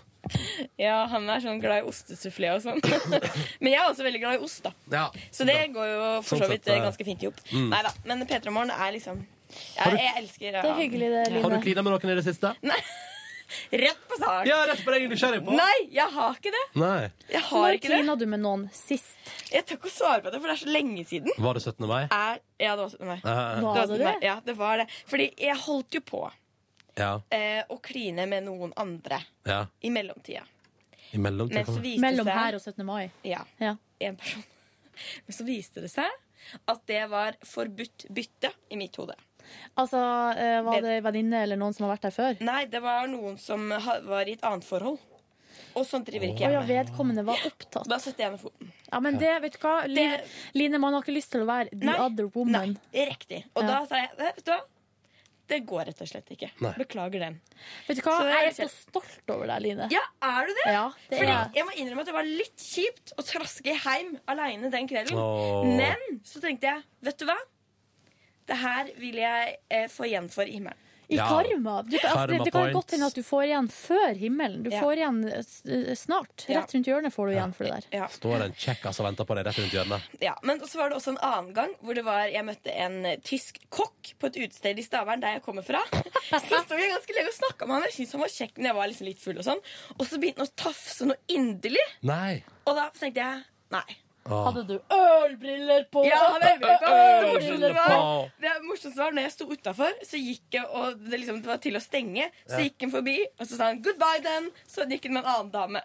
Speaker 9: ja, han er sånn glad i ostesufflé og sånn. Men jeg er også veldig glad i ost, da.
Speaker 2: Ja.
Speaker 9: Så det går jo for
Speaker 2: Sånn
Speaker 9: så vidt
Speaker 2: sett,
Speaker 9: eh,
Speaker 2: eh,
Speaker 9: ganske fint i hop.
Speaker 2: mm.
Speaker 9: Nei da. Men P3 Morgen er liksom ja,
Speaker 2: Har du-
Speaker 9: Jeg elsker
Speaker 3: Det er hyggelig, det,
Speaker 2: Har du
Speaker 3: Line.
Speaker 2: klina med noen i det siste?
Speaker 9: Rett på sak.
Speaker 2: Ja, rett på det jeg er nysgjerrig på.
Speaker 9: Nei, jeg har ikke det.
Speaker 2: Nei.
Speaker 9: Jeg har
Speaker 3: Når
Speaker 9: ikke det.
Speaker 3: klina du med noen sist?
Speaker 9: Jeg tør ikke å svare på det, for det er så lenge siden.
Speaker 2: Var det 17. mai?
Speaker 9: Er, ja, det var 17. mai.
Speaker 2: Eh,
Speaker 3: Var det
Speaker 9: 17. mai.
Speaker 3: det?
Speaker 9: Ja, det var det. Fordi jeg holdt jo på
Speaker 2: ja.
Speaker 9: eh, å kline med noen andre
Speaker 2: ja.
Speaker 9: i mellomtida.
Speaker 2: I mellomtida.
Speaker 9: Men så
Speaker 2: kan vi-
Speaker 9: viste
Speaker 3: Mellom
Speaker 9: seg
Speaker 3: her og 17. mai.
Speaker 9: Ja,
Speaker 3: Ja.
Speaker 9: en person. Men så viste det seg at det var forbudt bytte i mitt hode.
Speaker 3: Altså, eh, var det en venninne eller noen som har vært her før?
Speaker 9: Nei, det var noen som ha- var i et annet forhold. Og sånt driver
Speaker 3: Å ja,
Speaker 9: ikke jeg med.
Speaker 3: vedkommende var opptatt.
Speaker 9: Da setter jeg ned foten.
Speaker 3: Ja, men det, vet du hva? Line, Line, man har ikke lyst til å være the
Speaker 9: Nei.
Speaker 3: other woman.
Speaker 9: Riktig. Og
Speaker 3: Ja.
Speaker 9: da sa jeg "Nei, Vet du hva? Det går rett og slett ikke.
Speaker 2: Nei.
Speaker 9: Beklager den.
Speaker 3: Vet du hva?
Speaker 9: Så det er
Speaker 3: Jeg er så
Speaker 9: riktig.
Speaker 3: stolt over deg, Line.
Speaker 9: Ja, er du det?
Speaker 3: Ja, det er
Speaker 9: Fordi
Speaker 3: jeg.
Speaker 9: jeg må innrømme at det var litt kjipt å traske hjem aleine den kvelden.
Speaker 2: Åh.
Speaker 9: Men så tenkte jeg, vet du hva? Det her vil jeg eh, få igjen for i himmelen.
Speaker 3: I
Speaker 2: Ja.
Speaker 3: karma. Du, kan- altså, det, det kan
Speaker 2: Karma
Speaker 3: jo godt hende at du får igjen før himmelen. Du
Speaker 9: Ja.
Speaker 3: får igjen eh, s- eh, snart.
Speaker 9: Ja.
Speaker 3: Rett rundt hjørnet får du igjen for det der.
Speaker 9: Ja.
Speaker 2: Står det en kjekkas og venter på deg rett rundt hjørnet?
Speaker 9: Ja, men så var det også en annen gang hvor det var, jeg møtte en eh, tysk kokk på et utested i Stavern, der jeg kommer fra. Så sto jeg ganske lenge og snakka med han. Jeg syntes han var kjekk, men jeg var liksom litt full og sånn. Og så begynte han å tafse noe inderlig,
Speaker 2: Nei.
Speaker 9: og da tenkte jeg nei.
Speaker 2: Åh.
Speaker 3: Hadde du ølbriller på?
Speaker 9: Ja, han er veldig bra. det morsomste var,
Speaker 2: Åh.
Speaker 9: det morsomste var når jeg sto utafor, så gikk jeg og det, liksom, det var til å stenge. Så gikk han forbi, og så sa han 'goodbye, then'. Så gikk han med en annen dame.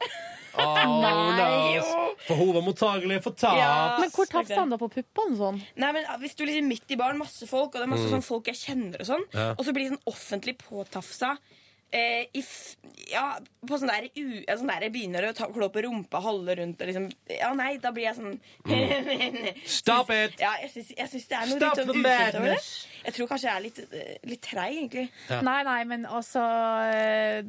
Speaker 2: Åh,
Speaker 9: Nei,
Speaker 2: no. For hun var mottagelig for tap.
Speaker 9: Ja.
Speaker 3: Men hvor tafsa han da på puppene sånn?
Speaker 9: Nei, men Hvis du liksom midt i baren, masse folk, og det er masse sånn folk jeg kjenner, og sånn
Speaker 2: Mm. Ja.
Speaker 9: Og så blir sånn offentlig påtafsa eh, i f Ja, på sånn der, u ja, sånn der jeg begynner å ta, klå på rumpa, holde rundt og liksom Ja, nei, da blir jeg sånn
Speaker 2: Mm. Stop it!
Speaker 9: Ja, jeg syns, jeg syns det er noe
Speaker 2: Stop
Speaker 9: litt
Speaker 2: the
Speaker 9: sånn ukjent over det.
Speaker 2: madness.
Speaker 9: Jeg tror kanskje jeg er litt, eh, litt treig, egentlig.
Speaker 2: Ja.
Speaker 3: Nei, nei, men altså eh,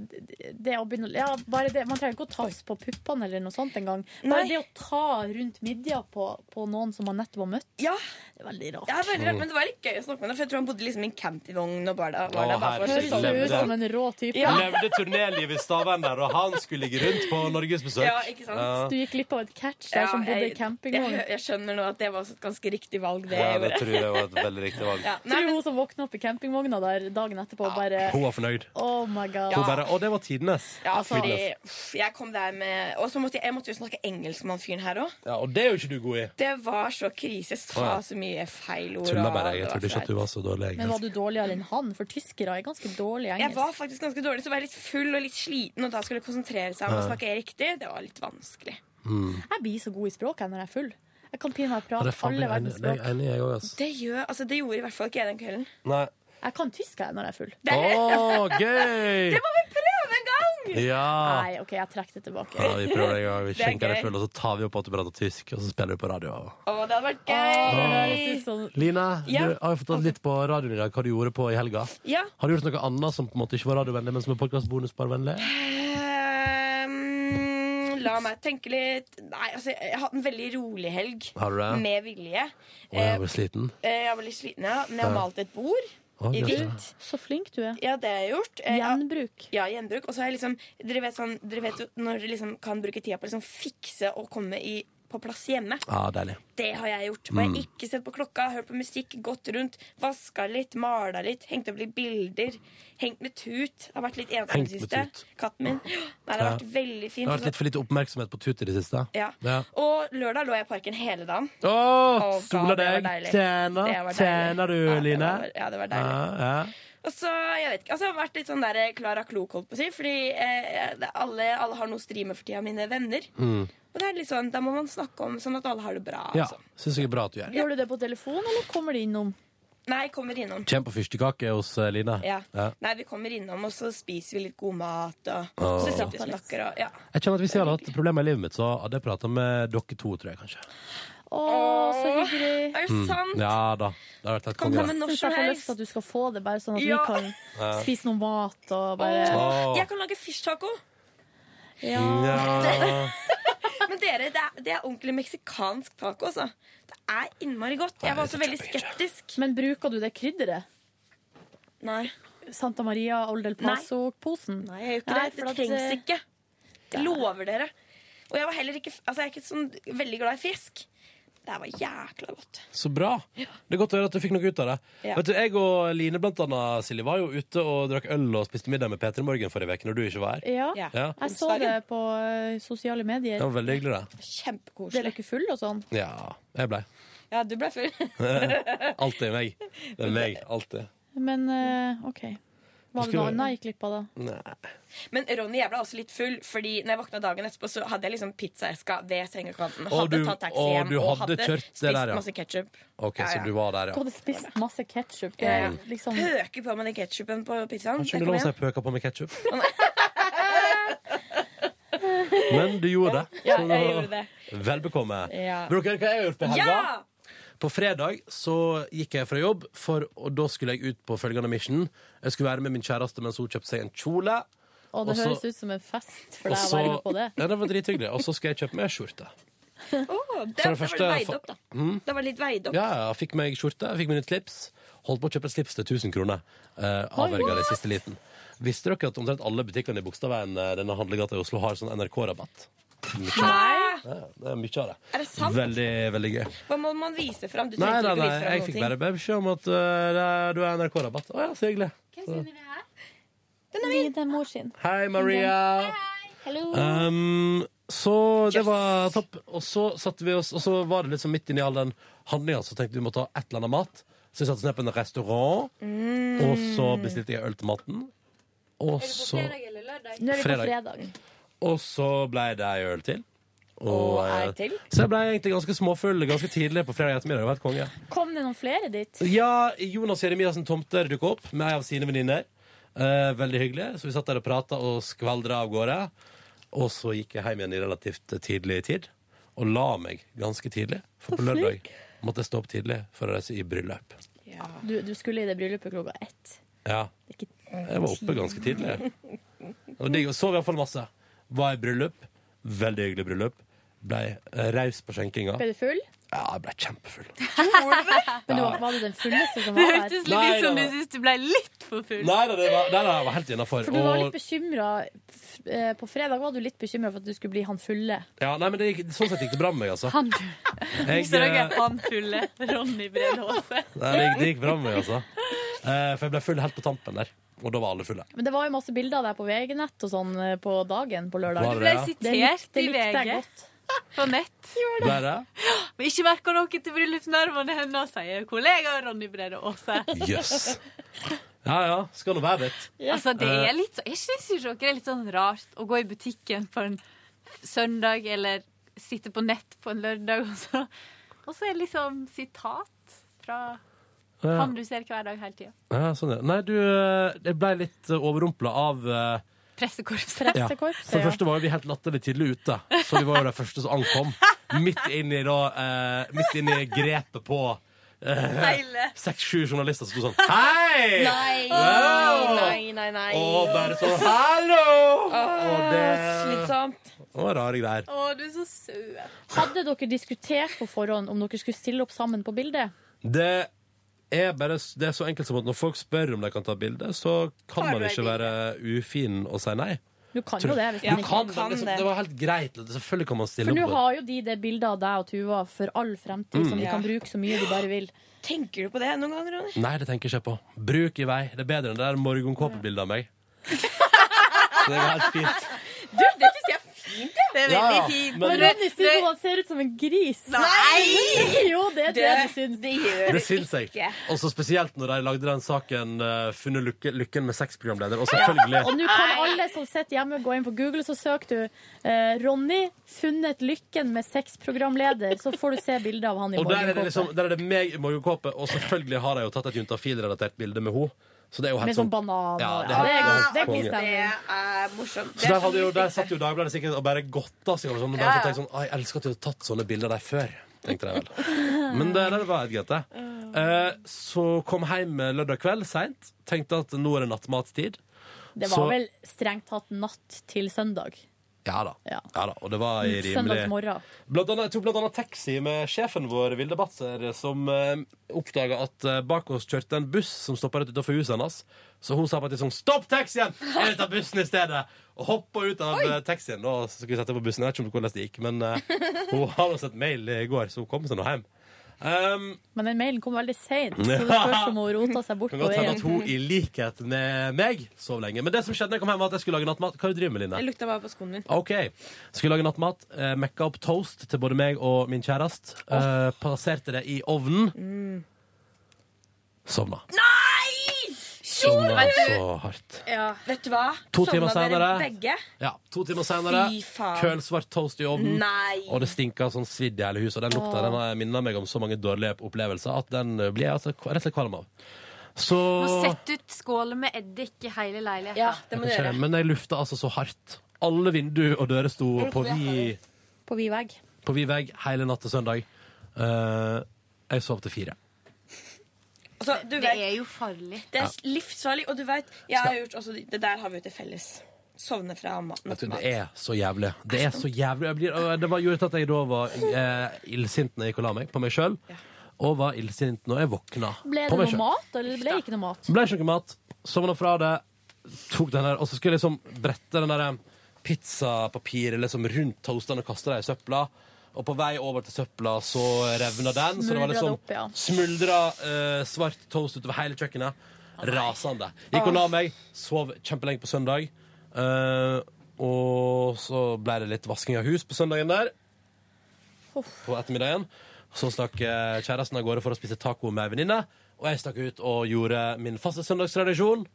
Speaker 3: Det å begynne å- Ja, bare det. Man trenger ikke å tafse på puppene eller noe sånt engang. Bare
Speaker 9: Nei.
Speaker 3: det å ta rundt midja på, på noen som man nettopp har møtt,
Speaker 9: Ja,
Speaker 3: det er veldig rart.
Speaker 9: ja veldig
Speaker 2: Mm.
Speaker 9: rart, Men det var litt gøy å snakke med henne, for jeg tror han bodde liksom i en campingvogn og var der, var
Speaker 2: Å,
Speaker 9: der bare for
Speaker 2: herregud.
Speaker 9: sesongen.
Speaker 3: Høres
Speaker 2: Levde.
Speaker 3: ut som en rå type.
Speaker 9: Ja.
Speaker 2: Levde turnélivet i Stavern der, og han skulle ligge rundt på norgesbesøk.
Speaker 9: Ja, ikke sant?
Speaker 2: Ja.
Speaker 3: Du gikk glipp av et catch der som bodde i campingvogn.
Speaker 9: jeg, jeg skjønner nå at det var også et ganske riktig valg, det
Speaker 2: Ja,
Speaker 9: jeg
Speaker 2: det
Speaker 9: gjorde.
Speaker 2: tror jeg var et veldig riktig valg.
Speaker 9: Ja,
Speaker 3: Tror
Speaker 9: nei,
Speaker 3: du
Speaker 9: men,
Speaker 3: hun som våkna opp i campingvogna der dagen etterpå, bare
Speaker 2: Hun var fornøyd.
Speaker 3: Oh my god.
Speaker 2: Hun bare, Og det var tidenes.
Speaker 9: ja, altså, fordi
Speaker 2: Fitness.
Speaker 9: uff, jeg kom der med Og så måtte jeg, jeg måtte jo snakke engelsk med han fyren her òg.
Speaker 2: Ja, og det er jo ikke du god i.
Speaker 9: Det var så krise. Jeg
Speaker 2: Å,
Speaker 9: sa
Speaker 2: ja.
Speaker 9: så mye feil ord.
Speaker 2: Tulla
Speaker 9: og
Speaker 2: bare.
Speaker 9: det
Speaker 2: Jeg
Speaker 9: var
Speaker 2: trodde ikke
Speaker 9: flaut.
Speaker 2: at du var så dårlig. Altså,
Speaker 3: Men var du dårligere enn han? For tyskere er ganske dårlige i
Speaker 9: Jeg
Speaker 3: engelsk.
Speaker 9: var faktisk ganske dårlig, så var jeg litt full og litt sliten, og da skulle jeg konsentrere seg om å snakke riktig. Det var litt vanskelig.
Speaker 3: Jeg blir så god i språk jeg når jeg er full. Jeg kan pinadø
Speaker 2: Ja, det
Speaker 3: prate
Speaker 2: er faen
Speaker 3: alle
Speaker 2: meg enig-
Speaker 3: verdens
Speaker 2: det er
Speaker 3: språk.
Speaker 2: jeg enig i, jeg òg, altså.
Speaker 9: Det, gjør, altså, det gjorde i hvert fall ikke jeg den kvelden.
Speaker 2: Nei.
Speaker 3: Jeg kan tysk jeg, når jeg er full.
Speaker 2: Å, gøy!
Speaker 3: Det må vi prøve en gang!
Speaker 2: Ja.
Speaker 3: Nei, OK, jeg trekker det tilbake.
Speaker 2: Ja, vi prøver det en gang. Vi
Speaker 3: Det er
Speaker 2: skjenker deg
Speaker 3: gøy.
Speaker 2: full, og så tar vi opp at du prater tysk, og så spiller vi på radio.
Speaker 9: Å, det hadde vært
Speaker 2: Åh.
Speaker 9: gøy!
Speaker 2: Line,
Speaker 9: Ja.
Speaker 2: du har jo fortalt litt på radioen i dag hva du gjorde på i helga.
Speaker 9: Ja.
Speaker 2: Har du gjort noe annet som på en måte ikke var radiovennlig, men som er podkastbonusparvennlig?
Speaker 9: Ehm, la meg tenke litt Nei, altså, jeg har hatt en veldig rolig helg.
Speaker 2: Har du det?
Speaker 9: Med vilje.
Speaker 2: Å, jeg var sliten.
Speaker 9: Eh, jeg var litt sliten, ja. Men jeg har
Speaker 2: Ja.
Speaker 9: malt et bord.
Speaker 2: Å,
Speaker 9: I
Speaker 2: greit, ja.
Speaker 9: hvitt.
Speaker 3: Så flink du er.
Speaker 9: Ja, det har jeg gjort. Eh, jeg-
Speaker 3: Gjenbruk.
Speaker 9: Ja, gjenbruk. Og så har jeg liksom Dere vet sånn Dere vet jo når dere liksom kan bruke tida på å liksom fikse og komme i, på plass hjemme.
Speaker 2: Ja, deilig.
Speaker 9: Det har jeg gjort. Og jeg har
Speaker 2: Mm.
Speaker 9: ikke sett på klokka, hørt på musikk, gått rundt, vaska litt, mala litt, hengt opp litt bilder. Hengt med tut. Har vært litt ensom i
Speaker 2: Hengt
Speaker 9: det
Speaker 2: med
Speaker 9: siste.
Speaker 2: tut.
Speaker 9: Katten min. Nei, det har
Speaker 2: Ja.
Speaker 9: vært veldig
Speaker 2: Det
Speaker 9: fint.
Speaker 2: har vært litt for lite oppmerksomhet på tut i det siste.
Speaker 9: ja.
Speaker 2: Ja.
Speaker 9: Og lørdag lå jeg i parken hele dagen.
Speaker 2: Å,
Speaker 9: Å,
Speaker 2: sola
Speaker 9: God, det
Speaker 2: deg!
Speaker 9: var deilig.
Speaker 2: Tjener,
Speaker 9: Det var deilig.
Speaker 2: tjener du,
Speaker 9: Ja, det
Speaker 2: Line?
Speaker 9: var- ja, det var deilig.
Speaker 2: Ja, ja.
Speaker 9: Og så, jeg vet ikke, altså, jeg har vært litt sånn der Klara Klok, holdt på å si, fordi eh, det- alle, alle har noe å stri med for tida, mine venner.
Speaker 2: Mm.
Speaker 9: Og det er litt sånn, da må man snakke om sånn at alle har det bra.
Speaker 2: ja.
Speaker 9: Altså.
Speaker 2: Syns jeg er bra at du gjør.
Speaker 3: Gjør du det på telefon, eller kommer de innom?
Speaker 9: Nei, kommer innom.
Speaker 2: Kjem på fyrstekake hos eh, Line.
Speaker 9: Ja.
Speaker 2: Ja.
Speaker 9: Nei, vi kommer innom, og så spiser vi litt god mat, og
Speaker 2: Åh.
Speaker 9: så sitter vi og snakker, og ja.
Speaker 2: Jeg kjenner at Hvis jeg hadde hatt problemer i livet mitt, så hadde jeg prata med dere to, tror jeg kanskje.
Speaker 3: Å, så hyggelig.
Speaker 9: Er
Speaker 2: Mm. Ja da. Det hadde vært helt
Speaker 9: Kan
Speaker 2: konge.
Speaker 9: komme
Speaker 2: det.
Speaker 9: når
Speaker 3: Synes
Speaker 9: som
Speaker 3: jeg får
Speaker 9: helst.
Speaker 3: lyst til at du skal få det, bare sånn at
Speaker 9: Ja.
Speaker 3: vi kan
Speaker 2: Ja.
Speaker 3: spise noe mat og bare
Speaker 2: Åh.
Speaker 9: Jeg kan lage fish taco,
Speaker 3: Ja.
Speaker 2: Ja.
Speaker 9: men dere, det er, det er ordentlig meksikansk taco, altså. Det er innmari godt. Jeg var også veldig skeptisk.
Speaker 3: Men bruker du det krydderet?
Speaker 9: Nei,
Speaker 3: Santa Maria Old El
Speaker 9: Nei.
Speaker 3: Paso-posen?
Speaker 9: Nei, jeg gjør ikke
Speaker 3: Nei,
Speaker 9: det.
Speaker 3: for
Speaker 9: Det
Speaker 3: at,
Speaker 9: trengs
Speaker 3: eh,
Speaker 9: ikke. Jeg lover dere. Og jeg var heller ikke Altså, jeg er ikke sånn veldig glad i fisk. Det her var jækla godt.
Speaker 2: Så bra. Det er godt å høre at du fikk noe ut av det.
Speaker 9: Ja.
Speaker 2: Vet du, Jeg og Line blant annet, Silje, var jo ute og drakk øl og spiste middag med P3 Morgen forrige uke når du ikke var her.
Speaker 3: Ja.
Speaker 9: Ja.
Speaker 2: Ja.
Speaker 3: Jeg så det på eh, sosiale
Speaker 2: Det
Speaker 3: medier.
Speaker 2: var veldig hyggelig, det.
Speaker 3: Ble
Speaker 9: Kjempekoselig.
Speaker 3: dere full og sånn?
Speaker 2: Ja, jeg blei.
Speaker 9: Ja, du ble full.
Speaker 2: Alltid meg. Det er meg. Alltid.
Speaker 3: Men eh, OK. Var det
Speaker 2: Skulle-
Speaker 3: noe annet jeg gikk glipp av da?
Speaker 2: Nei.
Speaker 9: Men Ronny, jeg ble også litt full, fordi når jeg våkna dagen etterpå, så hadde jeg liksom pizzaeska ved sengekanten.
Speaker 2: Og
Speaker 9: Hadde
Speaker 2: du-
Speaker 9: tatt taxi
Speaker 2: og du
Speaker 9: hjem og
Speaker 2: hadde
Speaker 9: hadde
Speaker 2: kjørt det
Speaker 9: spist
Speaker 2: der, ja.
Speaker 9: masse ketsjup.
Speaker 2: OK,
Speaker 9: Ja,
Speaker 2: så
Speaker 9: ja.
Speaker 2: du var der,
Speaker 3: Du
Speaker 2: ja.
Speaker 3: hadde spist masse ketsjup.
Speaker 9: Ja.
Speaker 3: Liksom,
Speaker 9: Pøker på med den ketsjupen på pizzaen.
Speaker 2: Kanskje
Speaker 9: Det
Speaker 2: det
Speaker 9: kom
Speaker 2: var så
Speaker 9: igjen.
Speaker 2: jeg pøka på med ketsjup. Men du gjorde det.
Speaker 9: Ja,
Speaker 2: Så
Speaker 9: jeg
Speaker 2: da-
Speaker 9: gjorde det.
Speaker 2: Vel bekomme.
Speaker 9: Ja.
Speaker 2: Vil dere høre hva jeg har gjort på helga?
Speaker 9: Ja!
Speaker 2: På fredag så gikk jeg fra jobb, for, og da skulle jeg ut på følgende mission. Jeg skulle være med min kjæreste mens hun kjøpte seg en kjole.
Speaker 3: og det
Speaker 2: Også-
Speaker 3: høres ut som en fest for
Speaker 2: og
Speaker 3: deg å
Speaker 2: så-
Speaker 3: være med på det.
Speaker 2: Ja, det var drithyggelig. Og så skal jeg kjøpe meg skjorte.
Speaker 9: Å, det,
Speaker 2: For
Speaker 9: det
Speaker 2: det
Speaker 9: var
Speaker 2: første- Hmm?
Speaker 9: litt veid opp, da. Det var litt veid opp.
Speaker 2: Ja, jeg fikk meg skjorte, jeg fikk meg nytt slips. Holdt på å kjøpe et slips til 1000 kroner. Uh, Avverga det i siste liten. Visste dere at omtrent alle butikkene i Bogstadveien eh, denne handlegata i Oslo har sånn NRK-rabatt? Mye av det. Ja, det er mye av det.
Speaker 9: Er det sant?
Speaker 2: Veldig, veldig gøy.
Speaker 9: Hva må man vise fram? Du
Speaker 2: Nei, nei,
Speaker 9: trengte ikke
Speaker 2: nei,
Speaker 9: vise fram
Speaker 2: jeg
Speaker 9: noen
Speaker 2: fikk
Speaker 9: ting.
Speaker 2: bare beskjed om at eh, det er- du har NRK-rabatt. Å ja, så hyggelig.
Speaker 3: Det er mor sin.
Speaker 2: Hei, Maria. Um, så det
Speaker 9: Yes.
Speaker 2: var topp. Og så satte vi oss Og så var det liksom midt inni all den handlinga, så tenkte vi vi måtte ha et eller annet mat. Så vi satte oss ned på en restaurant,
Speaker 9: Mm.
Speaker 2: og så bestilte jeg øl til maten. Og så,
Speaker 3: Nå er vi på
Speaker 2: Fredag.
Speaker 3: fredag.
Speaker 2: og så ble det ei øl til.
Speaker 9: Og ei
Speaker 2: eh,
Speaker 9: til.
Speaker 2: Så jeg ble egentlig ganske småfull ganske tidlig på fredag ettermiddag. Det var helt konge.
Speaker 3: Kom det noen flere dit?
Speaker 2: Ja, Jonas Jeremiassen Tomter dukket opp med ei av sine venninner. Eh, veldig hyggelig. Så vi satt der og prata og skvaldra av gårde. Og så gikk jeg hjem igjen i relativt tidlig tid. Og la meg ganske tidlig. For på lørdag måtte jeg stå opp tidlig for å reise i bryllup.
Speaker 3: Du, du skulle i det bryllupet klokka ett.
Speaker 2: Ja,
Speaker 3: Ikke
Speaker 2: jeg var oppe ganske tidlig. Og digg. Og sov iallfall masse. Var i bryllup. Veldig hyggelig bryllup. Blei eh, raus på skjenkinga.
Speaker 3: Ble du full?
Speaker 2: Ja, jeg blei kjempefull.
Speaker 3: Men du var, var du den fulleste som var der?
Speaker 2: Nei, litt som da. du
Speaker 13: syns du ble litt for full.
Speaker 2: Nei da, det var, nei, nei, jeg var helt innafor.
Speaker 3: For du var litt bekymra På fredag var du litt bekymra for at du skulle bli han fulle.
Speaker 2: Ja, nei, men det gikk, sånn sett gikk det bra med meg, altså.
Speaker 13: Han,
Speaker 2: Jeg,
Speaker 13: så dere
Speaker 2: eh,
Speaker 13: er han fulle Ronny Bredåse.
Speaker 2: nei, det, gikk, det gikk bra med meg, altså. Eh, for jeg ble full helt på tampen der. Og da var alle fulle.
Speaker 3: Men det var jo masse bilder av deg på VG-nett og sånn eh, på dagen på
Speaker 2: Var
Speaker 3: lørdag.
Speaker 2: det?
Speaker 13: Ble
Speaker 3: Det likte,
Speaker 13: sitert
Speaker 3: det
Speaker 13: i
Speaker 3: likte jeg
Speaker 13: VG
Speaker 3: godt.
Speaker 13: på nett.
Speaker 2: Ble det?
Speaker 13: Men ikke merker noe til bryllupsnervene hennes, sier kollega Ronny Brede Aase.
Speaker 2: Jøss. Ja ja, skal nå være litt.
Speaker 13: Altså, det er litt så, jeg synes jo ikke det er litt sånn rart å gå i butikken på en søndag eller sitte på nett på en lørdag, og så, og så er det liksom sitat fra
Speaker 2: Ja.
Speaker 13: Han du ser hver dag hele tida.
Speaker 2: Ja, sånn, ja. Nei, du, eh, jeg ble litt eh, overrumpla av eh,
Speaker 13: Pressekorpset.
Speaker 2: ja. For det første var jo vi helt latterlig tidlig ute, så vi var jo de første som ankom. Midt inn i da eh, Midt inn i grepet på eh,
Speaker 9: Deilig.
Speaker 2: seks-sju journalister som sto sånn Hei!
Speaker 9: Nei,
Speaker 2: Wow!
Speaker 9: nei, nei, nei.
Speaker 2: Og bare sånn Hallo! Og det
Speaker 9: Slitsomt.
Speaker 2: Det var rare greier.
Speaker 13: Å, du er så søt.
Speaker 3: Hadde dere diskutert på forhånd om dere skulle stille opp sammen på bildet?
Speaker 2: Det er bare Det er så enkelt som at når folk spør om de kan ta bilde, så kan
Speaker 3: Tar
Speaker 2: man
Speaker 3: du
Speaker 2: ikke
Speaker 3: et bilde?
Speaker 2: være ufin og si nei.
Speaker 3: Du kan
Speaker 2: Tror-
Speaker 3: jo det. Hvis
Speaker 2: du
Speaker 3: man ikke-
Speaker 2: kan, men liksom, det var helt greit. Selvfølgelig kan man
Speaker 3: For
Speaker 2: stille
Speaker 3: nå
Speaker 2: opp.
Speaker 3: har jo de det bildet av deg og Tuva for all fremtid,
Speaker 2: Mm.
Speaker 3: som de
Speaker 2: Ja.
Speaker 3: kan bruke så mye de bare vil.
Speaker 9: Tenker du på det noen ganger, Ronny?
Speaker 2: Nei, det tenker jeg ikke på. Bruk i vei. Det er bedre enn det der morgenkåpebildet av meg. Så det er helt fint.
Speaker 9: Du, det syns jeg er fint, ja.
Speaker 2: Det er veldig Ja, fint. men-
Speaker 3: Men Ronny syns jo han ser ut som en gris.
Speaker 9: sånn, Nei!
Speaker 3: Jo, det er det
Speaker 9: Det-
Speaker 3: du syns.
Speaker 9: Det gjør
Speaker 2: Det syns jeg. Og så spesielt når de lagde den saken eh, 'Funnet lykke, lykken med seks programleder'. Og selvfølgelig
Speaker 3: Og nå kan alle som sitter hjemme, gå inn på Google, så søker du eh, 'Ronny funnet lykken med sexprogramleder', så får du se bildet av han i
Speaker 2: Og der er det
Speaker 3: morgenkåpe.
Speaker 2: liksom Der er det meg i morgenkåpe, og selvfølgelig har de jo tatt et juntafil-relatert bilde med henne. Så det er jo helt
Speaker 3: Med sånn banan
Speaker 2: Ja,
Speaker 3: og
Speaker 2: det er helt
Speaker 3: det er
Speaker 2: konge.
Speaker 3: god stemning.
Speaker 9: er morsomt.
Speaker 2: Så der, hadde jo, der satt jo Dagbladet sikkert og bare godta seg over sånn. Og bare
Speaker 9: Ja, ja.
Speaker 2: tenkte sånn «Å, Jeg elsker at du har tatt sånne bilder der før. Tenkte jeg vel. Men det, det var helt greit, det. Eh, så kom hjem lørdag kveld seint. Tenkte at nå er det nattmatstid.
Speaker 3: Det
Speaker 2: Så-
Speaker 3: var vel strengt tatt natt til søndag.
Speaker 2: Ja da. Ja. da. Og det var i
Speaker 3: Søndags
Speaker 2: rimelig
Speaker 3: morgen.
Speaker 2: Blant annet, jeg tok blant annet taxi med sjefen vår, Vilde Batzer, som eh, oppdaga at eh, bak oss kjørte en buss som stoppa rett utenfor huset hennes. Så hun sa på et tidspunkt 'Stopp taxien! Jeg vil ta bussen i stedet!' Og hoppa ut av eh, taxien. Da skulle vi sette på bussen. Jeg vet ikke om hvordan det gikk, men eh, hun har også et mail i går, så hun kom seg nå hjem. Um,
Speaker 3: Men den mailen kom veldig seint, så det spørs om hun rota seg bort
Speaker 2: kan
Speaker 3: på
Speaker 2: godt hende at hun
Speaker 3: veien.
Speaker 2: i likhet med meg sov lenge. Men det som skjedde da jeg kom hjem, var at jeg skulle lage nattmat. Hva er det du driver med, Line?
Speaker 9: Jeg lukta bare på skoen min.
Speaker 2: Ok, skulle lage nattmat eh, Mekka opp toast til både meg og min kjærest eh, Plasserte det i ovnen Sovna
Speaker 9: Mm. Nei!
Speaker 2: Sovna så hardt
Speaker 9: Ja. Vet du hva?
Speaker 2: To timer
Speaker 9: Sovna dere
Speaker 2: senere.
Speaker 9: Begge.
Speaker 2: Ja, to timer senere
Speaker 9: Fy faen.
Speaker 2: Kølsvart toast i ovnen
Speaker 9: Nei.
Speaker 2: Og det stinka sånn svidd i hele huset Og den lukta
Speaker 9: Åh.
Speaker 2: den har minnet meg om så mange dårlige opplevelser At den eh, blir jeg altså k- rett og slett kvalm av Så
Speaker 13: Må sette ut skåler med eddik i hele leiligheten. Ja,
Speaker 2: Jeg vet ikke, Men jeg lufta altså så hardt Alle vinduer og dører sto på vid
Speaker 3: På vid vegg.
Speaker 2: på vid vegg hele natt til søndag. Eh, jeg sov til fire.
Speaker 9: det
Speaker 13: er jo farlig.
Speaker 9: Altså, Det er
Speaker 2: Ja.
Speaker 9: livsfarlig, og du vet jeg har gjort også, Det der har vi jo til felles. Sovne fra mat.
Speaker 2: Vet du, det er så jævlig. Det er så jævlig. Jeg blir, og det var gjorde at jeg da var eh, illsint når jeg gikk og la meg, på meg sjøl. Og var illsint når jeg våkna.
Speaker 3: Ble
Speaker 2: på meg
Speaker 3: det noe
Speaker 2: selv.
Speaker 3: mat, eller ble det ikke noe mat?
Speaker 2: Ble ikke noe mat. Sovna fra det. Tok den her, og så skulle jeg liksom brette den der pizzapapiret liksom rundt toastene og kaste det i søpla. Og på vei over til søpla så revna den. så det var
Speaker 3: Smuldra
Speaker 2: liksom
Speaker 3: det opp, ja.
Speaker 2: Smuldra eh, svart toast utover hele kjøkkenet. Rasende. Gikk og la meg, sov kjempelenge på søndag. Eh, og så ble det litt vasking av hus på søndagen der. På ettermiddagen. Så stakk eh, kjæresten av gårde for å spise taco med ei venninne. Og jeg stakk ut og gjorde min faste søndagstradisjon.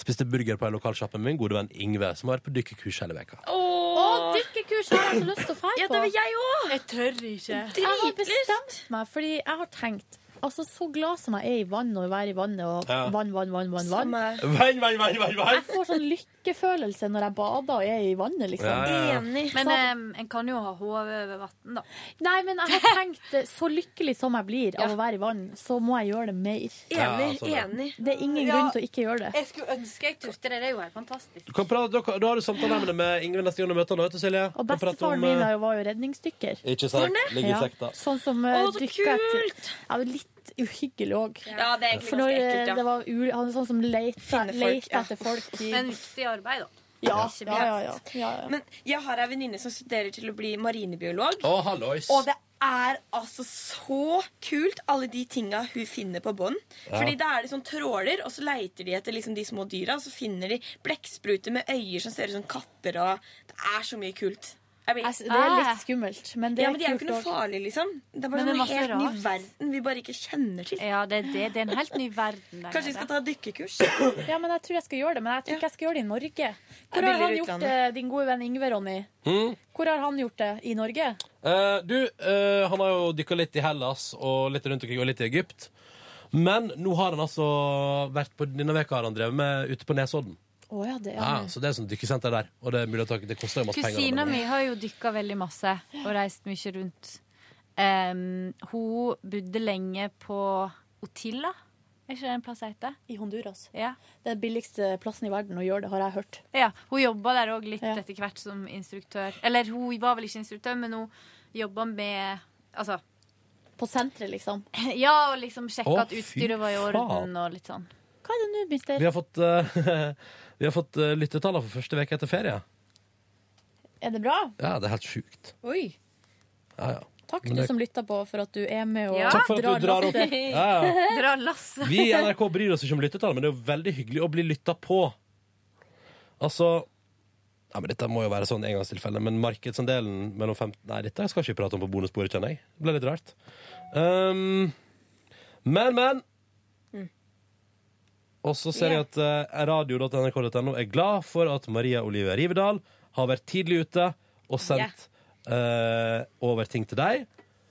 Speaker 2: Spiste burger på en lokalsjappe med min gode venn Ingve, som har vært på dykkekurs hele veka.
Speaker 3: Å, dykkekurs har jeg så lyst til å fære på!
Speaker 9: Ja, det vil jeg òg!
Speaker 13: Jeg tør ikke.
Speaker 3: Jeg har bestemt meg, fordi jeg har tenkt Altså, Så glad som jeg er i vann og å være i vannet og
Speaker 2: Ja.
Speaker 3: vann, vann, vann, vann, vann.
Speaker 2: Vann, vann, vann, vann, vann.
Speaker 3: Jeg får sånn lykkefølelse når jeg bader og er i vannet, liksom.
Speaker 2: Ja, ja, ja.
Speaker 13: Men eh, em, en kan jo ha hodet over vann, da.
Speaker 3: Nei, men jeg har tenkt eh, så lykkelig som jeg blir av å være i vann, så må jeg gjøre det mer.
Speaker 2: Ja, Enig, sånn er det.
Speaker 3: Det er ingen
Speaker 13: Ja.
Speaker 3: grunn til å ikke gjøre det.
Speaker 13: Jeg skulle ønske jeg turte det. Det er jo helt fantastisk.
Speaker 2: Du kan prate, da, kan- da har du samtaleemne med Ingve neste gang du møter han, vet du, Silje.
Speaker 3: Og
Speaker 2: Kan prate om,
Speaker 3: bestefaren
Speaker 2: eh,
Speaker 3: min er jo- var jo redningsdykker.
Speaker 2: Ikke sant? Var han det? Ligger i sekta.
Speaker 3: Sånn som
Speaker 9: Å,
Speaker 3: eh,
Speaker 9: så
Speaker 3: dykka etter Ja, det er litt uhyggelig òg.
Speaker 9: Ja, det er egentlig
Speaker 3: For når
Speaker 9: ganske ekkelt,
Speaker 3: eh,
Speaker 9: ja.
Speaker 3: det var ul han er sånn som leita,
Speaker 9: Finne folk,
Speaker 3: leita
Speaker 9: ja.
Speaker 3: etter folk i
Speaker 13: Men viktig arbeid, da.
Speaker 3: Ja,
Speaker 13: Ikke
Speaker 3: ja, ja, ja.
Speaker 13: minst.
Speaker 9: Men jeg har ei venninne som studerer til å bli marinebiolog.
Speaker 2: Å, hallois.
Speaker 9: Og det er altså så kult, alle de tinga hun finner på bånd.
Speaker 2: Ja.
Speaker 9: Fordi da er det sånn tråler, og så leiter de etter liksom de små dyra. Og så finner de blekkspruter med øyer som ser ut som katter, og Det er så mye kult. Jeg blir-
Speaker 3: Altså, det er litt skummelt, men det
Speaker 9: ja,
Speaker 3: er
Speaker 9: men de er jo
Speaker 3: kult
Speaker 9: ikke noe
Speaker 3: også.
Speaker 9: farlige, liksom. Det er
Speaker 13: Men
Speaker 9: bare
Speaker 13: det er
Speaker 9: noe
Speaker 13: masse
Speaker 9: helt ny
Speaker 13: rart.
Speaker 9: verden vi bare ikke kjenner til.
Speaker 13: Ja, det er det. Det er en helt ny verden der
Speaker 9: Kanskje vi
Speaker 13: nede.
Speaker 9: skal ta dykkekurs?
Speaker 3: Ja, men jeg tror jeg skal gjøre det, men jeg tror ikke jeg skal gjøre det i Norge. Hvor har
Speaker 9: billigere
Speaker 3: han gjort det,
Speaker 9: utlandet.
Speaker 3: din gode venn Ingve, Ronny?
Speaker 2: Mm.
Speaker 3: Hvor har han gjort det? I Norge?
Speaker 2: Eh, du, eh, han har jo dykka litt i Hellas og litt rundt omkring og litt i Egypt. Men nå har han altså vært på denne veka har han drevet med ute på Nesodden.
Speaker 3: Å ja, det er
Speaker 2: Ja, så det er sånn dykkesenter der. Og det er mulig å ta, det koster jo masse
Speaker 13: Kusina
Speaker 2: penger.
Speaker 13: mi har jo dykka veldig masse og reist mye rundt. Em, hun bodde lenge på Otilla. Er ikke det en plass jeg heter?
Speaker 3: I Honduras.
Speaker 13: Ja.
Speaker 3: Det er den billigste plassen i verden å gjøre det, har jeg hørt.
Speaker 13: Ja, hun jobba der òg litt etter hvert som instruktør. Eller hun var vel ikke instruktør, men hun jobba med Altså.
Speaker 3: På senteret, liksom?
Speaker 13: Ja, og liksom sjekka
Speaker 2: Å,
Speaker 13: at utstyret
Speaker 2: fy
Speaker 13: var i orden
Speaker 2: faen.
Speaker 13: og litt sånn.
Speaker 3: Hva er det nå, mister?
Speaker 2: Vi har fått, eh, vi har fått eh, lyttetallene for første veke etter ferie.
Speaker 3: Er det bra?
Speaker 2: Ja, det er helt sjukt.
Speaker 3: Oi.
Speaker 2: Ja, ja.
Speaker 3: Takk,
Speaker 2: Men
Speaker 3: du
Speaker 2: det-
Speaker 3: som lytter på, for at du er med og
Speaker 2: Ja. Takk for at du drar opp.
Speaker 3: lasset.
Speaker 2: Ja, ja.
Speaker 13: Dra lasset.
Speaker 2: Vi i NRK bryr oss ikke om lyttetall, men det er jo veldig hyggelig å bli lytta på. Altså ja, men Dette må jo være sånn engangstilfelle, men markedsandelen mellom 15 Nei, dette skal ikke vi prate om på bonusbordet, kjenner jeg. Det ble litt rart. Um, men, men.
Speaker 13: Mm.
Speaker 2: Og så ser jeg at eh, radio.nrk.no er glad for at Maria Olivia Rivedal har vært tidlig ute og sendt eh, over ting til deg,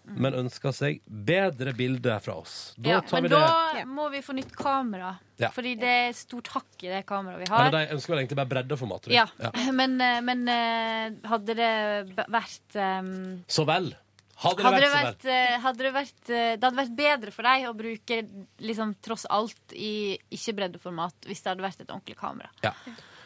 Speaker 2: men ønsker seg bedre bilder fra oss. Da
Speaker 13: Mm. ja,
Speaker 2: tar
Speaker 13: men
Speaker 2: vi det.
Speaker 13: da må vi få nytt kamera.
Speaker 2: Ja.
Speaker 13: Fordi det er stort hakk i det kameraet vi
Speaker 2: Eller
Speaker 13: har.
Speaker 2: de ønsker vel egentlig bare breddeformat. tror jeg.
Speaker 13: Ja,
Speaker 2: Ja.
Speaker 13: men, eh, men eh, hadde det b- vært eh,
Speaker 2: Så vel. Hadde det
Speaker 13: Hadde
Speaker 2: vært
Speaker 13: det
Speaker 2: så vel.
Speaker 13: vært, eh, hadde det, vært eh, det hadde vært bedre for deg å bruke liksom, tross alt i ikke-breddeformat hvis det hadde vært et ordentlig kamera.
Speaker 2: Ja.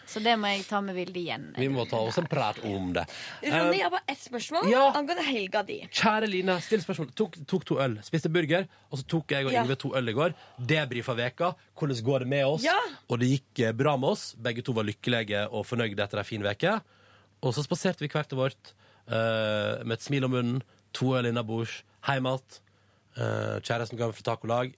Speaker 13: Så det må jeg ta med Vilde igjen.
Speaker 2: Vi må ta oss en prat om det.
Speaker 9: Ronny, jeg
Speaker 2: Eh,
Speaker 9: har bare ett spørsmål angående helga di.
Speaker 2: Kjære Line, still spørsmål. Tok, tok to øl, spiste burger, og så tok jeg og
Speaker 9: Ja.
Speaker 2: Yngve to øl i går. Debrifa veka. Hvordan går det med oss?
Speaker 9: Ja.
Speaker 2: Og det gikk eh, bra med oss. Begge to var lykkelige og fornøyde etter ei fin veke. Og så spaserte vi hvert til vårt eh, med et smil om munnen, to øl innabords, hjem igjen. Eh, kjæresten ga meg fra tacolag.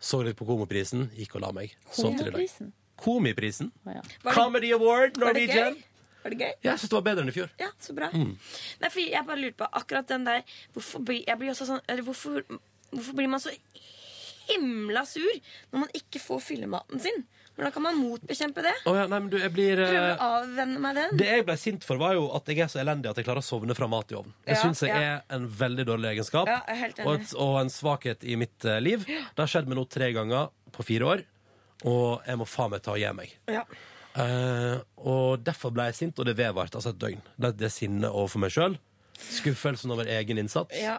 Speaker 2: Så litt på Komoprisen, gikk og la meg. Sov sånn til i dag.
Speaker 3: Komiprisen?
Speaker 2: Komiprisen.
Speaker 3: Å, ja.
Speaker 2: Comedy Award
Speaker 9: Var det
Speaker 2: Norwegian.
Speaker 9: gøy? Var det gøy?
Speaker 2: Ja, Jeg syns det var bedre enn i fjor.
Speaker 9: Ja, så bra.
Speaker 2: Mm.
Speaker 9: Nei, fordi jeg bare lurer på akkurat den der Hvorfor blir, jeg blir, også sånn, eller hvorfor, hvorfor blir man så himla sur når man ikke får fyllematen sin? Hvordan kan man motbekjempe det?
Speaker 2: Å ja, nei, men du, jeg blir eh,
Speaker 9: Prøve å avvenne meg den?
Speaker 2: Det jeg ble sint for, var jo at jeg er så elendig at jeg klarer å sovne fra mat i ovnen. Jeg
Speaker 9: Ja,
Speaker 2: synes jeg
Speaker 9: ja.
Speaker 2: er en veldig dårlig egenskap
Speaker 9: Ja, jeg er helt enig.
Speaker 2: og, et, og en svakhet i mitt eh, liv. Det har skjedd meg nå tre ganger på fire år, og jeg må faen meg ta og gi meg.
Speaker 9: Ja.
Speaker 2: Eh, og derfor ble jeg sint, og det vedvarte altså et døgn. Det, det sinnet overfor meg sjøl. Skuffelsen over egen innsats.
Speaker 9: Ja.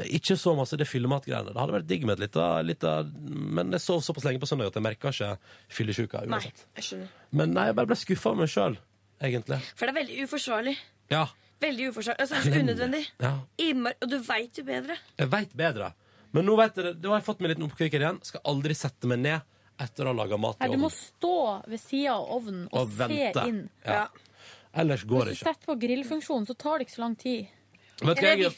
Speaker 2: Eh, Ikke så masse det fyllematgreiene. Det hadde vært digg med et lite, lite Men jeg sov såpass lenge på søndag at jeg merka ikke fyllesjuka
Speaker 9: Nei,
Speaker 2: uansett.
Speaker 9: jeg skjønner.
Speaker 2: Men nei, jeg bare ble skuffa over meg sjøl, egentlig.
Speaker 9: For det er veldig uforsvarlig.
Speaker 2: Ja.
Speaker 9: Veldig uforsvarlig. Altså, unødvendig.
Speaker 2: ja.
Speaker 9: Immer, og du veit jo bedre.
Speaker 2: Jeg veit bedre. Men nå vet jeg, det. nå har jeg fått meg en liten oppkvikker igjen. Skal aldri sette meg ned etter å ha laga mat i
Speaker 3: Her, du må
Speaker 2: ovnen.
Speaker 3: stå ved sida av ovnen og,
Speaker 2: Og
Speaker 3: se
Speaker 2: vente.
Speaker 3: inn.
Speaker 2: Ja. Ellers går det
Speaker 3: Hvis du
Speaker 2: ikke.
Speaker 3: setter på grillfunksjonen, så tar det ikke så lang tid.
Speaker 2: Vet du hva jeg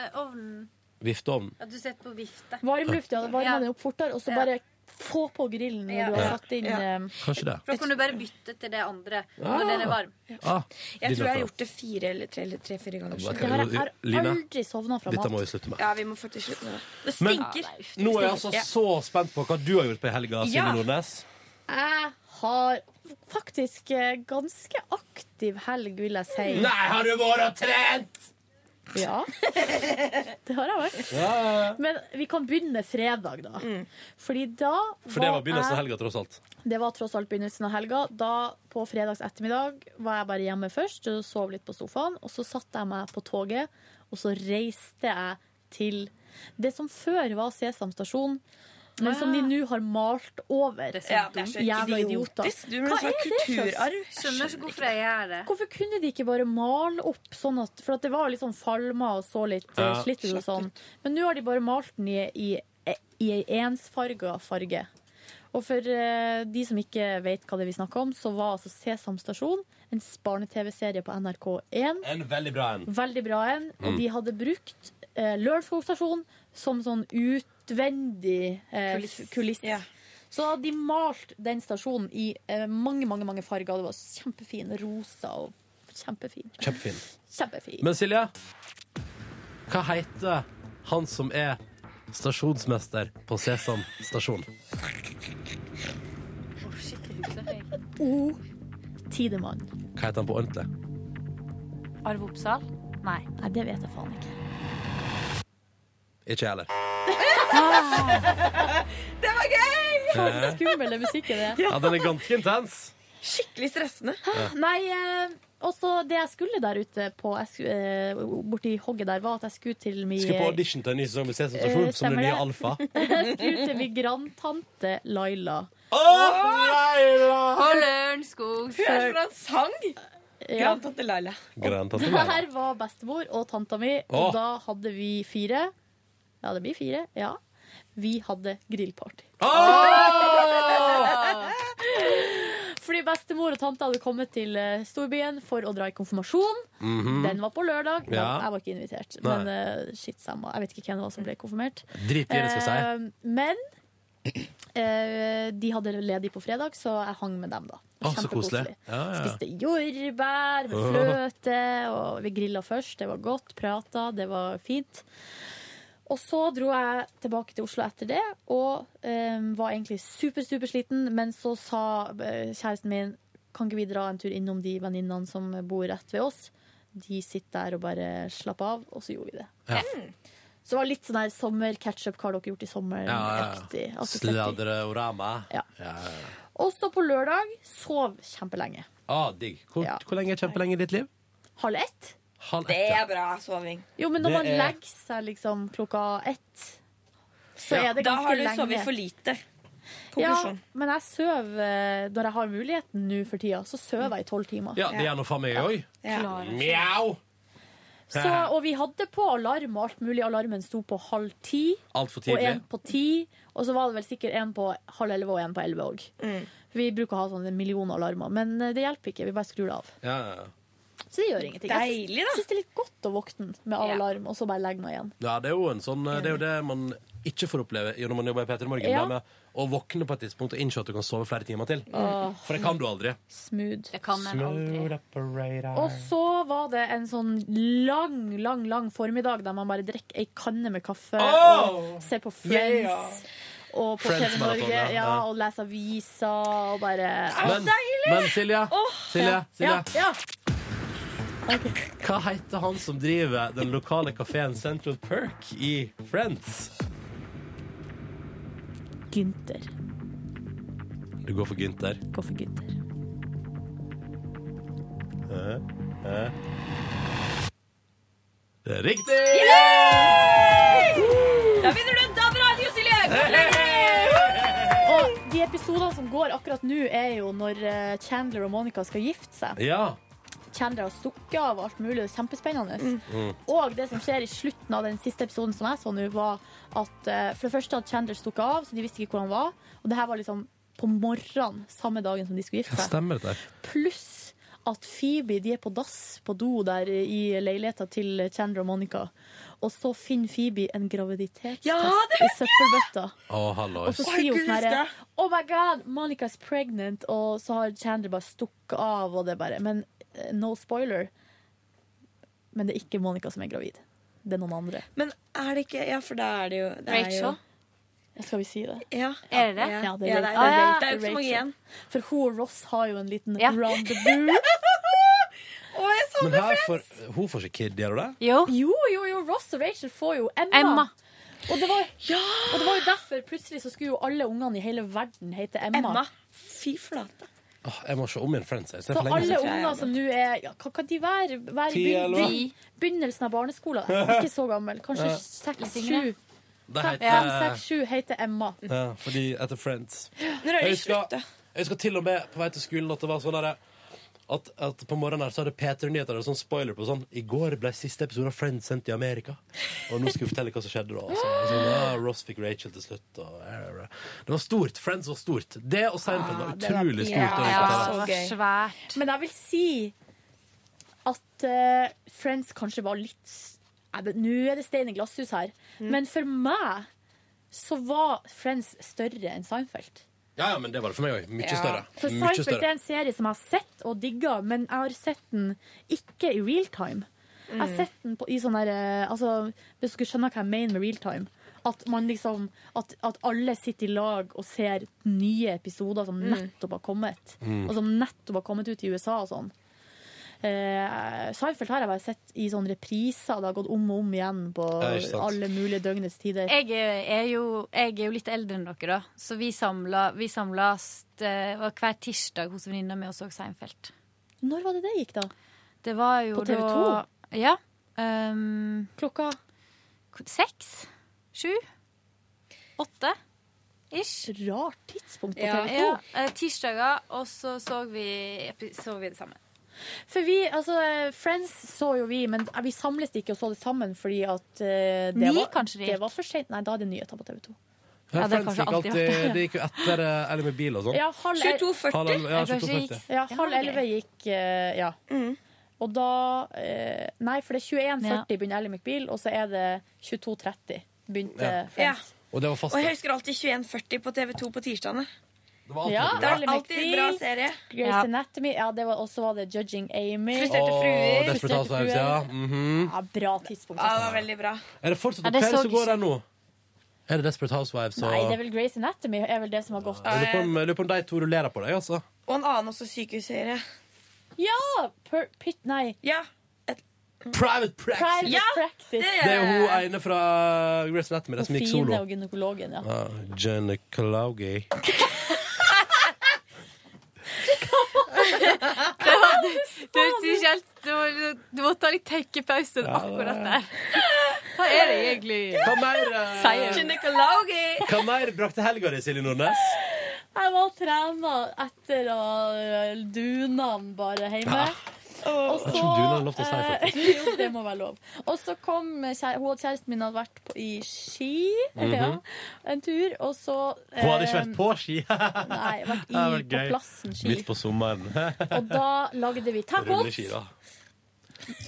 Speaker 13: vifteovnen?
Speaker 2: Vifteovnen.
Speaker 13: At du setter på vifte.
Speaker 3: Varmluft, ja. Varmer den opp fortere, og så bare få på grillen når
Speaker 13: Ja.
Speaker 3: du har
Speaker 2: Ja.
Speaker 3: satt inn
Speaker 2: Ja.
Speaker 3: eh,
Speaker 2: Kanskje det.
Speaker 13: For da kan du bare bytte til det andre
Speaker 2: Ah.
Speaker 13: når den er varm.
Speaker 2: Ah,
Speaker 9: Jeg
Speaker 2: Line
Speaker 9: tror jeg har
Speaker 2: prøver.
Speaker 9: gjort det fire eller tre eller tre-fire ganger.
Speaker 2: Ja, bare-
Speaker 9: selv.
Speaker 2: Det her er- jeg har Line, aldri
Speaker 3: sovna
Speaker 2: fra dette mat. må vi slutte med.
Speaker 9: Ja, vi må faktisk slutte med det. Det
Speaker 2: Men
Speaker 9: stinker.
Speaker 2: nå er jeg altså så spent på hva du har gjort på helga, Silje
Speaker 3: Ja.
Speaker 2: Nordnes.
Speaker 3: Jeg har faktisk eh, ganske aktiv helg, vil jeg si.
Speaker 2: Nei, har du vært og trent?!
Speaker 3: Ja. Det har jeg vært. Men vi kan begynne med fredag, da. Fordi da
Speaker 2: Mm. For det var begynnelsen av
Speaker 3: jeg-
Speaker 2: helga, tross alt.
Speaker 3: Det var tross alt begynnelsen av helga. Da På fredags ettermiddag var jeg bare hjemme først og sov litt på sofaen. Og så satte jeg meg på toget, og så reiste jeg til det som før var Sesam stasjon. Men som de nå har malt over.
Speaker 13: Ah. Det er så Ja, det er så dumt.
Speaker 3: Jævla idioter.
Speaker 13: idiotisk. Du burde
Speaker 3: Hva
Speaker 13: ha sagt
Speaker 3: er det slags-
Speaker 13: kulturarv. Jeg Skjønner ikke hvorfor jeg gjør det.
Speaker 3: Hvorfor kunne de ikke bare male opp sånn at For at det var litt sånn falma og så litt eh,
Speaker 13: Ja.
Speaker 3: slitt ut og sånn. Men nå har de bare malt den i, i, i ei ensfarga farge. Og for eh, de som ikke vet hva det er vi snakker om, så var altså Sesam stasjon en barne-TV-serie på NRK1.
Speaker 2: En veldig bra en.
Speaker 3: Veldig bra en. Og
Speaker 2: Mm.
Speaker 3: de hadde brukt eh, Lørenskog stasjon som sånn utvendig eh,
Speaker 9: Kuliss.
Speaker 3: kuliss. Så hadde de malt den stasjonen i eh, mange, mange mange farger. Det var kjempefin. Rosa og kjempefin.
Speaker 2: Kjempefin.
Speaker 3: Kjempefin.
Speaker 2: Men Silje, hva heter han som er stasjonsmester på Sesam stasjon?
Speaker 3: O. Tidemann.
Speaker 2: Hva heter han på ordentlig?
Speaker 13: Arve Oppsal? Nei.
Speaker 3: Nei, det vet jeg faen ikke.
Speaker 2: Ikke jeg heller.
Speaker 9: Det var gøy!
Speaker 3: Faen, så skummel den musikken er.
Speaker 2: Ja, den er ganske intens.
Speaker 9: Skikkelig stressende.
Speaker 2: Ja.
Speaker 3: Nei, eh, også det jeg skulle der ute på, jeg skulle, eh, borti hogget der, var at jeg skulle til min
Speaker 2: Skal på audition til en ny sesong med Sesam Stasjon,
Speaker 3: Eh,
Speaker 2: som den
Speaker 3: stemmer
Speaker 2: nye
Speaker 3: det.
Speaker 2: Alfa.
Speaker 3: Jeg skulle til min grandtante Laila.
Speaker 13: På Lørenskog.
Speaker 3: Hun er fra en
Speaker 9: sang!
Speaker 3: Grandtante
Speaker 9: Laila.
Speaker 2: Grandtante Laila.
Speaker 3: Der var bestemor og tanta mi, og
Speaker 2: Åh.
Speaker 3: da hadde vi fire. Ja, det blir fire. Ja. Vi hadde grillparty. Fordi bestemor og tante hadde kommet til eh, storbyen for å dra i konfirmasjon.
Speaker 2: Mhm.
Speaker 3: Den var på lørdag. Da-
Speaker 2: Ja.
Speaker 3: Jeg var ikke invitert.
Speaker 2: Nei.
Speaker 3: Men eh, shit, samme. Jeg vet ikke hvem det var som ble konfirmert.
Speaker 2: Drit i det, skal jeg
Speaker 3: Eh, Men eh, de hadde ledig på fredag, så jeg hang med dem, da.
Speaker 2: Å, så koselig.
Speaker 3: Kjempekoselig.
Speaker 2: Ja, ja, ja.
Speaker 3: Spiste jordbær med
Speaker 2: Åh.
Speaker 3: fløte, og vi grilla først. Det var godt. Prata, det var fint. Og så dro jeg tilbake til Oslo etter det, og eh, var egentlig super, super sliten. Men så sa eh, kjæresten min kan ikke vi dra en tur innom de venninnene som bor rett ved oss. De sitter der og bare slapper av, og så gjorde vi det.
Speaker 2: Ja.
Speaker 3: Så det var litt sånn der sommer-ketchup, hva har dere gjort i sommer?
Speaker 2: Ja,
Speaker 3: Aktig,
Speaker 2: ja.
Speaker 3: aktig setting.
Speaker 2: Sladre og rama. Ja. ja.
Speaker 3: Og så på lørdag sov kjempelenge.
Speaker 2: Ah, digg. Hvor, hvor lenge er kjempelenge i ditt liv?
Speaker 3: Halv ett.
Speaker 2: Halv
Speaker 9: Det
Speaker 2: ett. ja.
Speaker 9: er bra soving.
Speaker 3: Jo, men når
Speaker 2: Det
Speaker 3: man
Speaker 2: er-
Speaker 3: legger seg liksom klokka ett, så er det ganske lenge.
Speaker 9: da har du sovet for lite. Konklusjon.
Speaker 3: Ja, men jeg sover eh, når jeg har muligheten nå for tida, så sover jeg i tolv timer.
Speaker 2: Ja, det er nå faen meg jeg òg.
Speaker 3: Ja. Klarer ikke.
Speaker 2: Mjau!
Speaker 3: Så, og vi hadde på alarm og alt mulig. Alarmen sto på halv ti.
Speaker 2: Alt for
Speaker 3: Og
Speaker 2: tidlig.
Speaker 3: en på ti. Og så var det vel sikkert en på halv elleve og en på elleve òg. Vi bruker å ha sånn en million alarmer, men eh, det hjelper ikke. Vi bare skrur det av.
Speaker 2: Ja, ja, ja.
Speaker 3: Så det gjør ingenting. Jeg
Speaker 9: Deilig,
Speaker 3: syns- syns det er litt godt å våkne med alarm, og så bare legge meg igjen.
Speaker 2: Ja, det er jo, en sånn, det er jo det man ikke får oppleve når man jobber i P3 Morgen.
Speaker 3: Ja.
Speaker 2: det med Å våkne på et tidspunkt og innse at du kan sove flere timer til.
Speaker 3: Åh.
Speaker 2: For det kan du aldri.
Speaker 3: Smooth.
Speaker 2: Smooth operator.
Speaker 3: Og så var det en sånn lang, lang lang formiddag der man bare drikker ei kanne med kaffe
Speaker 2: Åh!
Speaker 3: og ser på Friends.
Speaker 2: Yeah!
Speaker 3: Og på
Speaker 2: Friends
Speaker 3: TV Norge, ja,
Speaker 2: maraton, ja, ja.
Speaker 3: og leser aviser og bare
Speaker 2: Men- men Silja, Silja, Silja.
Speaker 3: Ja, ja.
Speaker 2: Hva heter han som driver den lokale kafeen Central Perk i Friends?
Speaker 3: Gynter.
Speaker 2: Du går for Gynter.
Speaker 3: Går for Gynter.
Speaker 2: Hæ? Hæ? Det er riktig!
Speaker 9: Da vinner du en DAB-radio, Silje!
Speaker 3: Og de episodene som går akkurat nå, er jo når eh, Chandler og Monica skal gifte seg.
Speaker 2: Ja.
Speaker 3: Chandler har stukket av og alt mulig, det er kjempespennende.
Speaker 2: Mm.
Speaker 3: Og det som skjer i slutten av den siste episoden som jeg så nå, var at eh, for det første hadde Chandler stukket av, så de visste ikke hvor han var. Og det her var liksom på morgenen, samme dagen som de skulle gifte seg.
Speaker 2: Stemmer dette her?
Speaker 3: Pluss at Phoebe de er på dass på do der i leiligheta til Chandler og Monica. Og så finner Phoebe en graviditetstest i søppelbøtta.
Speaker 2: Å, hallois.
Speaker 3: Og så sier hun sånn herre Oh my god, Monica's pregnant, og så har Chandler bare stukket av, og det bare Men eh, no spoiler. Men det er ikke Monica som er gravid. Det er noen andre.
Speaker 9: Men er det ikke Ja, for da er det jo det er
Speaker 3: Rachel?
Speaker 9: Jo,
Speaker 3: Ja, skal vi si det?
Speaker 9: ja.
Speaker 3: Er det
Speaker 9: Ja,
Speaker 3: Ja, det
Speaker 9: ja,
Speaker 3: er
Speaker 9: det er-
Speaker 3: Rachel.
Speaker 9: det er- det er jo ikke så mange
Speaker 3: Rachel.
Speaker 9: igjen.
Speaker 3: For hun og Ross har jo en liten rendezvous.
Speaker 2: Men her får, hun får ikke kid, gjør hun det?
Speaker 3: Jo. jo, jo, Ross og Rachel får jo Emma.
Speaker 13: Emma.
Speaker 3: Og, det var, og det var jo derfor plutselig så skulle jo alle ungene i hele verden hete Emma.
Speaker 9: Emma. Fy flate.
Speaker 2: Åh, jeg må se om igjen Friends. Jeg. Det
Speaker 3: Så
Speaker 2: er for lenge
Speaker 3: alle
Speaker 2: siden.
Speaker 3: unger som nå er ja, Hva kan de være? være i
Speaker 2: Ti,
Speaker 3: begyn-
Speaker 2: elleve?
Speaker 3: begyn- begynnelsen av barneskolen. Ikke så gammel. Kanskje
Speaker 2: Ja.
Speaker 3: seks,
Speaker 13: Litt
Speaker 3: sju.
Speaker 13: yngre.
Speaker 2: Det
Speaker 3: Fem,
Speaker 2: heter-
Speaker 3: seks, sju heter Emma.
Speaker 2: Ja, fordi etter Friends.
Speaker 3: Når er det
Speaker 2: Jeg husker, jeg husker til og med på vei til skolen at det var sånn derre at, at på morgenen her så hadde P3 Nyheter en sånn spoiler på sånn I går ble siste episode av Friends sendt i Amerika. Og nå skal vi fortelle hva som skjedde da. Og så, og så, ja, Ross fikk Rachel til slutt. Og, det var stort. Friends var stort. Det og Seinfeld var
Speaker 3: Ah, det var-
Speaker 2: utrolig
Speaker 3: ja,
Speaker 2: stort.
Speaker 3: ja,
Speaker 2: da
Speaker 3: så
Speaker 2: vi
Speaker 3: gøy.
Speaker 2: fikk det.
Speaker 3: Men jeg vil si at eh, Friends kanskje var litt s- Nei, men Nå er det stein i glasshus her.
Speaker 2: Mm.
Speaker 3: Men for meg så var Friends større enn Seinfeld.
Speaker 2: ja, ja, men det var det for meg òg. Mye
Speaker 3: Ja.
Speaker 2: større.
Speaker 3: For
Speaker 2: Mye
Speaker 3: Seinfeld er
Speaker 2: større.
Speaker 3: en serie som jeg har sett og digga, men jeg har sett den ikke i real time. Jeg har
Speaker 13: Mm.
Speaker 3: sett den på, i sånn der eh, altså, Hvis dere skjønner hva jeg mener med real time. At, man liksom, at, at alle sitter i lag og ser nye episoder som nettopp har kommet.
Speaker 13: Mm.
Speaker 3: Og som nettopp har kommet ut i USA og sånn. Eh, Seinfeld har jeg bare sett i sånne repriser. Det har gått om og om igjen på
Speaker 13: Ja, ikke sant.
Speaker 3: alle mulige døgnets tider.
Speaker 13: Jeg er, er jo, jeg er jo litt eldre enn dere, da. Så vi samla vi samlast, eh, og hver tirsdag hos venninna mi og så Seinfeld.
Speaker 3: Når var det det gikk, da?
Speaker 13: Det var jo
Speaker 3: På TV 2?
Speaker 13: da- Ja. ehm,
Speaker 3: Klokka?
Speaker 13: Seks? Sju? Åtte? Ish.
Speaker 3: Rart tidspunkt på TV 2.
Speaker 13: Ja, eh, tirsdager, og så så vi, epi- så vi det sammen.
Speaker 3: For vi, altså, eh, Friends så jo vi, men vi samles ikke og så det sammen fordi at eh, det,
Speaker 13: Ni
Speaker 3: var,
Speaker 13: kanskje det
Speaker 3: det var for sent. Nei, da er det nyheter på TV 2.
Speaker 2: Ja, Friends gikk alltid, det gikk jo etter eh, Eller med bil og sånn.
Speaker 3: Ja, halv el-
Speaker 2: 22.40. Halv el- ja,
Speaker 3: Jeg kanskje
Speaker 2: 22.40.
Speaker 3: gikk- Ja, halv elleve gikk eh, Ja.
Speaker 9: Mm.
Speaker 3: Og da eh, Nei, for det er 21.40 begynner Ellie McBeal, og så er det 22.30 begynte
Speaker 2: Ja.
Speaker 3: Friends.
Speaker 2: Og det var fast.
Speaker 9: Og jeg husker alltid 21.40 på TV2 på tirsdagene.
Speaker 2: Det var alltid
Speaker 3: Ja,
Speaker 2: bra.
Speaker 9: Det var alltid en bra serie.
Speaker 3: Grey's
Speaker 9: Ja.
Speaker 3: Anatomy. Ja, det var, og så var det Judging Amy.
Speaker 2: Frustrerte fruer. Å, Desperate
Speaker 3: Frustrerte
Speaker 2: Housewives, ja. Mhm.
Speaker 3: Ja, bra tidspunkt.
Speaker 9: Ja, det
Speaker 3: altså.
Speaker 9: var veldig bra.
Speaker 2: Er det fortsatt
Speaker 3: Ja,
Speaker 2: au
Speaker 3: det
Speaker 2: pair
Speaker 3: så
Speaker 2: som
Speaker 3: ikke-
Speaker 2: går der nå? Er det Desperate Housewives og
Speaker 3: Nei, det er vel Grey's Anatomy er vel det som har gått.
Speaker 2: Jeg lurer på om- jeg lurer på om de to rullerer på deg,
Speaker 13: Mm.
Speaker 2: altså.
Speaker 9: Og en annen også sykehusserie.
Speaker 3: Ja! Per, pit, nei.
Speaker 9: Ja.
Speaker 2: Private Practice!
Speaker 3: Private
Speaker 9: Ja,
Speaker 3: Practice.
Speaker 2: Det er jo hun ene fra Grace Anatomy, det som gikk solo.
Speaker 3: Fine og gynekologen, ja.
Speaker 2: Ah, Jenny Klaugi.
Speaker 13: Det var- det- det hørtes ikke helt Du, må- du må ta litt tenkepause
Speaker 2: Ja, det-
Speaker 13: akkurat der. Hva er det egentlig
Speaker 2: Hva mer, eh,
Speaker 13: sier?
Speaker 9: Gynekologi!
Speaker 2: Hva mer brakte helga di, Silje Nordnes?
Speaker 3: Jeg var trena etter å øh, dunan bare hjemme.
Speaker 2: Ah.
Speaker 3: Og
Speaker 2: Jeg tror dunan er lov til å si,
Speaker 3: eh, jo, det må være lov. Og så kom kjære, hun og kjæresten min hadde vært på, i ski
Speaker 2: Mhm.
Speaker 3: ja, en tur, og så
Speaker 2: Hun hadde ikke vært
Speaker 3: eh,
Speaker 2: på ski.
Speaker 3: Nei, vært i,
Speaker 2: Det hadde vært
Speaker 3: på
Speaker 2: gøy.
Speaker 3: plassen ski.
Speaker 2: Midt på sommeren.
Speaker 3: Og da lagde vi tacos.
Speaker 2: Rulleski, da.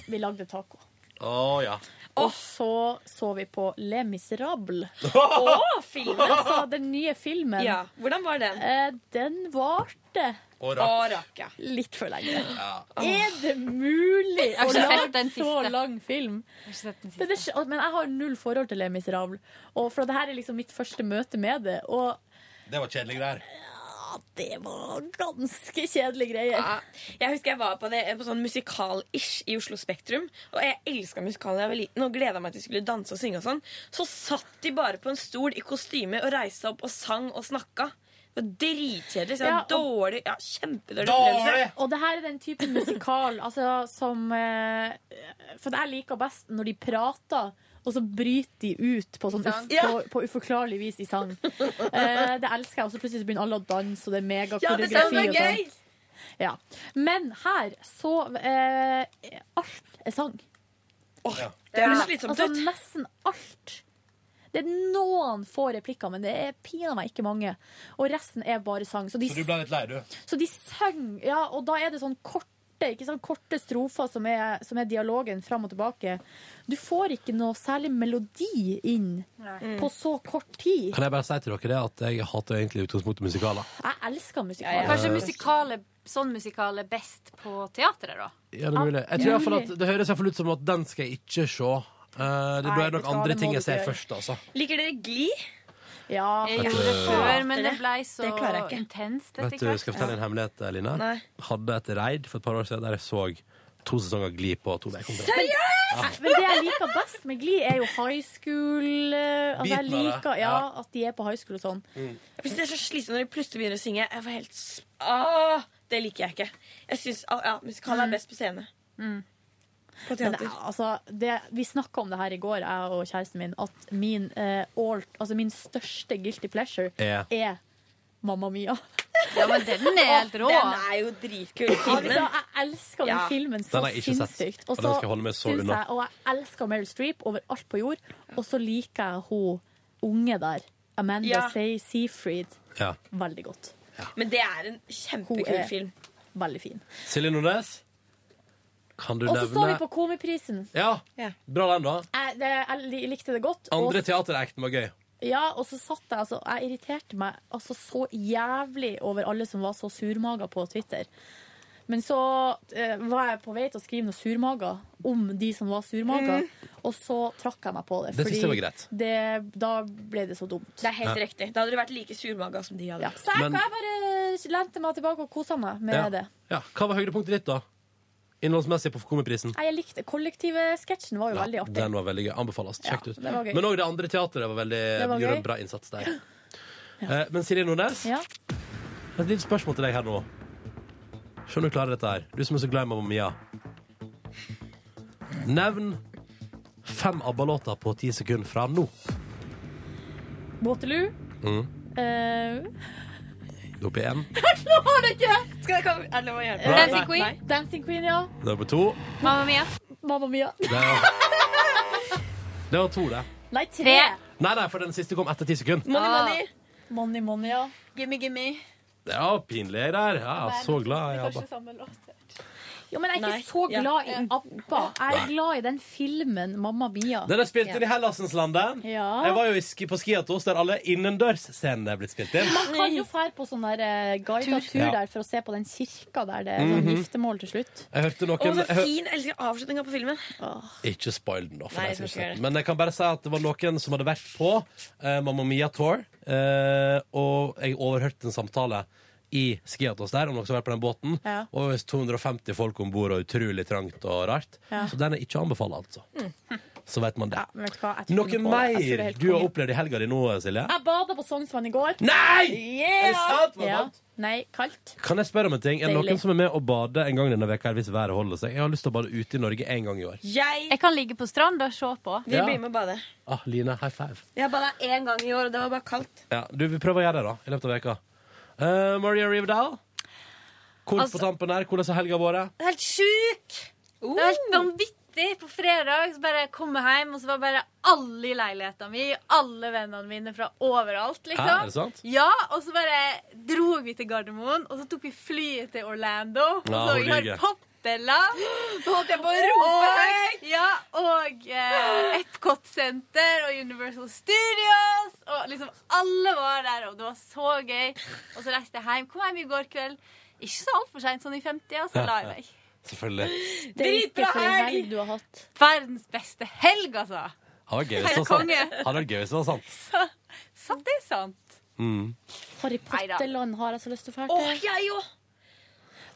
Speaker 3: Vi lagde taco.
Speaker 2: Å ja.
Speaker 3: Og så så vi på Le Miserable.
Speaker 9: Å, film!
Speaker 3: Altså, den nye filmen.
Speaker 9: Ja, Hvordan var den?
Speaker 3: Eh, den varte
Speaker 2: Og
Speaker 9: rakk. ja.
Speaker 3: litt for lenge.
Speaker 2: Ja.
Speaker 3: Er det mulig
Speaker 13: Jeg har
Speaker 3: å
Speaker 13: ikke sett
Speaker 3: lage
Speaker 13: den
Speaker 3: så
Speaker 13: siste.
Speaker 3: lang film? Men, det, skj- men jeg har null forhold til Les Miserables. Og for det her er liksom mitt første møte med det. Og
Speaker 2: Det var kjedelige greier.
Speaker 3: det var ganske kjedelige greier.
Speaker 9: Jeg husker jeg var på, det, på sånn musikal-ish i Oslo Spektrum. Og jeg elska musikalen da jeg var liten og gleda meg til jeg skulle danse og synge. og sånn Så satt de bare på en stol i kostyme og reiste opp og sang og snakka. Det var dritkjedelig. Så jeg
Speaker 3: Ja,
Speaker 9: var
Speaker 3: og-
Speaker 9: dårlig, ja, kjempedårlig opplevelse.
Speaker 3: Og det her er den typen musikal altså, som eh, For det jeg liker best når de prater, og så bryter de ut på, sånn,
Speaker 9: Sang.
Speaker 3: uf, på, på uforklarlig vis i sang. Eh, det elsker jeg. Og så plutselig så begynner alle å danse, og det er
Speaker 9: Ja, det
Speaker 3: megakoreografi.
Speaker 9: synes jeg var
Speaker 3: og sånn.
Speaker 9: gøy.
Speaker 3: ja. Men her så eh, Alt er sang.
Speaker 9: Det høres slitsomt
Speaker 3: altså,
Speaker 9: ut.
Speaker 3: Nesten alt. Det er noen få replikker, men det er pinadø meg ikke mange. Og resten er bare sang. Så de
Speaker 2: Så du ble litt lei, du?
Speaker 3: så de sang, ja, og da er det sånn korte, ikke sånn korte strofer som er, som er dialogen fram og tilbake. Du får ikke noe særlig melodi inn på så kort tid.
Speaker 2: Kan jeg bare si til dere det at jeg hater egentlig i utgangspunktet musikaler.
Speaker 3: Jeg elsker
Speaker 13: Ja, ja.
Speaker 3: musikaler.
Speaker 13: Kanskje musikale, sånn musikal er best på teatret, da?
Speaker 2: Ja, det, er mulig. jeg tror i hvert fall at det høres i hvert fall ut som at den skal jeg ikke se. Eh, det blir
Speaker 13: Nei,
Speaker 2: nok
Speaker 13: vet du hva,
Speaker 2: andre
Speaker 13: det må
Speaker 2: ting
Speaker 13: du
Speaker 2: jeg ser
Speaker 13: ikke gjøre.
Speaker 2: først, altså.
Speaker 9: Liker dere Glee?
Speaker 3: Ja.
Speaker 13: Jeg
Speaker 2: Vet du-
Speaker 13: gjorde det før, men det ble så
Speaker 9: Det klarer jeg ikke.
Speaker 13: intenst
Speaker 2: Vet
Speaker 13: etter
Speaker 2: du, Skal jeg fortelle en
Speaker 13: hvert.
Speaker 2: hemmelighet, Line?
Speaker 13: Nei.
Speaker 2: Hadde et raid for et par år siden der jeg så to sesonger Gli på to uker.
Speaker 3: Seriøst?! Men det jeg liker best med Glee, er jo high school eh, Altså,
Speaker 2: Biten
Speaker 3: jeg
Speaker 2: av det,
Speaker 3: liker ja,
Speaker 2: ja.
Speaker 3: at de er på high school og sånn.
Speaker 9: Jeg synes det er så slitsomt når de plutselig begynner å synge. Jeg får helt s- ah, Det liker jeg ikke. Jeg synes, ah, ja, Musikal er best på scene. På
Speaker 3: Men,
Speaker 9: teater.
Speaker 3: altså, det, vi snakka om det her i går, jeg og kjæresten min, at min, eh, all, altså min største guilty pleasure
Speaker 2: Ja.
Speaker 3: er Mamma Mia.
Speaker 13: Ja, men den er helt rå.
Speaker 9: Den er jo dritkul. Filmen.
Speaker 3: Altså, jeg elsker den
Speaker 9: Ja.
Speaker 3: filmen så
Speaker 2: Den har jeg ikke sett,
Speaker 3: sinnssykt.
Speaker 2: og den skal jeg holde meg så
Speaker 3: syns
Speaker 2: unna.
Speaker 3: jeg- og jeg elsker Meryl Streep overalt på jord, og så liker jeg hun unge der. Amanda
Speaker 9: Ja.
Speaker 3: Say Seafried.
Speaker 2: Ja.
Speaker 3: Veldig godt.
Speaker 9: Men det er en
Speaker 3: Hun
Speaker 9: kjempekul
Speaker 3: er
Speaker 9: film.
Speaker 3: veldig fin.
Speaker 2: Silje Nordnes, kan du
Speaker 3: Og så så vi
Speaker 2: nevne
Speaker 3: på Komiprisen.
Speaker 2: Ja,
Speaker 9: Ja.
Speaker 2: bra den, da.
Speaker 3: Jeg, det, jeg li- likte det godt.
Speaker 2: Andre
Speaker 3: og,
Speaker 2: teateracten var gøy.
Speaker 3: ja, og så satt jeg altså Jeg irriterte meg altså så jævlig over alle som var så surmaga på Twitter. Men så eh, var jeg på vei til å skrive noe surmaga om de som var surmaga, og så trakk jeg meg på det.
Speaker 2: Mm. Det synes jeg
Speaker 3: fordi
Speaker 2: var greit.
Speaker 3: det- da ble det så dumt.
Speaker 9: Det er helt
Speaker 2: Ja.
Speaker 9: riktig. Da hadde du vært like surmaga som de hadde.
Speaker 3: Så jeg,
Speaker 2: Men-
Speaker 3: jeg bare lente meg tilbake og kosa meg med
Speaker 2: Ja.
Speaker 3: det.
Speaker 2: Ja. Hva var høydepunktet ditt, da? Innholdsmessig på Komiprisen.
Speaker 3: Nei, jeg likte Kollektivsketsjen var jo veldig artig.
Speaker 2: Den var veldig gøy. Anbefales. Sjekk det ut.
Speaker 3: det var gøy.
Speaker 2: Men òg det andre teateret var veldig,
Speaker 3: Det var
Speaker 2: gjorde
Speaker 3: gøy.
Speaker 2: en bra innsats der. Eh, Men Silje Nordnes,
Speaker 3: Ja.
Speaker 2: et lite spørsmål til deg her nå. Se om du klarer dette her. Du som er så glad i Mamma Mia. Nevn fem ABBA-låter på ti sekunder fra nå.
Speaker 3: Waterloo.
Speaker 2: Mm.
Speaker 3: eh,
Speaker 2: Opp i én.
Speaker 3: jeg klarer det ikke!
Speaker 9: Skal jeg, kan, er det lov å hjelpe?
Speaker 2: Nei. Dancing
Speaker 3: Queen. Dancing Queen, ja.
Speaker 2: Det er på to.
Speaker 13: Mamma mia.
Speaker 3: Mamma mia.
Speaker 2: Det var, det var to, det.
Speaker 3: Nei, tre.
Speaker 2: Nei, nei, for den siste kom etter ti sekunder.
Speaker 3: money. Money, money, ja. Gimme, gimme.
Speaker 2: Det var pinlig der. Ja, så
Speaker 3: sånn,
Speaker 2: glad. Jeg, ABBA.
Speaker 3: Jo, men jeg er
Speaker 13: Nei.
Speaker 3: ikke så
Speaker 13: Ja.
Speaker 3: glad i ABBA. Jeg er
Speaker 2: Nei.
Speaker 3: glad i den filmen Mamma Mia.
Speaker 2: Den er spilt inn i Hellasenslandet.
Speaker 3: Ja.
Speaker 2: Jeg var jo i ski- på Skiatos, der alle innendørsscenene er blitt spilt inn.
Speaker 3: Man kan jo fære på sånn der eh, guidet tur
Speaker 2: Ja.
Speaker 3: der for å se på den kirka der det er sånn
Speaker 2: Mhm.
Speaker 3: giftermål til slutt.
Speaker 2: Jeg hørte noen jeg hør,
Speaker 3: Jeg elsker avslutninga på filmen. Åh.
Speaker 2: Ikke spoil den, da. For
Speaker 3: Nei,
Speaker 2: deg som ikke har
Speaker 3: jeg skal ikke gjøre
Speaker 2: sett den. Men jeg kan bare si at det var noen som hadde vært på eh, Mamma Mia Tour, eh, og jeg overhørte en samtale i Skiatos der, om noen som har vært på den båten.
Speaker 5: Ja.
Speaker 2: Og 250 folk om bord, og utrolig trangt og rart.
Speaker 5: Ja.
Speaker 2: Så den er ikke å anbefale, altså. Så vet man det.
Speaker 3: Vet du hva, Mm. jeg tror
Speaker 2: Noe
Speaker 3: ikke på det. Jeg tror det er
Speaker 2: mer
Speaker 3: helt
Speaker 2: du har
Speaker 3: konge.
Speaker 2: opplevd i helga di nå, Silje?
Speaker 3: Jeg bada på Sognsvann i går.
Speaker 2: Nei!
Speaker 3: Yeah!
Speaker 2: Er det sant? Var det
Speaker 3: Ja.
Speaker 2: varmt?
Speaker 3: Nei, kaldt.
Speaker 2: Kan jeg spørre om en ting? Er det
Speaker 3: Deilig.
Speaker 2: noen som er med å bade en gang denne veka her, hvis været holder seg? Jeg har lyst til å bade ute i Norge en gang i år.
Speaker 13: Jeg, kan ligge på stranda og se på.
Speaker 2: Vi Ja. blir med
Speaker 13: og bader.
Speaker 2: Ah, Line, high five.
Speaker 13: Jeg bada én gang i år, og det var bare kaldt.
Speaker 2: Ja, du, vi prøver å gjøre det da, i løpet av veka. Eh, Maria Rivedal, kort på
Speaker 3: Altså-
Speaker 2: tampen her. Hvordan har helga vært?
Speaker 13: Helt sjuk! Det var
Speaker 3: Oh.
Speaker 13: helt vanvittig. På fredag så bare kom jeg hjem, og så var bare alle i leiligheten min, alle vennene mine fra overalt, liksom.
Speaker 5: Hæ, er det sant?
Speaker 13: Ja, og så bare dro vi til Gardermoen, og så tok vi flyet til Orlando. Og
Speaker 5: Ja,
Speaker 13: så
Speaker 5: hun
Speaker 13: vi har
Speaker 5: lyger.
Speaker 13: poppeller. Nå holdt jeg på
Speaker 5: å rope
Speaker 13: Og, ja, og eh, Epcot Center og Universal Studios. Og liksom alle var der, og det var så gøy. Og så reiste jeg hjem. Kom hjem i går kveld. Ikke så altfor seint, sånn i 50, og så la jeg meg.
Speaker 2: Selvfølgelig.
Speaker 3: Det er ikke
Speaker 13: Dritbra
Speaker 3: for en
Speaker 13: helg!
Speaker 3: helg du har hatt.
Speaker 13: Verdens beste helg, altså!
Speaker 2: Har vært gøy hvis det
Speaker 13: Helt
Speaker 2: var sant.
Speaker 13: konge.
Speaker 2: Har vært gøy hvis det var sant.
Speaker 13: Så, så det er sant.
Speaker 2: Mm.
Speaker 3: Harry
Speaker 13: Neida.
Speaker 3: Potter-land har jeg så lyst til å fære til.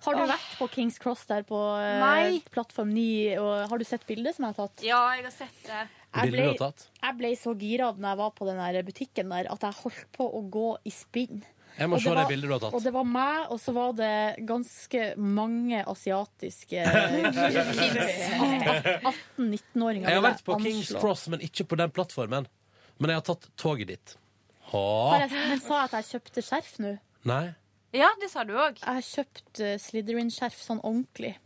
Speaker 3: Har du
Speaker 13: Åh.
Speaker 3: vært på Kings Cross der på eh,
Speaker 13: Nei.
Speaker 3: plattform 9? Og har du sett bildet som jeg har tatt?
Speaker 13: Ja, jeg har sett det.
Speaker 3: Jeg ble,
Speaker 2: Bildet du har tatt?
Speaker 3: jeg ble så gira når jeg var på den der butikken der, at jeg holdt på å gå i spinn.
Speaker 2: Jeg må
Speaker 3: Og
Speaker 2: se det
Speaker 3: var-
Speaker 2: bildet du har tatt.
Speaker 3: Og det var meg, og så var det ganske mange asiatiske kids. 18-19-åringer.
Speaker 2: Jeg har
Speaker 3: vil
Speaker 2: vært på Kings
Speaker 3: anslå.
Speaker 2: Cross, men ikke på den plattformen. Men jeg har tatt toget dit.
Speaker 3: Har
Speaker 2: Ha.
Speaker 3: jeg, men sa jeg at jeg kjøpte skjerf nå?
Speaker 2: Nei.
Speaker 13: Ja, det sa du òg.
Speaker 3: Jeg har kjøpt eh, Slytherin-skjerf sånn ordentlig.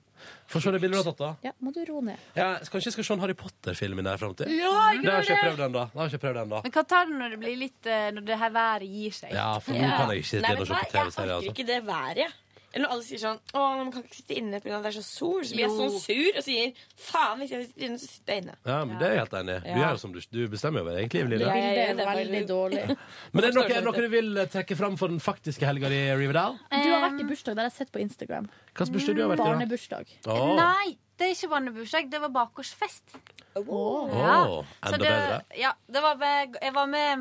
Speaker 2: Få se det bildet du har tatt, da.
Speaker 3: Ja, må du ro ned.
Speaker 2: Ja, kanskje jeg skal se en Harry Potter-film i nær fremtid
Speaker 13: Ja, gjør
Speaker 2: Det har ikke jeg
Speaker 13: det.
Speaker 2: prøvd ennå. Det har ikke jeg prøvd ennå.
Speaker 13: Men hva tar du når det blir litt eh, Når det her været gir seg?
Speaker 2: Ja, for nå kan jeg ikke sitte
Speaker 13: Nei,
Speaker 2: inne og se
Speaker 13: vet
Speaker 2: på TV-serier.
Speaker 13: du hva? Jeg orker
Speaker 2: Altså.
Speaker 9: Ikke det været. jeg. Eller når alle sier sånn Å, man kan ikke sitte inne pga. det er så sol. Så blir jeg
Speaker 13: Jo.
Speaker 9: sånn sur og sier faen, hvis jeg sitter inne, så sitter jeg inne.
Speaker 2: Ja, men Det er jeg helt enig i. Du,
Speaker 9: Ja.
Speaker 2: er jo som du, du bestemmer over egentlig, Lille.
Speaker 9: Ja, jeg-
Speaker 3: Det er
Speaker 9: det var
Speaker 3: veldig
Speaker 9: litt-
Speaker 3: dårlig.
Speaker 2: Men er det noe, er det noe du vil eh, trekke fram for den faktiske helga di, Riverdal?
Speaker 3: Du har vært i bursdag, det har jeg sett på Instagram.
Speaker 2: Hvilken bursdag du har vært i, da?
Speaker 3: Barnebursdag.
Speaker 2: Åh.
Speaker 13: Nei, det er ikke barnebursdag. Det var bakgårdsfest.
Speaker 2: Åh,
Speaker 13: Så
Speaker 2: enda
Speaker 13: det,
Speaker 2: bedre.
Speaker 13: ja, det var med, jeg var med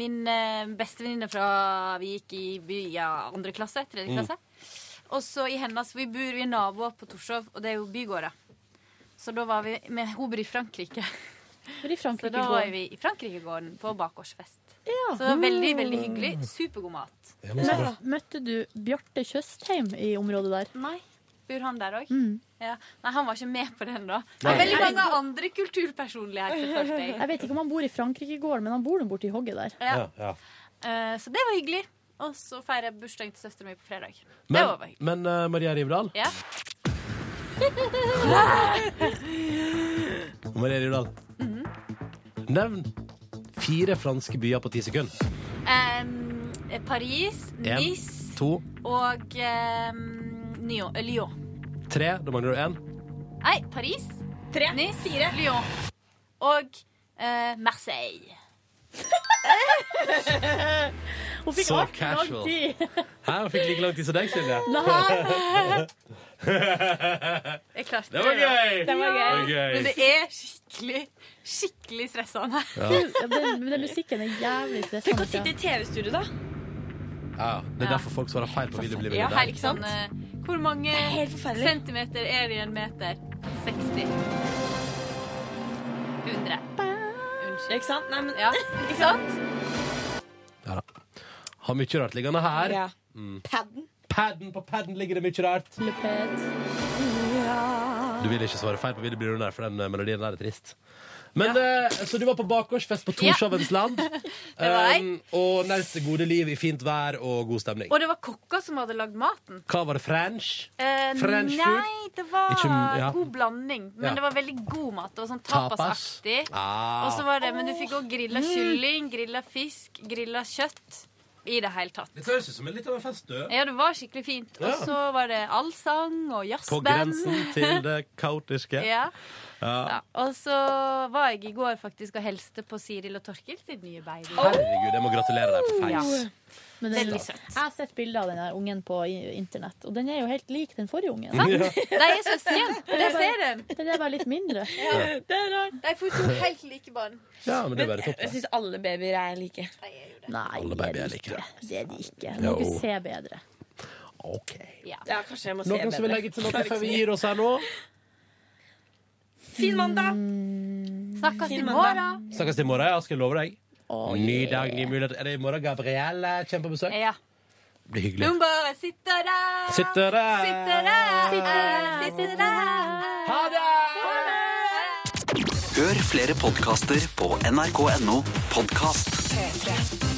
Speaker 13: min eh, bestevenninne fra vi gikk i by, ja, andre klasse, tredje
Speaker 5: Mm.
Speaker 13: klasse. Og så i hennes, Vi bor vi er naboer på Torshov, og det er jo bygårder. Så da var vi med Hun bor i Frankrike. så da var
Speaker 3: Frankrikegården.
Speaker 13: vi i Frankrikegården på bakgårdsfest. Så det var veldig,
Speaker 2: Ah.
Speaker 13: veldig hyggelig. Supergod mat.
Speaker 3: Men Møtte du Bjarte Tjøstheim i området der?
Speaker 13: Nei. Bor han der òg?
Speaker 3: Mm.
Speaker 13: Ja. Nei, han var ikke med på den, da. Det
Speaker 3: Nei.
Speaker 13: er veldig mange andre kulturpersonligheter, følte jeg.
Speaker 3: Jeg vet ikke om han bor i Frankrikegården, men han bor nå borti hogget der.
Speaker 13: Ja. Eh, så det var hyggelig. Og så feirer jeg bursdagen til søsteren min på fredag. det
Speaker 2: Men,
Speaker 13: var bare hyggelig.
Speaker 2: men eh, Maria Riverdal
Speaker 13: Ja. Mhm.
Speaker 2: Maria Riverdal. Nevn fire franske byer på ti sekunder.
Speaker 13: Em, eh, Paris,
Speaker 2: En,
Speaker 13: Nice
Speaker 2: to,
Speaker 13: og em, Nyon- eh, Lyon.
Speaker 2: tre. Da mangler du én.
Speaker 13: Nei, Paris, Tre, Nice, fire. Lyon og eh, Marseille.
Speaker 3: Hun
Speaker 2: fikk Så alt lang casual. tid. Hæ, jeg fikk like lang tid som deg, Silje.
Speaker 13: Nei. Jeg klarte
Speaker 2: Det var gøy!
Speaker 13: Det var
Speaker 2: Det
Speaker 13: gøy.
Speaker 2: var gøy.
Speaker 13: Men det er skikkelig, skikkelig stressende.
Speaker 2: Ja.
Speaker 3: Den, den musikken er jævlig stressende.
Speaker 9: Tenk å sitte i TV-studio, da.
Speaker 2: Ja, det er derfor folk svarer feil på Vil du bli
Speaker 9: Ja,
Speaker 2: millionær.
Speaker 9: her, ikke sant?
Speaker 13: Sånn, eh, Hvor mange
Speaker 9: helt forferdelig.
Speaker 13: centimeter er det i en meter? 60. 100. Unnskyld.
Speaker 9: Ikke sant? Nei, men,
Speaker 13: ja. Ikke sant?
Speaker 2: Ja da. Har mye rart liggende her.
Speaker 9: Ja.
Speaker 2: Mm.
Speaker 9: Padden.
Speaker 2: Padden på padden ligger det mye rart. Du vil ikke svare feil på Ville blir du der, for den eh, melodien der er trist. Men, eh, så du var på bakgårdsfest på Torshavens land.
Speaker 13: var jeg.
Speaker 2: Um, og nøt det gode liv i fint vær og god stemning.
Speaker 13: Og det var kokka som hadde lagd maten.
Speaker 2: Hva var det? French?
Speaker 13: Eh,
Speaker 2: French food?
Speaker 13: Nei, det var
Speaker 2: Ikke- ja.
Speaker 13: god blanding. Men
Speaker 2: Ja.
Speaker 13: det var veldig god mat. Det var sånn
Speaker 2: Tapas.
Speaker 13: tapasaktig.
Speaker 2: Ah.
Speaker 13: Og så var det, men du fikk òg grilla
Speaker 2: Mm.
Speaker 13: kylling, grilla fisk, grilla kjøtt. I det hele tatt.
Speaker 2: Dette høres ut som en litt av en fest, du.
Speaker 13: Ja, det var skikkelig fint.
Speaker 2: Ja.
Speaker 13: Og så var det allsang og
Speaker 2: På
Speaker 13: jazzband.
Speaker 2: grensen til det kaotiske.
Speaker 13: ja.
Speaker 2: Ja.
Speaker 13: Og så var jeg i går faktisk og helste på Siril og Torkil sitt nye baby.
Speaker 2: Herregud, jeg må gratulere deg på face.
Speaker 3: Men den,
Speaker 13: Veldig
Speaker 3: jeg har sett bilder av den der ungen på i- internett, og den er jo helt lik den forrige
Speaker 9: Mm.
Speaker 3: ungen.
Speaker 2: Sant? Ja.
Speaker 13: De er søsken.
Speaker 3: Den er
Speaker 13: Jeg ser
Speaker 3: bare- Den er bare litt mindre.
Speaker 2: Ja.
Speaker 9: Det er rart.
Speaker 13: De får to helt like barn.
Speaker 2: Ja, men det er bare topp,
Speaker 9: Jeg syns alle babyer er like.
Speaker 3: Nei,
Speaker 2: Alle babyer liker det.
Speaker 3: det er de ikke. Må
Speaker 2: Jo.
Speaker 3: ikke se bedre.
Speaker 2: OK.
Speaker 9: Ja. kanskje jeg må se
Speaker 2: Noen som vil legge til noe før vi gir oss her nå?
Speaker 9: Fin mandag!
Speaker 13: Snakkes
Speaker 9: Fin
Speaker 13: i
Speaker 9: mandag.
Speaker 13: morgen.
Speaker 2: Snakkes til i morgen, ja. Skal jeg love deg. Ny
Speaker 13: yeah. Eh,
Speaker 2: dag, nye muligheter. Er det i morgen Gabrielle kommer på besøk?
Speaker 13: Ja.
Speaker 2: Blir hyggelig.
Speaker 13: Hun bare sitter der.
Speaker 2: Sitter der.
Speaker 13: Sitter der. Sitter der.
Speaker 2: Ha det!
Speaker 14: Hør flere podkaster på nrk.no podkast.
Speaker 5: P3.